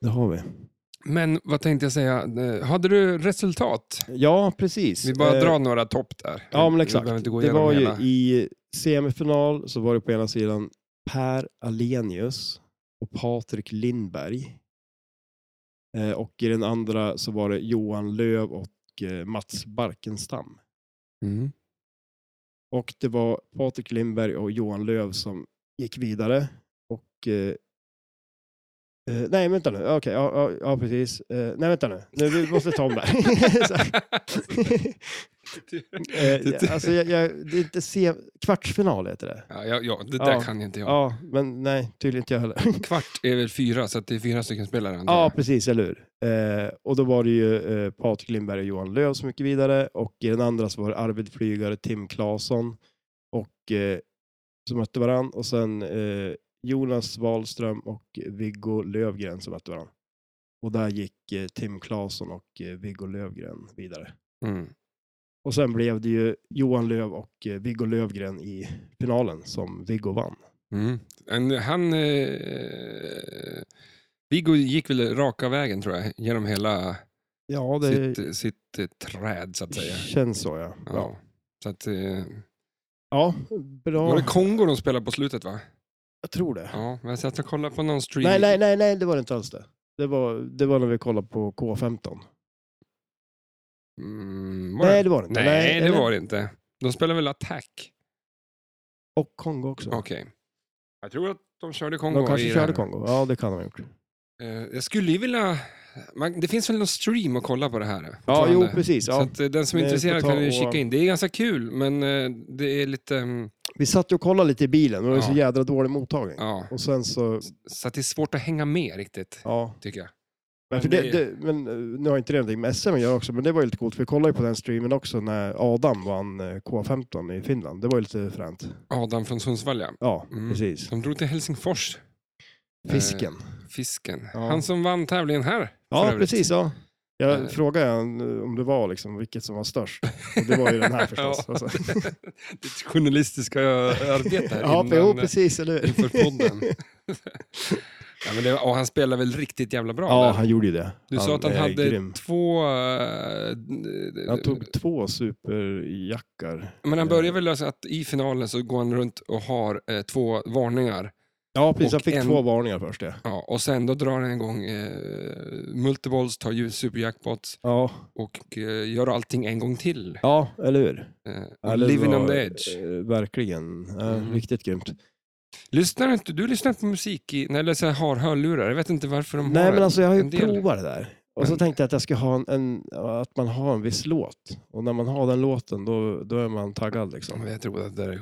S2: Det har vi.
S1: Men vad tänkte jag säga? Eh, Hade du resultat?
S2: Ja, precis.
S1: Vi bara
S2: Eh,
S1: drar några topp där.
S2: Ja, men
S1: Vi
S2: exakt.
S1: behöver inte gå
S2: Det
S1: igenom
S2: var ju
S1: hela.
S2: i semifinal så var det på ena sidan Per Alenius och Patrik Lindberg. Eh, Och i den andra så var det Johan Löv och eh, Mats Barkenstam.
S1: Mm.
S2: Och det var Patrik Lindberg och Johan Löv som gick vidare. Och... Eh, eh, nej, vänta nu. Okej, ja, ja, ja, precis. Eh, nej, vänta nu. nu. Vi måste ta om det här. Så här. eh, alltså, jag, jag, det är inte se, kvartsfinal heter det.
S1: ja, ja, ja, det där
S2: Ja.
S1: kan inte jag.
S2: Ja, men nej, tydligen inte jag heller.
S1: Kvart är väl fyra, så att det är fyra stycken spelare. antar
S2: Ja,
S1: jag.
S2: precis, eller hur? Eh, och då var det ju eh, Patrik Lindberg och Johan Löv som gick vidare och i den andra så var det Arvid Flygare, Tim Claesson och eh, som mötte varann och sen eh, Jonas Wahlström och Viggo Lövgren som mötte varann. Och där gick eh, Tim Claesson och eh, Viggo Lövgren vidare.
S1: Mm.
S2: Och sen blev det ju Johan Löv och eh, Viggo Lövgren i finalen som Viggo vann.
S1: Mm. En- Han... Eh, Viggo gick väl raka vägen, tror jag, genom hela
S2: Ja, det
S1: sitt, sitt eh, träd, så att säga.
S2: känns så ja.
S1: Ja.
S2: Ja,
S1: Så att, eh,
S2: ja bra.
S1: Var det Kongo de spelade på slutet, va?
S2: Jag tror det.
S1: Ja, men jag satt och kollade på någon stream.
S2: Nej, nej, nej, nej, det var det inte alls det. Det var, det var när vi kollade på K15.
S1: Mm, var
S2: Nej,
S1: nej,
S2: det var det inte.
S1: nej, det
S2: eller-
S1: var det inte. De spelade väl Attack?
S2: Och Kongo också.
S1: Okej. Jag tror att de körde Kongo.
S2: De kanske
S1: i det
S2: körde
S1: här.
S2: Kongo. Ja, det kan de ha gjort.
S1: Eh, jag skulle ju vilja... Man, det finns väl någon stream att kolla på det här?
S2: Ja,
S1: fortfarande.
S2: jo, precis.
S1: Så
S2: Ja.
S1: att, eh, den som är
S2: Nej, vi får
S1: intresserad
S2: ta
S1: kan ju
S2: och-
S1: kika in. Det är ganska kul, men eh, det är lite... mm,
S2: Vi satt ju och kollade lite i bilen och det var så
S1: Ja.
S2: jädra dålig mottagning.
S1: Ja,
S2: Och sen så,
S1: så att det är svårt att hänga med riktigt,
S2: ja.
S1: tycker jag.
S2: Men, för
S1: Men
S2: det,
S1: det-
S2: det, men eh, nu har inte det någonting med SM att göra också, men det var ju lite coolt. för Vi kollade ju på den streamen också när Adam vann eh, K15 i Finland. Det var ju lite fränt.
S1: Adam från Sundsvall, ja.
S2: Ja,
S1: Mm. Eh,
S2: precis.
S1: De drog till Helsingfors,
S2: Fisken.
S1: fisken.
S2: Ja.
S1: Han som vann tävlingen här. för
S2: Ja,
S1: övrigt.
S2: precis. Ja. Jag
S1: Eh.
S2: frågade han om det var liksom vilket som var störst. Och det var ju den här förstås.
S1: Ja.
S2: Alltså.
S1: Ditt journalistiska arbete här
S2: Ja,
S1: innan,
S2: jo, precis. Eller hur?
S1: eh, inför podden. ja, men det, och han spelar väl riktigt jävla bra?
S2: Ja,
S1: där.
S2: han gjorde ju det.
S1: du sa att han
S2: är
S1: hade eh,
S2: grym.
S1: två... eh,
S2: Han tog två superjackar. Mm.
S1: Men han börjar väl alltså att i finalen så går han runt och har eh, två varningar
S2: Ja, precis. Han
S1: Och
S2: fick
S1: en-
S2: två varningar först. Ja.
S1: Ja, och sen då drar den igång eh, Multiballs, tar ju Superjackpot
S2: Ja.
S1: och eh, gör allting en gång till.
S2: ja, eller hur?
S1: Eh, och
S2: Ja, det
S1: living
S2: var,
S1: on the edge.
S2: eh, Verkligen. Ja,
S1: Mm.
S2: Riktigt grymt.
S1: Lyssnar inte, du lyssnar inte på musik i, nej, eller så här, har hörlurar, jag vet inte varför de har
S2: Nej, men
S1: det.
S2: alltså jag har
S1: en
S2: ju
S1: del.
S2: provat det där. Och så
S1: Men-
S2: tänkte jag att jag ska ha en, en, att man har en viss låt. Och när man har den låten, då, då är man taggad
S1: Ja,
S2: liksom.
S1: men Jag tror att det där är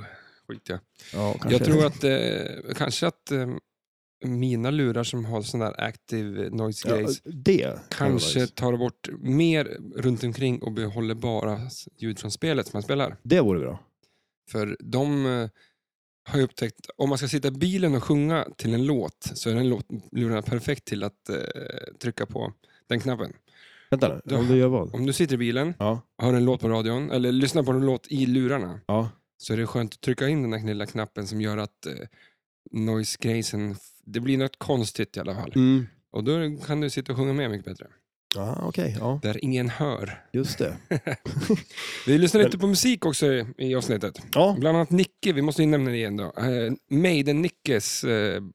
S1: skit ja.
S2: Ja, kanske.
S1: Jag tror att, eh, kanske att eh, mina lurar som har sån där active noise
S2: Ja,
S1: gates
S2: det.
S1: kanske tar bort mer runt omkring och behåller bara ljud från spelet som man spelar.
S2: Det vore bra.
S1: För de eh, har ju upptäckt, om man ska sitta i bilen och sjunga till en låt så är den låt, lurarna perfekt till att eh, trycka på den knappen.
S2: Vänta nu,
S1: Då-
S2: om du gör vad?
S1: Om du sitter i bilen
S2: Ja.
S1: och hör en låt på radion, eller lyssnar på en låt i lurarna,
S2: Ja.
S1: så är det skönt att trycka in den där lilla knappen som gör att eh, noise gränsen, det blir något konstigt i alla fall.
S2: Mm.
S1: Och då kan du sitta och sjunga med mycket bättre.
S2: Ja, okej. Ja,
S1: Där ingen hör.
S2: just det.
S1: Vi lyssnar
S2: Men-
S1: lite på musik också i, i avsnittet.
S2: Ja,
S1: Bland annat Nicke, vi måste ju nämna det igen då. Eh, Maiden-Nickes, eh, mm,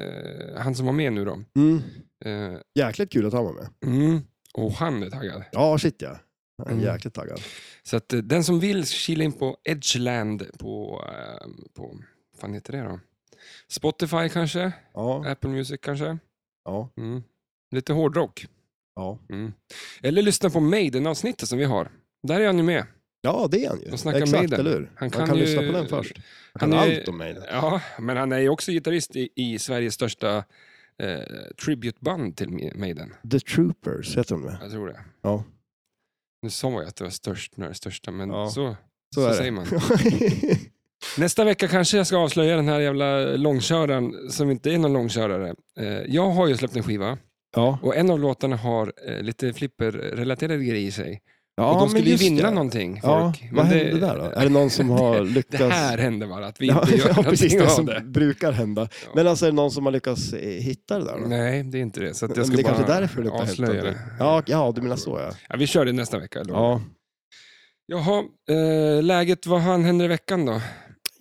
S1: eh, han som var med nu då.
S2: mm.
S1: Eh,
S2: jäkligt kul att han var med.
S1: mm. Och han är taggad.
S2: Ja, shit ja. Jag är
S1: Mm.
S2: Jäkligt taggad.
S1: Så att eh, den som vill kila in på Edgeland på, eh, på, vad fan heter det då? Spotify kanske?
S2: Ja,
S1: Apple Music kanske?
S2: ja,
S1: Mm. Lite hårdrock.
S2: ja.
S1: Mm. Eller lyssna på Maiden-avsnittet som vi har. Där är han ju med.
S2: Ja, det är han ju.
S1: De snackar
S2: Exakt,
S1: Maiden.
S2: eller hur?
S1: Han
S2: Man
S1: kan
S2: kan,
S1: ju-
S2: lyssna på den först. Han
S1: han
S2: kan
S1: är ju-
S2: allt om Maiden.
S1: Ja, men han är ju också gitarrist i, i Sveriges största eh, tributeband till Ma- Maiden.
S2: The Troopers heter de det.
S1: Jag tror det.
S2: Ja.
S1: Nu sa jag att det var störst när det är största, men
S2: Ja.
S1: så.
S2: Så,
S1: Så
S2: är
S1: säger
S2: det.
S1: man. Nästa vecka kanske jag ska avslöja den här jävla långköraren som inte är någon långkörare. Eh, jag har ju släppt en skiva
S2: ja.
S1: och en av låtarna har eh, lite flipper-relaterade grejer i sig.
S2: ja,
S1: och de skulle ju
S2: just
S1: vinna
S2: det.
S1: någonting,
S2: Ja,
S1: folk.
S2: vad hände där då? Är det någon som har lyckats?
S1: Det här hände bara, att vi
S2: ja,
S1: inte gör
S2: ja, precis
S1: någonting
S2: det
S1: av
S2: som
S1: det.
S2: brukar hända.
S1: Ja.
S2: Men alltså är det någon som har lyckats eh, hitta det där då?
S1: Nej, det är inte det. Så att jag
S2: Men
S1: ska
S2: det är
S1: bara
S2: kanske är därför det luktar
S1: avslöja
S2: helt
S1: det.
S2: det. Ja, ja, du menar så ja.
S1: Ja, vi kör det nästa vecka. Då.
S2: Ja,
S1: Jaha, eh, läget, vad han händer i veckan då?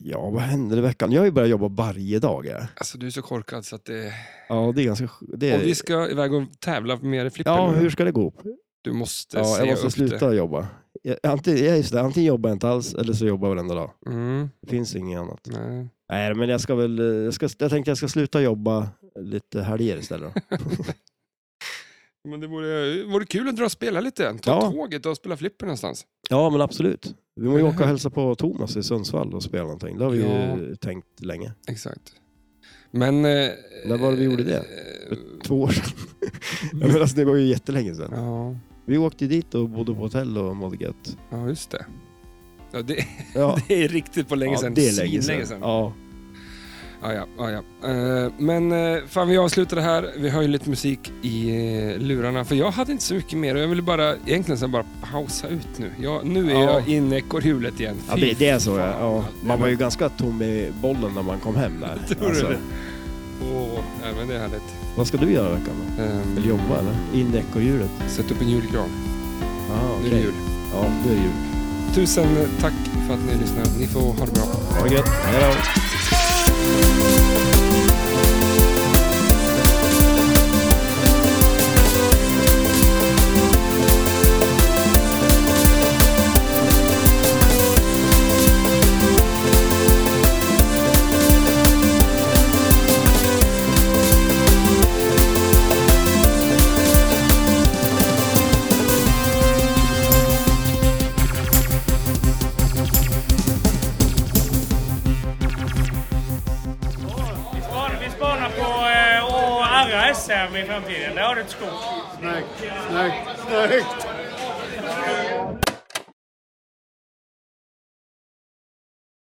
S2: ja vad händer i veckan? Jag har ju börjat jobba varje dag. Ja,
S1: Alltså du är så korkad så att det...
S2: ja det är ganska... sj- Det
S1: Och vi
S2: är...
S1: ska iväg och tävla med er flipper
S2: Ja,
S1: nu.
S2: hur ska det gå?
S1: Du måste
S2: Ja,
S1: se
S2: jag måste
S1: upp
S2: sluta jobba. Jag- Antingen, ja, just det, antingen jobbar jag inte alls eller så jobbar jag varenda dag.
S1: det. Mm,
S2: Det finns inget annat.
S1: nej.
S2: Nej, men jag ska väl... eh, Jag, ska, jag tänkte jag ska sluta jobba lite helger istället. Då.
S1: Men det vore, vore kul att dra och spela lite. Ta
S2: Ja.
S1: tåget och spela flipper någonstans.
S2: Ja, men absolut. Vi måste ju
S1: Eller
S2: åka och
S1: hur?
S2: hälsa på Thomas i Sundsvall och spela någonting. Det har vi ju tänkt länge.
S1: Exakt. Men... Eh,
S2: När var det vi gjorde det?
S1: eh,
S2: Två år sedan. Jag menar, alltså, det var ju jättelänge sedan.
S1: ja,
S2: Vi åkte dit och bodde på hotell och mådde gött.
S1: ja, just det. Ja, det,
S2: Ja,
S1: det är riktigt på länge
S2: ja,
S1: sedan.
S2: det är länge sedan.
S1: Svinlänge
S2: Ja.
S1: Ah, ja, ah, ja. Eh, men eh, fan, vi avslutar det här. Vi har ju lite musik i eh, lurarna. För jag hade inte så mycket mer. Jag ville bara egentligen så här bara pausa ut nu. Jag, nu är
S2: Ja.
S1: jag inne i ekorrhjulet igen.
S2: Ja,
S1: Fy
S2: det, det är så. Ja.
S1: fan.
S2: Ja. Man var ju ganska tom i bollen när man kom hem där. Alltså,
S1: Tror du det? Åh, ja, men det är härligt.
S2: vad ska du göra i veckan? då?
S1: Ehm,
S2: Vill du jobba eller? In i ekorrhjulet?
S1: Sätt upp en julgran.
S2: Ah,
S1: Nu är det
S2: okej.
S1: jul.
S2: Ja, nu är det jul.
S1: Tusen tack för att ni lyssnar. Ni får ha det bra.
S2: Ha det gött. Hej då.
S5: Vi spanar på eh, att arra SM i framtiden. Det har du ett skott.
S6: Snyggt, snyggt, snyggt!